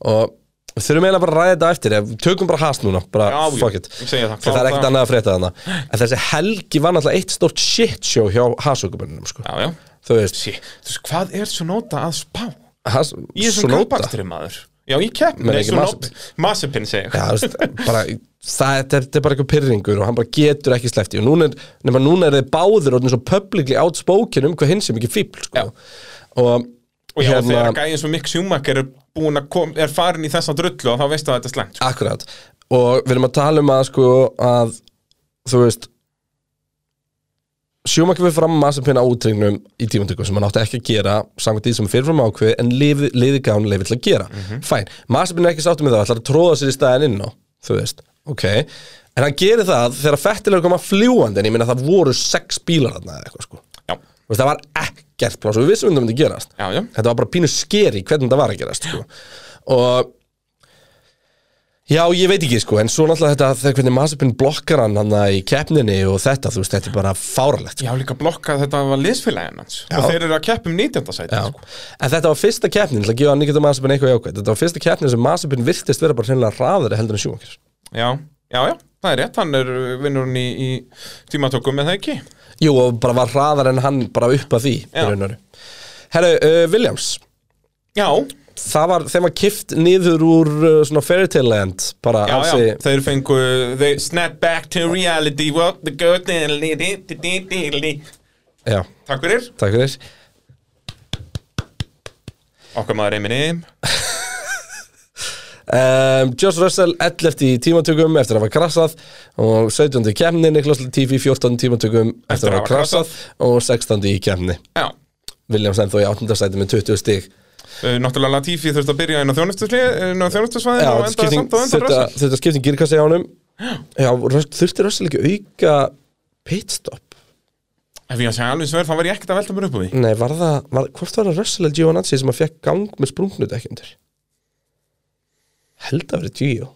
Speaker 2: og við þurfum eiginlega bara að ræða þetta á eftir ef- tökum bara hast núna, bara
Speaker 3: Já, já,
Speaker 2: fuck it
Speaker 3: ég segi
Speaker 2: Því
Speaker 3: það,
Speaker 2: það er
Speaker 3: klára
Speaker 2: ekkert
Speaker 3: það.
Speaker 2: annað að frétta þarna en þessi helgi var náttúrulega eitt stórt shit show hjá hasaukumunum sko.
Speaker 3: Já, já.
Speaker 2: þú veist,
Speaker 3: Sí, þú veist, hvað er svo nota að spá?
Speaker 2: has,
Speaker 3: Í þessum
Speaker 2: Sonoda.
Speaker 3: kaupakstri maður. Já, í keppni.
Speaker 2: Menn
Speaker 3: Nei,
Speaker 2: ekki
Speaker 3: svo
Speaker 2: Mazepin.
Speaker 3: nota, Masipin segi ég.
Speaker 2: Já, þú veist, bara, það, þetta er- þetta er bara eitthvað pyrringur og hann bara getur ekki sleppt í og núna er, nema núna er þið báðir og svo publicly outspoken um hvað hinn sem ekki fíbl
Speaker 3: Já.
Speaker 2: sko. og,
Speaker 3: Og já,
Speaker 2: Hérna-
Speaker 3: þegar gæðin svo mikk sjúmakar er búin að kom, er farin í þessa drullu og þá veistu að þetta er sko. slengt.
Speaker 2: akkurat og við erum að tala um að sko að þú veist Schumacher við fram massapinn á útringnum í tímandökum sem hann átti ekki að gera samkvæmt því sem er fyrirfram ákveði en liði, liði gán leiði til að gera fæn, massapinn er ekki sáttum með það ætlar að tróða sér í staðan inn á þú veist, ok en hann gerir það þegar fettilegur koma fljúandi en ég minna það voru sex bílar þarna eða eitthvað sko
Speaker 3: Já,
Speaker 2: Þú veist, það var ekkert pláss og við vissum hvernig það myndi gerast
Speaker 3: já, já.
Speaker 2: þetta var bara pínu skeri hvernig það var að gerast sko. og já, ég veit ekki sko en svo náttúrulega þetta, þegar hvernig Masipin blokkar hann hann í keppninni og þetta þú veist, þetta er bara fáralegt sko.
Speaker 3: Ég haf líka blokkað að þetta var liðsfélagin hans og þeir eru að keppa um 19. sæti sko.
Speaker 2: en þetta var fyrsta keppnin, til að gefa Nikita Masipin eitthvað jákvæð, þetta var fyrsta keppnin sem Masipin virtist vera bara hreinlega raðari heldur en sjúmakir
Speaker 3: Já, já, já, það er rétt, hann er uh, vinnur hann í, í tímatökum eða ekki
Speaker 2: jú, og bara var raðari en hann bara upp að því í
Speaker 3: Já.
Speaker 2: raun og veru. herru, uh, Williams
Speaker 3: Já,
Speaker 2: það var, þeim var kift niður úr uh, svona fairytale land bara
Speaker 3: já, já,
Speaker 2: ansi-
Speaker 3: þeir fengu They snap back to reality What the good Takk
Speaker 2: já,
Speaker 3: fyrir,
Speaker 2: takk fyrir
Speaker 3: okkar maður Eminem
Speaker 2: um, Josh Russell 11 í tímatökum eftir að hafa krassað og 17 í kemni Niklas Latifi 14 í tímatökum eftir að hafa krassað og 16 í kemni
Speaker 3: Já,
Speaker 2: Williams ennþá í 8. sæti með 20 stig
Speaker 3: Eh, náttúrulega Latifi þurfti að byrja inn á þjónustusvæðin
Speaker 2: Já,
Speaker 3: og
Speaker 2: þetta
Speaker 3: endaði
Speaker 2: skipting,
Speaker 3: samt og enda
Speaker 2: þetta,
Speaker 3: rössal
Speaker 2: þetta skipting girkassi á um honum Já, Rus- þurfti Russell ekki auka pitstop?
Speaker 3: Ef ég að segja alveg sver, þá var ég ekkert að velta mér upp úr því
Speaker 2: Nei, var það, var, hvort var það Russell eða Giovinazzi sem að fekk gang með sprungnut ekki undir? Held að vera Gio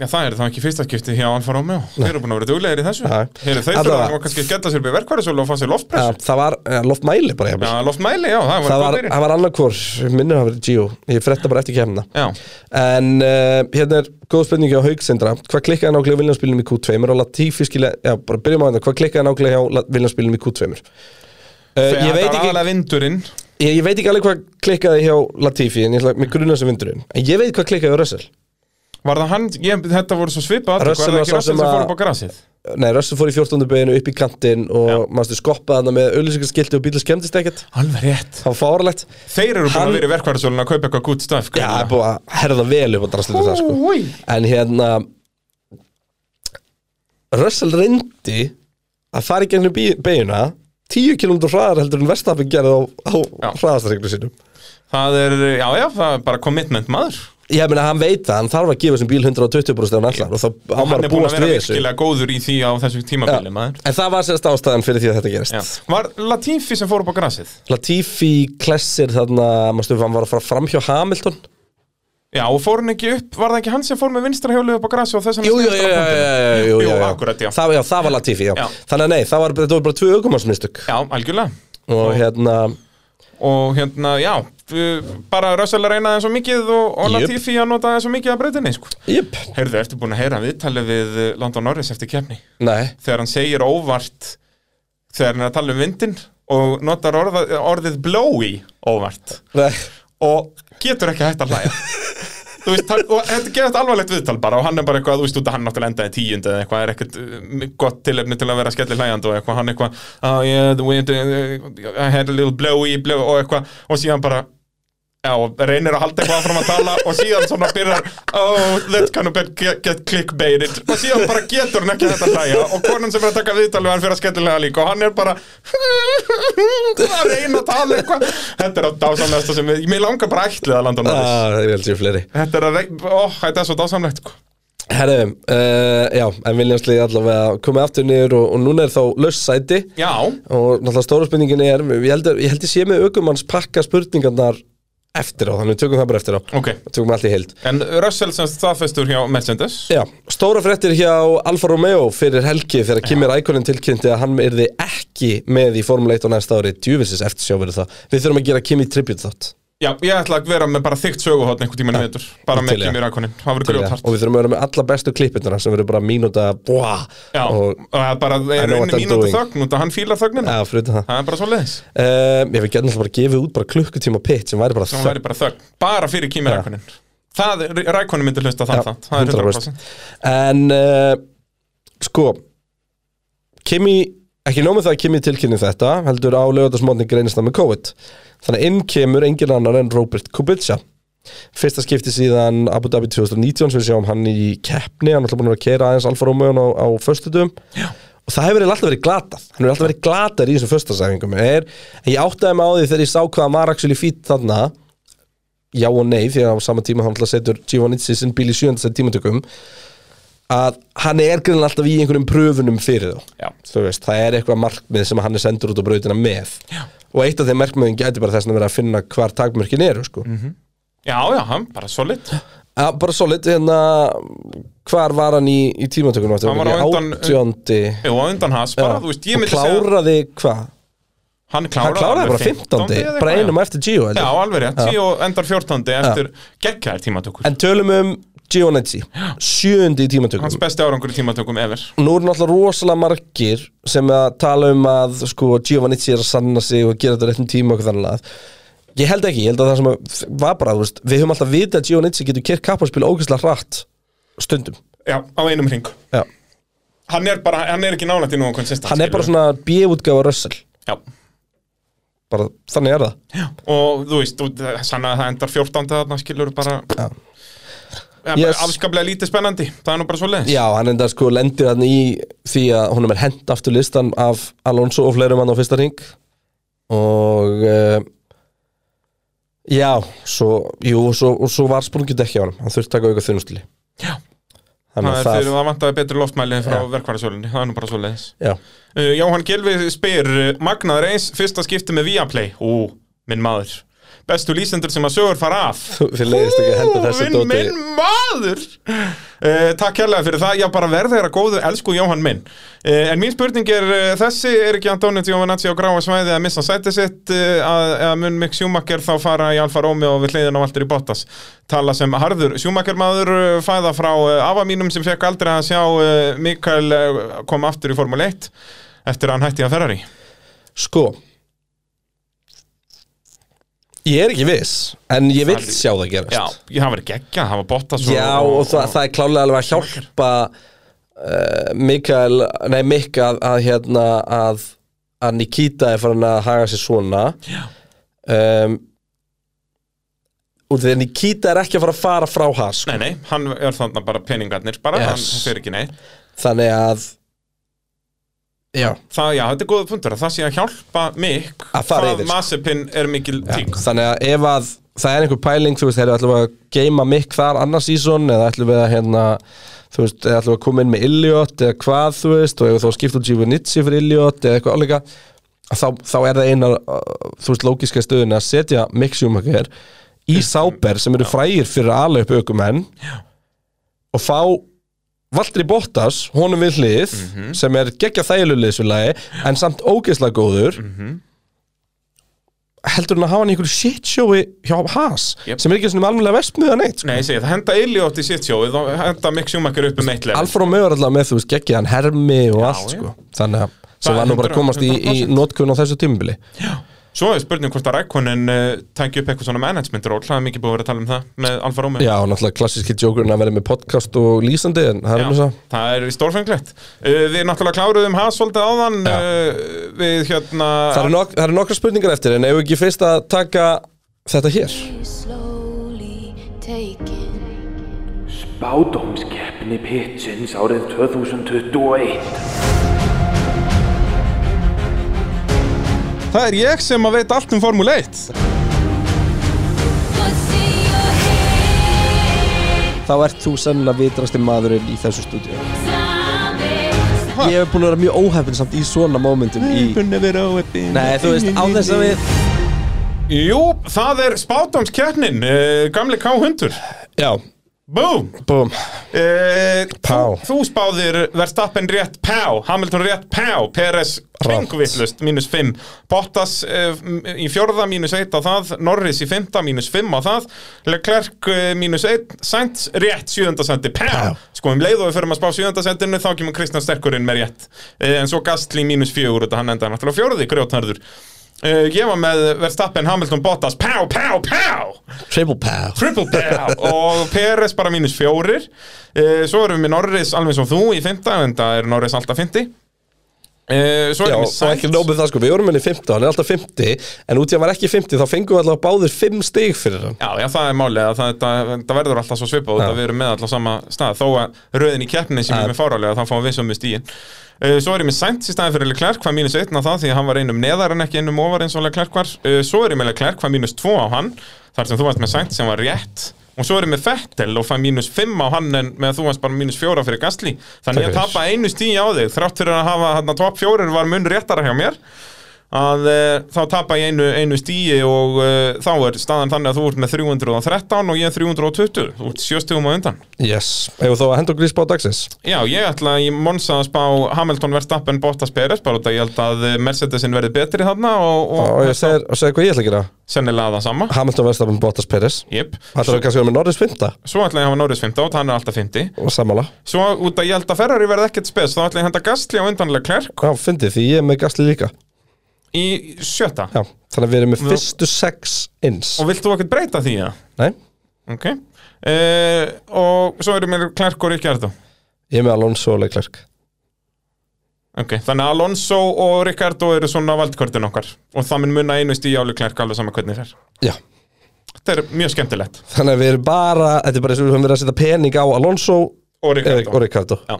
Speaker 3: Já, það er þá ekki fyrsta skipti hjá Alfa Romeo Þeir eru búin að vera duglegir í þessu
Speaker 2: Já.
Speaker 3: Heyrðu, Þeir þurfa
Speaker 2: Allavega.
Speaker 3: að kannski að skella sér byrja verkværisólu og fá sér
Speaker 2: Ja,
Speaker 3: loftpress
Speaker 2: Það var eh, loftmæli bara hjá
Speaker 3: Já, loftmæli, já, það var
Speaker 2: það
Speaker 3: góð
Speaker 2: var,
Speaker 3: byrjun
Speaker 2: það var annarkor, minnir að vera Gio ég fretta bara eftir kemna
Speaker 3: Já,
Speaker 2: en uh, hérna er góð spurningi á Hauksendra hvað klikkaði nákvæmlega á Viljanspilnum í Q2 og Latifi skilja, já bara byrjum á þetta hvað klikkaði nákvæmlega hjá Viljanspilnum í Q2 uh,
Speaker 3: Þegar
Speaker 2: ég, veit
Speaker 3: þetta var
Speaker 2: ekki,
Speaker 3: aðalega vindurinn
Speaker 2: ég, ég veit ekki alveg hvað klikkaði hjá Latifi en ég ætla með grunna sem vindurinn en ég veit hvað klikkaði á Russell
Speaker 3: Var það hann, ég, þetta voru svo svipað atvik,
Speaker 2: Russell
Speaker 3: Var það
Speaker 2: var
Speaker 3: ekki
Speaker 2: sá
Speaker 3: Russell
Speaker 2: sem
Speaker 3: sem
Speaker 2: að-
Speaker 3: fór upp á grasið
Speaker 2: nei Russell fór í 14. beginu upp í kantinn og mannstu skoppaði hann með auðlýsingarskilti og bíla skemmtist ekkert
Speaker 3: Alveg rétt
Speaker 2: það var fáralegt
Speaker 3: Þeir eru búin
Speaker 2: Hann-
Speaker 3: að vera í verkværisólun að kaupa eitthvað gút stöf
Speaker 2: já, það er búið að herða vel upp á drastlinu það sko
Speaker 3: Úi,
Speaker 2: En hérna Russell reyndi að fara í gegnum bí- beiguna 10 km hraðar heldur en Verstappen gerði á, á
Speaker 3: Já.
Speaker 2: hraðastreglu sínum
Speaker 3: Það er, já, já, það er bara commitment maður
Speaker 2: Ég meina hann veit það, hann þarf að gefa þessum bíl 120% ef hann ætlar og þá á
Speaker 3: Og hann
Speaker 2: maður
Speaker 3: er
Speaker 2: að
Speaker 3: búin að
Speaker 2: búast
Speaker 3: vera
Speaker 2: við þessu
Speaker 3: virkilega góður í því á þessu
Speaker 2: Já.
Speaker 3: tímabili maður
Speaker 2: En það var sérst ástæðan fyrir því að þetta gerist
Speaker 3: Já. Var Latifi sem fór upp á grasið
Speaker 2: Latifi klessir þarna, maður stofið, hann var að fara fram hjá Hamilton
Speaker 3: Já, og fór hann ekki upp, var það ekki hann sem fór með vinstra hjólu upp á grasið og þess hann
Speaker 2: Jú, jú, jú, jú, jú, jú,
Speaker 3: Jú, akkurat, já.
Speaker 2: Það, já, það var Latifi, já,
Speaker 3: Já.
Speaker 2: Þannig að nei, það var, þetta var bara tvö aukumarsmistök
Speaker 3: Já, algjörlega
Speaker 2: Og hérna,
Speaker 3: Og hérna, já, uh, bara Russell að reyna það svo mikið og, og
Speaker 2: Jöp.
Speaker 3: Latifi að nota það svo mikið að breytinni sko.
Speaker 2: jöp,
Speaker 3: Heyrðu, ertu búin að heyra viðtalið við eh, London Norris eftir kefni?
Speaker 2: nei
Speaker 3: Þegar hann segir óvart, þegar hann er að tala um vindin og notar orða, orðið blowy óvart
Speaker 2: Nei
Speaker 3: og getur ekki hægt að hlæja. Þú veist, hann, og þetta gerðist alvarlegt viðtal bara og hann er bara eitthvað, þú veist, út að hann náttúrulega endaði tíund eða eitthvað, er ekkert eh, gott tilefni til að vera skellir hlæjandi og eitthvað, hann eitthvað, oh yeah, the wind, eh, I had a little blowy, blow, og eitthvað, og síðan bara, Já, og reynir að halda eitthvað fram að tala og síðan svona byrjar Oh, that kind of get, get clickbaited og síðan bara getur hann ekki þetta að hlæja og konan sem er að taka viðtalið hann fyrir að skemmtilega líka og hann er bara að reyna að tala eitthvað Þetta er á dásamlegasta sem við, mér langar bara ætlið að landa hann aðeins
Speaker 2: Ah, ég held sér fleiri
Speaker 3: Þetta er að reyna, ó, þetta er svo dásamlegt sko.
Speaker 2: Herðu, uh, já, en Viljámsliði allavega komið aftur niður og, og núna er þá laus sæti
Speaker 3: Já,
Speaker 2: og náttúrulega stóra spurningin er ég held, að- ég held ég sé með aukumanns pakka spurningarnar eftir á, þannig við tökum það bara eftir á
Speaker 3: ok
Speaker 2: tökum allt í heild
Speaker 3: En Russell sem staðfestur hjá Mercedes
Speaker 2: Já, stóra fréttir hjá Alfa Romeo fyrir helgi þegar Kimi Rækonin tilkynnti að hann yrði ekki með í Formule 1 á næsta ári djúfisins eftir sjá verið það Við þurfum að gera Kimi tribute þátt
Speaker 3: Já, ég ætla að vera með bara þykkt söguhótt einhvern tímann í vetur Bara
Speaker 2: ég til
Speaker 3: með
Speaker 2: í það.
Speaker 3: Kimi Rækonin, það verður
Speaker 2: Til, ja.
Speaker 3: grjóthart
Speaker 2: og við þurfum að vera með alla bestu klippinduna sem verður bara mínúta búa,
Speaker 3: Já, og,
Speaker 2: og
Speaker 3: það er
Speaker 2: I
Speaker 3: bara er
Speaker 2: know what
Speaker 3: raunin
Speaker 2: I'm
Speaker 3: mínúti
Speaker 2: doing.
Speaker 3: þögn út að hann fílar þögnina
Speaker 2: ja, fyrir það
Speaker 3: Það er bara svo leiðis
Speaker 2: um, Ég við getum alltaf bara gefið út bara klukkutíma pitt sem væri bara
Speaker 3: Það væri bara þögn, bara fyrir Kimi Rækonin Það, Rækonin myndi hlusta þann þátt Það er 100%
Speaker 2: En uh, sko Kimi, ekki nómið það að Kimi tilkynni þetta heldur á lögatarsmótni greinist það með COVID þannig að inn kemur engin annar en Robert Kubica fyrsta skipti síðan Abu Dhabi 2019 sem við sjáum hann í keppni, hann er alltaf búin að vera að kera aðeins Alfa Romeo á, á föstudum og það hefur eiginlega alltaf verið glatað hann hefur alltaf verið glatað í þessum föstasæfingum er, ég áttaði mig á því þegar ég sá hvað hann var actually fýtt þarna já og nei því að á sama tíma hann alltaf setur Giovannizzi sinn bíl í sjöndasett tímatökum að hann er greinlega alltaf í einhverjum pröfunum fyrir þá
Speaker 3: Já.
Speaker 2: þú veist, það er eitthvað markmið sem hann er sendur út á brautina með já. og eitt af þeim markmiðin gæti bara þess að vera að finna hvar takmörkin eru sko.
Speaker 3: Mhm. Já, já, hann bara solid
Speaker 2: að, bara solid, hérna hvar var hann í, í tímatökunum aftur?
Speaker 3: Hann var á
Speaker 2: Ekki
Speaker 3: undan-
Speaker 2: átjöndi
Speaker 3: Jú, á undan hans bara, þú veist, ég
Speaker 2: og
Speaker 3: myndi segja
Speaker 2: kláraði hvað?
Speaker 3: Hann
Speaker 2: hann
Speaker 3: kláraði,
Speaker 2: kláraði
Speaker 3: alveg
Speaker 2: bara 15.
Speaker 3: 15 eða
Speaker 2: bara
Speaker 3: eitthvað,
Speaker 2: einum
Speaker 3: já.
Speaker 2: eftir Gio held
Speaker 3: Já,
Speaker 2: ég.
Speaker 3: alveg rétt, 10 og endar 14 eftir geggjaðir tímatökur
Speaker 2: en tölum um Gionetti sjöndi í tímatökum
Speaker 3: Hans besti árangur í tímatökum ever
Speaker 2: nú eru náttúrulega rosalega margir sem að tala um að sko, Giovannizzi er að sanna sig og gera þetta á réttum tíma og þannig að ég held ekki, ég held að það sem að var bara, þú veist, við höfum alltaf vitað að Giovannizzi getur kert kapparspil ógeðslega hratt stundum
Speaker 3: Já, á einum hring
Speaker 2: Já.
Speaker 3: Hann er bara, hann er ekki nálægt í nú konsistans
Speaker 2: hann er bara svona bjöfutgáfa rössal
Speaker 3: Já,
Speaker 2: bara þannig er það
Speaker 3: og þú veist, þú- sann að það endar 14. þarna skilur bara
Speaker 2: Já.
Speaker 3: Já,
Speaker 2: Yes.
Speaker 3: bara Afskaplega lítið spennandi, það er nú bara svo leiðis
Speaker 2: já, hann enda sko lendir hann í því að honum er hent aftur listan af Alonso og fleirum hann á fyrsta ring og uh, já, svo jú, og svo, og svo var sprungið ekki á hann hann þurfti að taka auka þunnustili
Speaker 3: Já.
Speaker 2: Þannig
Speaker 3: Það er
Speaker 2: að það,
Speaker 3: fyrir það vantaði betri loftmæli frá verkvarðasölunni, það er nú bara svo leiðis
Speaker 2: já,
Speaker 3: uh, Jóhann Gilvi spyr uh, Magnaður eins, fyrsta skipti með Viaplay Ú, minn maður Bestu lýsendur sem að sögur fara af
Speaker 2: þið leiðist ekki að henda þessu
Speaker 3: minn,
Speaker 2: dóti
Speaker 3: minn maður uh, Takk kærlega fyrir það, já bara verða þeirra góðu Elsku Jóhann minn uh, En mín spurning er uh, þessi, er ekki Antonio Giovanazzi á gráa svæði að missa sæti sitt uh, að, að mun Mick Schumacher þá fara í Alfa Romeo og við hliðin á Valtteri Bottas Tala sem harður Schumacher maður uh, fæða frá uh, afa mínum sem fekk aldrei að sjá uh, Mikael uh, kom aftur í Formule 1 eftir að hann hætti að Ferrari
Speaker 2: Sko Ég er ekki viss En ég vil
Speaker 3: Það-
Speaker 2: sjá það gerast
Speaker 3: Já, það verið geggja, það var Bottas
Speaker 2: Já, og það, það er klálega alveg að hjálpa uh, Mikael Nei, Mikka að, að hérna að, að Nikita er farin að haga sér svona
Speaker 3: Já.
Speaker 2: um, Út af því að Nikita er ekki að fara að fara frá hans
Speaker 3: Nei, nei, hann er þannig bara peningarnir bara,
Speaker 2: Yes.
Speaker 3: hann fyrir ekki neitt
Speaker 2: Þannig að Já,
Speaker 3: Það, já, þetta er góða punktur, að það sé að hjálpa mikk
Speaker 2: Að fara yfir, sko.
Speaker 3: Masipinn er mikil tík
Speaker 2: Þannig að ef að það er einhver pæling þú veist, þeir eru ætlum við að geima mikk þar annars sísón eða ætlum við að hérna þú veist, eða ætlum við að koma inn með Illiot eða hvað þú veist, og ef þú skipt úr Giovannizzi fyrir Illiot eða eitthvað áleika þá, þá er það eina, uh, þú veist, lógiska stöðin að setja Mick Schumacher í Sáber sem eru frægir fyrir að ala upp aukumenn og fá Valtteri Bottas, honum við hlið sem er geggja þægjulegulegisvilagi en samt ógeðslega góður heldur hann að hafa hann í einhverju shitshowi hjá Haas
Speaker 3: Yep.
Speaker 2: sem er ekki svona almennilega vestmiða neitt sko.
Speaker 3: Nei, ég segi, það henda Elliot í sitt sjóið og henda Mick Schumacher upp um eitt level
Speaker 2: Alfa Romeo er alltaf með þú veist geggjaðan hermi og allt
Speaker 3: já.
Speaker 2: sko þannig að sem
Speaker 3: Það
Speaker 2: var nú bara að
Speaker 3: 100%,
Speaker 2: komast í, í
Speaker 3: 100%.
Speaker 2: notkun á þessu tímubili
Speaker 3: Svo er spurning hvort að Rækonin uh, tæki upp eitthvað svona management ról Það er mikið búið að vera að tala um það með Alfa Romeo
Speaker 2: Já, og náttúrulega klassíski jokerinn að vera með podcast og lýsandi en það er um þess að
Speaker 3: það er stórfenglegt uh, Við náttúrulega kláruðum Haas svolítið áðan uh, Við hérna
Speaker 2: Það eru nok það eru nokkrar spurningar eftir en ef ekki fyrst að taka þetta hér
Speaker 4: slowly taken.
Speaker 5: Bádómskeppni Pitsins árið 2021
Speaker 3: Það er ég sem að veit allt um Formule 1
Speaker 4: What's in your
Speaker 1: Þá ert þú sennilega vitrasti maðurinn í þessu stúdíu
Speaker 4: head?
Speaker 1: Ég hef búin að vera mjög óhefn samt í svona momentum í Nei, þú veist, á þess að við
Speaker 3: Jú, það er spátdómskeppnin, uh, gamli K-hundur
Speaker 2: Já,
Speaker 3: Búm
Speaker 2: búm
Speaker 3: uh,
Speaker 2: Pá.
Speaker 3: Þú spáðir Verstappen rétt pá, Hamilton rétt pá Peres
Speaker 2: Rangt.
Speaker 3: kringvillust, mínus 5 Bottas uh, í fjórða, mínus 1 á það Norris í fymta, mínus 5 á það Leclerc uh, mínus 1 Sainz rétt sjöunda sendi, pá
Speaker 2: Pá.
Speaker 3: Sko um leið og við förum að spá sjöunda sendinu þá kemur Kristján Sterkurinn með rétt uh, en svo Gastli mínus 4, þetta hann endaði náttúrulega fjóruði grjótnarður Uh, ég var með Verstappen, Hamilton, Bottas, pá, pá, pá
Speaker 2: Triple pow
Speaker 3: Triple Bell og Peres bara mínus fjórir uh, svo erum við með Norris alveg svo þú í fymta en það er Norris alltaf fymti uh, svo
Speaker 2: Já,
Speaker 3: erum
Speaker 2: og
Speaker 3: við
Speaker 2: ekki
Speaker 3: Sainz
Speaker 2: nóg með það sko, við vorum henni 15, hann er alltaf 50 En út í að hann var ekki 50, þá fengum við alltaf báðir 5 stig fyrir hann
Speaker 3: já, já, það er málið að það, það, það verður alltaf svo svipað út
Speaker 2: Já.
Speaker 3: að við erum með alltaf sama stað þó að röðin í keppni sem
Speaker 2: Já.
Speaker 3: er með fárálega þá fáum við sömu stíin uh, svo erum við Sainz í staðin fyrir Leclerc hvað mínus einn á það því að hann var einum neðar en ekki einum ofar eins og Leclerc var uh, svo erum við Leclerc hvað mínus tvo á hann þar sem þú varst með Sainz sem var rétt og svo erum við Fettel og fæ mínus 5 á hann en með að þú varst bara mínus 4 fyrir Gastli
Speaker 2: Takk
Speaker 3: þannig að
Speaker 2: fyrir.
Speaker 3: tapa einu stíi á þig þrátt fyrir að hafa hann top 4 var mun réttara hjá mér að e, þá tapa ég einu, einu stíi og e, þá er staðan þannig að þú ert með 313 og ég 320 þú ert sjöstugum á undan
Speaker 2: Yes, hefur þá að henda okkur í spá dagsins
Speaker 3: Já, ég ætla í Monsa að spá Hamilton Verstappen Bottas Peres bara út að ég held að eh, Mercedesin verði betri þarna og, og,
Speaker 2: Og ég segir, og segir hvað ég ætla að gera
Speaker 3: sennilega það sama
Speaker 2: Hamilton Verstappen Bottas Peres
Speaker 3: yep.
Speaker 2: Þetta er kannski að vera með Norris 50
Speaker 3: Svo ætla ég að hafa Norris 15 og hann er alltaf 50
Speaker 2: og sammála
Speaker 3: Svo út að ég held að Ferrari verði ekkert spes þá ætla ég að henda Gastli á undanlega klærk
Speaker 2: Já, fyndið því ég er með Gasly líka
Speaker 3: í sjötta
Speaker 2: Já, þannig að við erum með
Speaker 3: Já.
Speaker 2: fyrstu 6 ins
Speaker 3: og vilt þú ekkert breyta því að?
Speaker 2: Nei,
Speaker 3: Ok uh, og svo eru mér klærk og Ríkjardó
Speaker 2: ég er með Alonso og Leclerc
Speaker 3: Ok, þannig að Alonso og Ricardo eru svona valdkortin okkar og það mun munna einu stíu áli klærk alveg saman hvernig þér
Speaker 2: Já,
Speaker 3: Þetta er mjög skemmtilegt
Speaker 2: þannig að við erum bara Þetta er bara eins og við höfum verið að setja pening á Alonso
Speaker 3: og
Speaker 2: eh,
Speaker 3: Ricardo
Speaker 2: og Ricardo
Speaker 3: Já.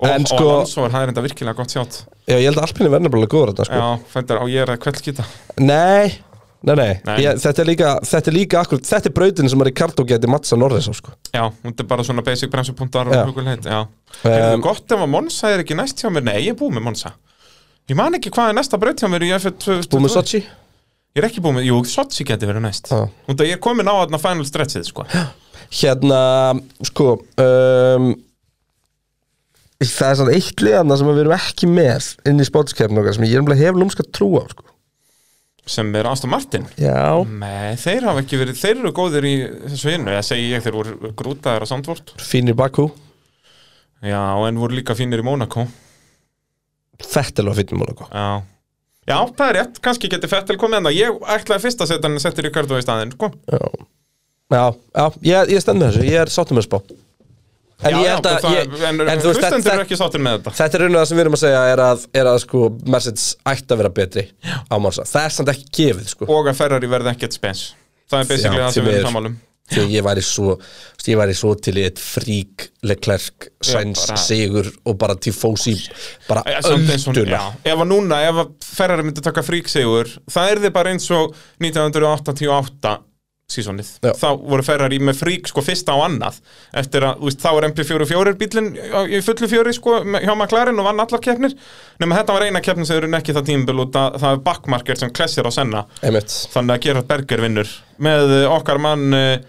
Speaker 3: Og,
Speaker 2: En
Speaker 3: og
Speaker 2: sko-
Speaker 3: Alonso er hæðir enda virkilega gott sjátt
Speaker 2: Já, ég held að Alpine verður bara góður þetta sko
Speaker 3: Já, þetta er, og ég er að kveldskýta
Speaker 2: Nei, nei, nei,
Speaker 3: Nei.
Speaker 2: Ég, þetta er líka Þetta er líka akkur, þetta er brautin sem að Ricardo geti mattsa Norris á sko
Speaker 3: Já, þetta er bara svona basic bremsupunktar
Speaker 2: Já.
Speaker 3: og hugulheit Já, er
Speaker 2: Um,
Speaker 3: það gott ef að Monsa er ekki næst hjá mér? Nei, ég er búið með Monsa Ég man ekki hvað er næsta braut hjá mér í F1
Speaker 2: Búið með Sochi
Speaker 3: Ég er ekki búið með, jú, Sochi geti verið næst
Speaker 2: Já.
Speaker 3: Þú veit að ég er komin á þarna final stretchið, sko
Speaker 2: Hérna, sko um, Það er svona eitt liðana sem við erum ekki með inn í spótskefn okkar sem ég er umlega hef lúmska trú á sko.
Speaker 3: sem er Aston Martin
Speaker 2: Já
Speaker 3: Nei, þeir hafa ekki verið, þeir eru góðir í þessu hinnu, það segi ég, þeir voru grútaðar á Sandvort
Speaker 2: Fínir Bakú
Speaker 3: Já, en voru líka fínir í Monaco
Speaker 2: Fettel var fínir Monaco
Speaker 3: Já, já það er rétt, kannski geti Fettel komið en ég ætlaði fyrst að setja hann setja Ricardo í staðinn, sko
Speaker 2: Já, já, já ég, ég stend með þessu, ég er sáttum með spá En
Speaker 3: já,
Speaker 2: ég
Speaker 3: já,
Speaker 2: held að
Speaker 3: það,
Speaker 2: ég,
Speaker 3: En,
Speaker 2: þú
Speaker 3: en
Speaker 2: veist, þetta-
Speaker 3: hlustendur
Speaker 2: þetta-
Speaker 3: eru ekki sáttir með þetta
Speaker 2: Þetta er raun og það sem við erum að segja er að, er að sko, Mercedes ætti að vera betri á Monsa Það er samt ekki gefið sko.
Speaker 3: Og að Ferrari verði ekkert spens Það er basically
Speaker 2: Já,
Speaker 3: það
Speaker 2: því
Speaker 3: sem við
Speaker 2: miður.
Speaker 3: erum um. sammálum
Speaker 2: því að ég væri svo þú veist, ég væri svo til í eitt frík Leclerc, Sainz,
Speaker 3: bara-
Speaker 2: Sigur og bara Tifosi, bara
Speaker 3: Já, samt eins og-
Speaker 2: ölduna
Speaker 3: já, Ef að núna, ef að Ferrari myndi taka fríksegur Það er þið bara eins og 1988 sísonið
Speaker 2: Já.
Speaker 3: Þá voru Ferrari með frík sko fyrsta á annað Eftir að, þú veist, þá er MP44 bílinn á- í fullu fjöri sko með- Hjá McLaren og vann allar keppnir Nefnum þetta var eina keppnin sem eru ekki það tímbil út að það er backmarker sem klessir á senna
Speaker 2: einmitt,
Speaker 3: Þannig að Gerard Berger vinnur Með eh, okkar mann eh,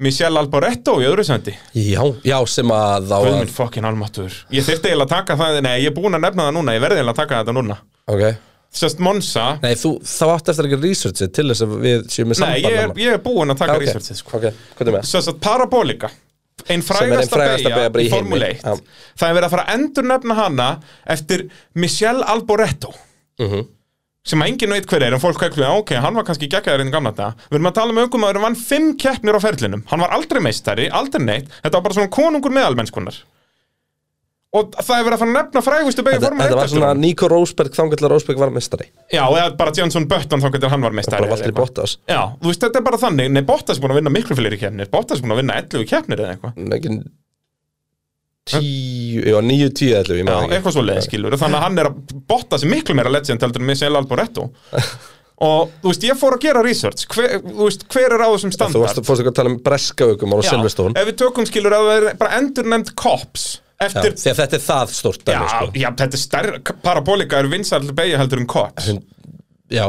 Speaker 3: Michel Alboretto í öðru sendi
Speaker 2: já, já, sem að á að,
Speaker 3: Guðmund fokkin almattur Ég þyrfti eiginlega að taka það, nei ég er búin að nefna það núna Ég verði eiginlega að taka þetta núna
Speaker 2: ok,
Speaker 3: Sérst Monsa, nei,
Speaker 2: nei þú, þá átt eftir ekki researchið til þess að við séum með
Speaker 3: ég, er,
Speaker 2: samband
Speaker 3: ég er búin að taka
Speaker 2: Ok.
Speaker 3: okay. researchið sko.
Speaker 2: ok, hvað er með?
Speaker 3: Sérst Parabolika Einn
Speaker 2: er ein
Speaker 3: frægasta
Speaker 2: frægasta
Speaker 3: beygja
Speaker 2: beygja bara í
Speaker 3: í
Speaker 2: heimi.
Speaker 3: Formule 1
Speaker 2: Já.
Speaker 3: Það er verið að fara að endur nefna hana Eftir Michel Alboretto Sem að enginn veit hver er En fólk kæklu, já ok, hann var kannski geggjaður inn í gamla þetta Við erum að tala um öngum að hann vann fimm keppnir á ferlinum Hann var aldrei meistari, aldrei neitt Þetta var bara svona konungur meðalmennskunar og það er verið að fara að nefna frægustu beigju
Speaker 2: Þetta,
Speaker 3: formule
Speaker 2: þetta
Speaker 3: 1
Speaker 2: var svona Nico Rosberg þangar til að Rosberg var mestari
Speaker 3: Já, eða bara Johnson Button þá hvernig hann var meistari
Speaker 2: bara
Speaker 3: eða
Speaker 2: Valtteri
Speaker 3: eitthvað.
Speaker 2: Bottas
Speaker 3: Já, þú veist, þetta er bara þannig Nei, Bottas er búin að vinna miklu fleiri keppnir Bottas er búin að vinna 11 keppnir eða eitthvað
Speaker 2: Nei, ekki tíu, já, níu, tíu ætlum ég
Speaker 3: Já,
Speaker 2: maður
Speaker 3: eitthvað svo leið, skilur Þannig að hann er að Bottas er miklu meira legend heldur en Michel Alboretto Og, þú veist, ég fór að gera research hver, Þú veist, hver er á
Speaker 2: Þú varst
Speaker 3: þessum standart
Speaker 2: að fórst eitthvað að tala um breska aukum á Silverstone
Speaker 3: Ef við tökum, skilur, að það er bara endurnefnd cops
Speaker 2: Já,
Speaker 3: Eftir,
Speaker 2: því að þetta er það stórt
Speaker 3: já,
Speaker 2: dæmi, sko.
Speaker 3: já, þetta er stærra Parabolica er vinsall beigja heldur en cops
Speaker 2: já,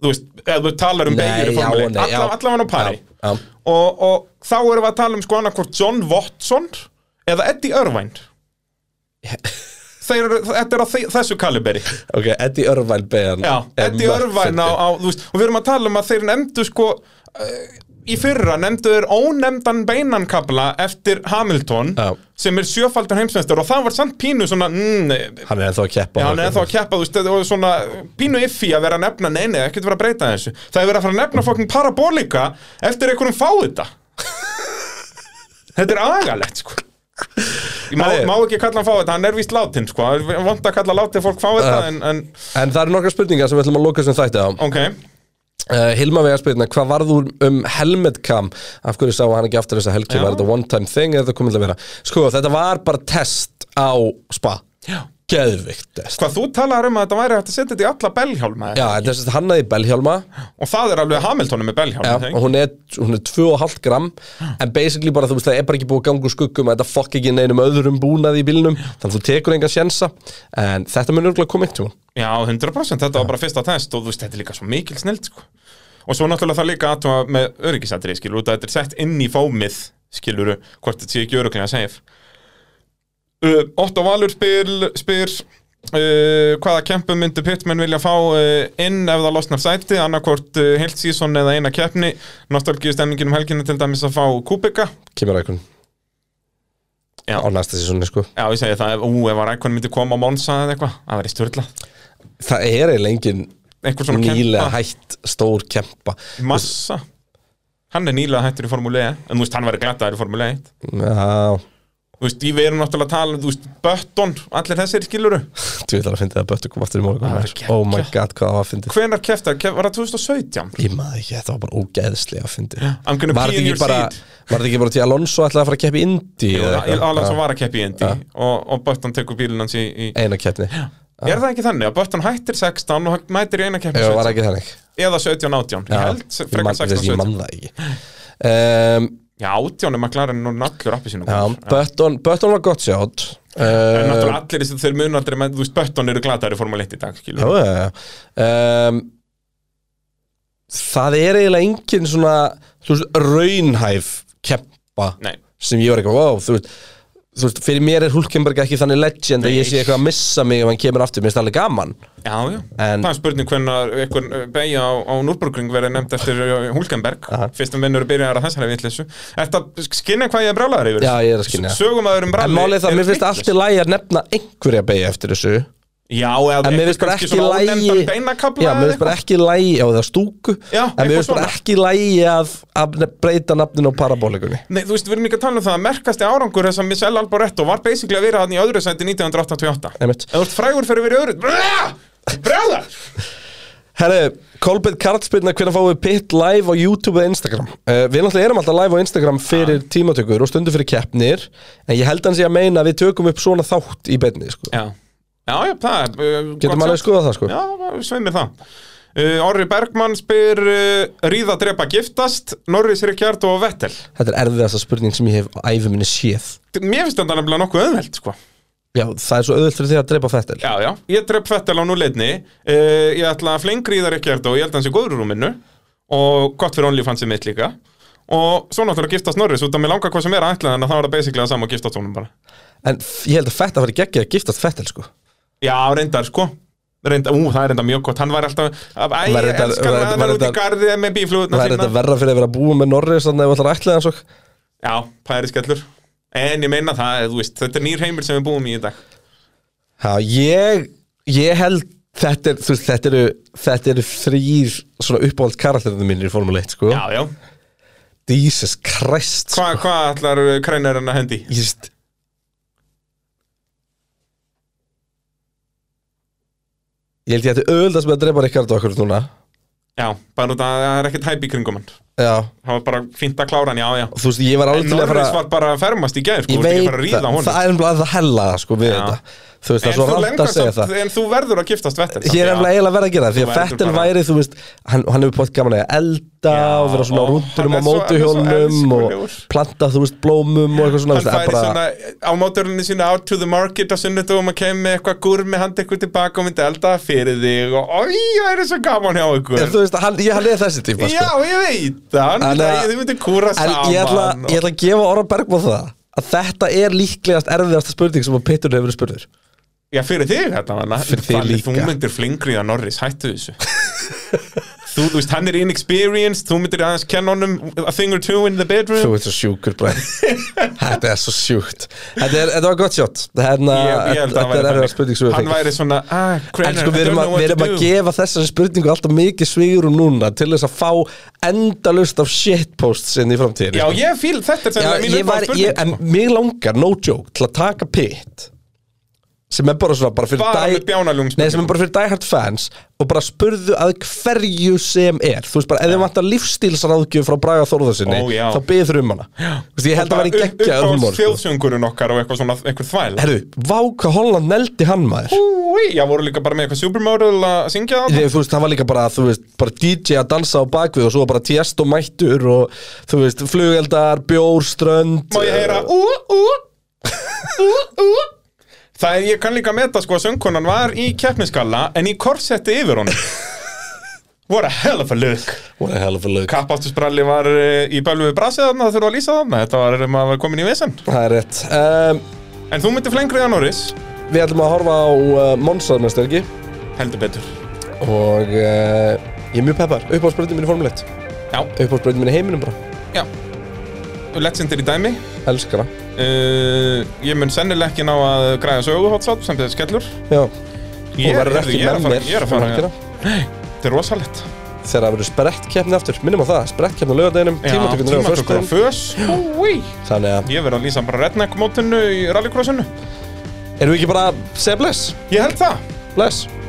Speaker 3: Þú veist, ef þú talar um beigjur í
Speaker 2: Nei, já
Speaker 3: formule
Speaker 2: og
Speaker 3: 1
Speaker 2: nei já.
Speaker 3: Alla, allavega á pari
Speaker 2: Já, já.
Speaker 3: og, og þá erum við að tala um sko annarkvort John Watson eða Eddie Irvine Þeir eru, þetta er á þe- þessu kaliberi
Speaker 2: Ok, Eddie Irvine beðan
Speaker 3: Já, Eddie Irvine á, á þú veist, og við erum að tala um að þeir nefndu sko eh, í fyrra nefndu þeir ónefndan beinankabla eftir Hamilton
Speaker 2: Já.
Speaker 3: sem er sjöfaldur heimsmeistar og það var samt pínu svona mm,
Speaker 2: Hann er ennþá að keppa
Speaker 3: Já, hann er þá að keppa, þú veist, þetta var svona pínu iffi að vera að nefna, nei, nei, ekkert vera að breyta þessu. Það er verið að fara að nefna fokkin parabolika eftir einhverjum fá þetta. þetta er agalegt, sko. Ég má,
Speaker 2: Það er-
Speaker 3: má ekki kalla hann fá þetta, hann er víst látin, sko. Það er vond að kalla látið fólk fá þetta,
Speaker 2: Já.
Speaker 3: en, en,
Speaker 2: En það eru nokkra spurningar sem við ætlum að loka sem þætti á
Speaker 3: ok.
Speaker 2: uh, Hilma vegar spurninga, hvað varð úr um helmet cam? Af hverju sá hann ekki aftur þessa helgi?
Speaker 3: Já.
Speaker 2: Var þetta one time thing eða þetta komið til að vera? Sko, þetta var bara test á spa
Speaker 3: Já.
Speaker 2: Geðvikt test
Speaker 3: Hvað þú talar um að þetta væri hægt að setja þetta í alla belhjálma,
Speaker 2: Já, en þess að hann aði belhjálma
Speaker 3: og það er alveg Hamiltonum með
Speaker 2: Já,
Speaker 3: belhjálma,
Speaker 2: og hún er, hún er 2,5 gram en basically bara þú veist það er bara ekki búið að ganga úr skuggum að þetta fokk ekki neinum öðrum búnaði í bílnum þannig að þú tekur engan sjensa en þetta mun örgulega koma eitthvað
Speaker 3: Já, 100%, þetta var bara fyrsta test og þú veist, þetta er líka svo mikil snild, sko. Og svo náttúrulega það líka aðtúa með öryggisatri, skilur, út að þetta er sett inn í fómið, skilur, hvort þetta sé ekki örygglega safe. Uh, Otto Valur spyr, spyr uh, hvaða kempu myndu Pittman vilja fá uh, inn ef það losnar sæti, annarkvort uh, heilt sísón eða eina keppni, nostalgíu stemningin um helginu til dæmis að fá Kubika.
Speaker 2: kemur eitthvað
Speaker 3: Já.
Speaker 2: á næsta sísunni sko
Speaker 3: Já, ég segi það, ef- ú, ef að Rækon myndi koma á Monsa eða eitthvað, það væri stjórnlað.
Speaker 2: það er eiginlega engin
Speaker 3: Einhver svona
Speaker 2: nýlega
Speaker 3: kempa.
Speaker 2: hætt stór kempa
Speaker 3: Massa Hann er nýlega hættur í Formule 1 En þú veist, hann væri glataður í Formule 1
Speaker 2: já,
Speaker 3: Þú veist, ég verðum náttúrulega að tala um, Þú veist, Button, allir þessir skiluru
Speaker 2: þú veit að finna það að Böttu kom aftur í
Speaker 3: Það
Speaker 2: morgun
Speaker 3: var
Speaker 2: sko. oh my
Speaker 3: geggjað.
Speaker 2: god hvað það var að finna
Speaker 3: Hvenær keftar, kef, var það 2017?
Speaker 2: ég maður ekki, þetta var bara ógeðslega að finna
Speaker 3: I'm gonna
Speaker 2: var
Speaker 3: pee in
Speaker 2: þetta ekki
Speaker 3: your
Speaker 2: bara
Speaker 3: seat
Speaker 2: var þetta ekki bara til Alonso ætlaði að fara að keppa í Indi
Speaker 3: Alonso var að keppi í Indy og, og Button tekur bílinn hans í, í...
Speaker 2: eina keppni
Speaker 3: Er það ekki þannig að Button hættir 16 og hann mætir í eina keppi
Speaker 2: Jú, var
Speaker 3: 17
Speaker 2: ekki þannig
Speaker 3: eða 17-18 Ég held
Speaker 2: Já, ég man-
Speaker 3: frekar
Speaker 2: þess- ég
Speaker 3: 16-17
Speaker 2: man það ekki um,
Speaker 3: Já, 18 er maklarinn nú nallur appi sínum
Speaker 2: já, Button, Button var gott sjátt
Speaker 3: En
Speaker 2: um,
Speaker 3: náttúrulega allir þess að þeir munu aldrei menn, Þú veist, Button eru glataður í Formule 1 í dag skilur.
Speaker 2: já, já, já. um, það er eiginlega engin svona þú veist, raunhæf keppa
Speaker 3: Nei,
Speaker 2: sem ég var eitthvað, wow, þú veist Þú veist, fyrir mér er Hulkenberg ekki þannig legend að ég sé
Speaker 3: Nei.
Speaker 2: eitthvað að missa mig ef hann kemur aftur, mér finnst það alveg gaman
Speaker 3: Já, já.
Speaker 2: En-
Speaker 3: það er spurning hvernig einhvern uh, beigja á, á Núrburgring verið nefnd eftir uh, Hulkenberg
Speaker 2: Aha.
Speaker 3: fyrstum vinnur byrjar að þessari vitleysu Þetta skinna hvað ég er brálaður yfir
Speaker 2: Já, ég er að skynja.
Speaker 3: Sögum aður um
Speaker 2: En
Speaker 3: bráli
Speaker 2: málið er það, mér finnst allt í lægi að nefna einhverja beigja eftir þessu
Speaker 3: Já, eða
Speaker 2: En mér finnst bara ekki lægi
Speaker 3: beinakabla
Speaker 2: Já, mér
Speaker 3: eða
Speaker 2: finnst bara ekki lægi Já, það er stúku
Speaker 3: Já,
Speaker 2: En mér finnst
Speaker 3: eitthvað
Speaker 2: bara
Speaker 3: svona.
Speaker 2: ekki lægi að, að ne- breyta nafninu á parabolikunni
Speaker 3: Nei, þú veist, við erum ekki að tala um það að merkasti árangur þess að Michelle Alboretto var basically að vera hann í öðru sæti 1988 Ef
Speaker 2: Einmitt.
Speaker 3: þú ert frægur fyrir verið öðru Brá! Bráðar!
Speaker 2: Herri, Kolbjörn Karlsbyrna, hvernig fáum við pitt live á YouTube eða Instagram? Uh, við náttúrulega erum alltaf live á Instagram fyrir tímatökur og stundu fyrir keppnir En ég held hans ég að meina að við tökum upp svona þátt í beinni sko.
Speaker 3: Já, já, já, það er uh, gott
Speaker 2: Getum alveg
Speaker 3: sagt.
Speaker 2: skoðað það sko
Speaker 3: Já, sveimir það uh, Orri Bergmann spyr uh, Ríða drepa giftast Norris Ricciardo og Vettel
Speaker 2: Þetta er erfiðasta spurning sem ég hef á æfi minni séð
Speaker 3: Mér finnst þetta nefnilega nokkuð öðveld sko.
Speaker 2: Já, það er svo auðvöld fyrir því að dreipa fettil
Speaker 3: Já, já, ég drep Vettel á núleitni uh, Ég ætla að fleng Ríða Ricciardo og ég held hans í góðrúminu og gott fyrir OnlyFansið mitt líka og svo náttúrulega giftast Norris út af mér langar hvað sem er að ætla þannig að það var það basically að sama og giftast honum bara
Speaker 2: En f- ég held að fetta fari geggja að giftast fettil sko
Speaker 3: Já, reyndar sko Reynda, ú, það er reynda mjög gott, hann var alltaf Æ,
Speaker 2: Var
Speaker 3: ég
Speaker 2: reyndar-
Speaker 3: elskar
Speaker 2: var reyndar-
Speaker 3: hann, hann
Speaker 2: var
Speaker 3: er út í
Speaker 2: reyndar-
Speaker 3: garðið með bíflugutna
Speaker 2: Það er þetta verra fyrir að vera að búa með Norris Þannig að við ætlar að ætla það svo
Speaker 3: Já, pæri skellur En ég meina það, þú veist, þetta er nýr heimil sem við búum í í dag
Speaker 2: Já, ég, ég held þetta, er, þú veist, þetta, eru, þetta eru þrýr svona uppáhald karakterinu mínir í Formule 1 sko.
Speaker 3: Já, já
Speaker 2: Jesus Christ sko.
Speaker 3: eh, Hvað hva ætlar krænarinn að hendi?
Speaker 2: Ég veist Ég held ég ætti auðvitað sem að drepa Ricardo okkur núna
Speaker 3: Já, bara út að það er ekkert hæp í kringum hann
Speaker 2: Já,
Speaker 3: Það var bara fínt að klára hann, já, já
Speaker 2: og þú veist, ég var alveg
Speaker 3: En
Speaker 2: til að
Speaker 3: Norris
Speaker 2: fara
Speaker 3: var bara að fermast í gæð, sko,
Speaker 2: Ég
Speaker 3: þú ert
Speaker 2: veit
Speaker 3: ekki að fara að
Speaker 2: það,
Speaker 3: ríða honum
Speaker 2: það er ennblæð það hella sko við
Speaker 3: Já.
Speaker 2: þetta Þú veist, það er
Speaker 3: En
Speaker 2: svo
Speaker 3: þú
Speaker 2: rámt að
Speaker 3: lengar
Speaker 2: segja
Speaker 3: samt-
Speaker 2: það
Speaker 3: En þú verður að giftast Vettel
Speaker 2: Ég er
Speaker 3: samt,
Speaker 2: nefnilega
Speaker 3: já.
Speaker 2: eiginlega verið að gera það, því
Speaker 3: Þú
Speaker 2: að
Speaker 3: verður
Speaker 2: Fettel
Speaker 3: bara-
Speaker 2: væri, þú veist, hann, hann hefur pott gaman að elda og vera svona á
Speaker 3: og
Speaker 2: rúndunum
Speaker 3: hann
Speaker 2: á
Speaker 3: er svo- hann er svo
Speaker 2: mótuhjólnum
Speaker 3: elskulegur.
Speaker 2: og planta, þú veist, blómum og eitthvað svona,
Speaker 3: Hann
Speaker 2: þú veist,
Speaker 3: færi
Speaker 2: það er bara,
Speaker 3: svona á mótorunni sína out to the market á sunnudum og kemur með eitthvað gúrmi hann tekur tilbaka og myndi elda fyrir þig og oi, það er svo gaman hjá ykkur
Speaker 2: þú veist, hann, ég, hann er þessi típa,
Speaker 3: Já,
Speaker 2: sko.
Speaker 3: ég veit það,
Speaker 2: En,
Speaker 3: hann
Speaker 2: eh,
Speaker 3: þið myndi kúra
Speaker 2: En
Speaker 3: saman
Speaker 2: ég ætla,
Speaker 3: og-
Speaker 2: ég ætla að gefa Orra Bergman það, að þetta er líklegast erfiðasta spurning sem að Pittur hefur verið spurður.
Speaker 3: Já, fyrir þig þetta var
Speaker 2: Fyrir þig líka.
Speaker 3: Þú myndir flingriða Norris, hættu þessu Þú, þú veist, hann er inexperienced Þú myndir aðeins kenna honum A thing or two in the bedroom
Speaker 2: Þú veist, svo sjúkur, bræð. þetta er svo sjúkt. Þetta, er, þetta var gott sjótt. Hérna,
Speaker 3: Ég- ég held að
Speaker 2: þetta
Speaker 3: hann væri
Speaker 2: er erfiðasta
Speaker 3: þannig.
Speaker 2: spurning sem við
Speaker 3: Hann
Speaker 2: fengum.
Speaker 3: væri svona ah,
Speaker 2: En
Speaker 3: Craner,
Speaker 2: sko
Speaker 3: I
Speaker 2: við
Speaker 3: don't
Speaker 2: erum,
Speaker 3: know
Speaker 2: að,
Speaker 3: what
Speaker 2: við
Speaker 3: to
Speaker 2: erum að
Speaker 3: do.
Speaker 2: gefa þessari spurningu alltaf mikið svigurum núna til þess að fá endalust af shitposts inn í framtíðinni.
Speaker 3: Já,
Speaker 2: sko.
Speaker 3: ég fíl, þetta er sem
Speaker 2: Já,
Speaker 3: mín
Speaker 2: ég var,
Speaker 3: uppáhaldsspurning,
Speaker 2: ég, en
Speaker 3: sko.
Speaker 2: mig langar, no joke, til að taka pitt sem er bara svona bara fyrir
Speaker 3: Bara með
Speaker 2: Nei,
Speaker 3: bjánalögum spurningum.
Speaker 2: sem er bara fyrir diehard fans og bara spurðu að hverju sem er þú veist bara, ef þið vantar lífstílsráðgjöf frá Braga Þórðarsinni,
Speaker 3: Ó, já.
Speaker 2: þá byður um hana Þú veist, ég held að
Speaker 3: Bara
Speaker 2: vera í geggja
Speaker 3: upp-
Speaker 2: öðrum
Speaker 3: uppáhalds þjóðsöngurinn okkar og eitthvað svona, eitthvað þvæl
Speaker 2: sko. Herðu, vá hvað Holland neldi hann maður
Speaker 3: Úi, já, voru líka bara með eitthvað supermodel að syngja það
Speaker 2: Þegar, þú veist, það var líka bara, þú veist, bara DJ að dansa á bakvið og svo bara tjest og mættur og, þú veist, flugeldar, bjór, strönd
Speaker 3: Má ég heyra, ú, ú, ú, ú Það er, ég kann líka meta sko að söngkonan var í keppniskalla en í korsetti yfir honum What a hell of a look
Speaker 2: What a hell of a look
Speaker 3: Kappastusbralli var eh, í bölvu brasið þarna, það þurfa að lýsa þarna Þetta var, eh, maður var komin í vesen
Speaker 2: Það er rétt um,
Speaker 3: En þú myndir flengriða Norris,
Speaker 2: Við ætlum að horfa á uh, Monsaður næstu helgi
Speaker 3: heldur betur
Speaker 2: og uh, ég er mjög peppar upp á spröndin minni formuleitt
Speaker 3: Já,
Speaker 2: upp á spröndin minni í heiminum bara
Speaker 3: já Legendary dæmi
Speaker 2: Elskar það
Speaker 3: uh, Ég mun sennilega ekki ná að græða söguhótsvátt sem þetta skellur
Speaker 2: Já
Speaker 3: Ég,
Speaker 2: Þú verður
Speaker 3: heyrðu,
Speaker 2: ekki
Speaker 3: ég er að
Speaker 2: með
Speaker 3: fara,
Speaker 2: mér
Speaker 3: ég er að
Speaker 2: um
Speaker 3: fara
Speaker 2: helgina.
Speaker 3: Þetta er rosalegt
Speaker 2: Þegar það verður sprett keppni aftur Minnum á það, sprett keppni á lögadeginum
Speaker 3: Já,
Speaker 2: Tímatökurnar á
Speaker 3: tímatökur á
Speaker 2: föstudaginn
Speaker 3: fös Úi
Speaker 2: Þannig að,
Speaker 3: Ég verði að lýsa bara redneck mótinu í rallycrossinu
Speaker 2: erum við ekki bara að segja bless?
Speaker 3: Ég held það
Speaker 2: Bless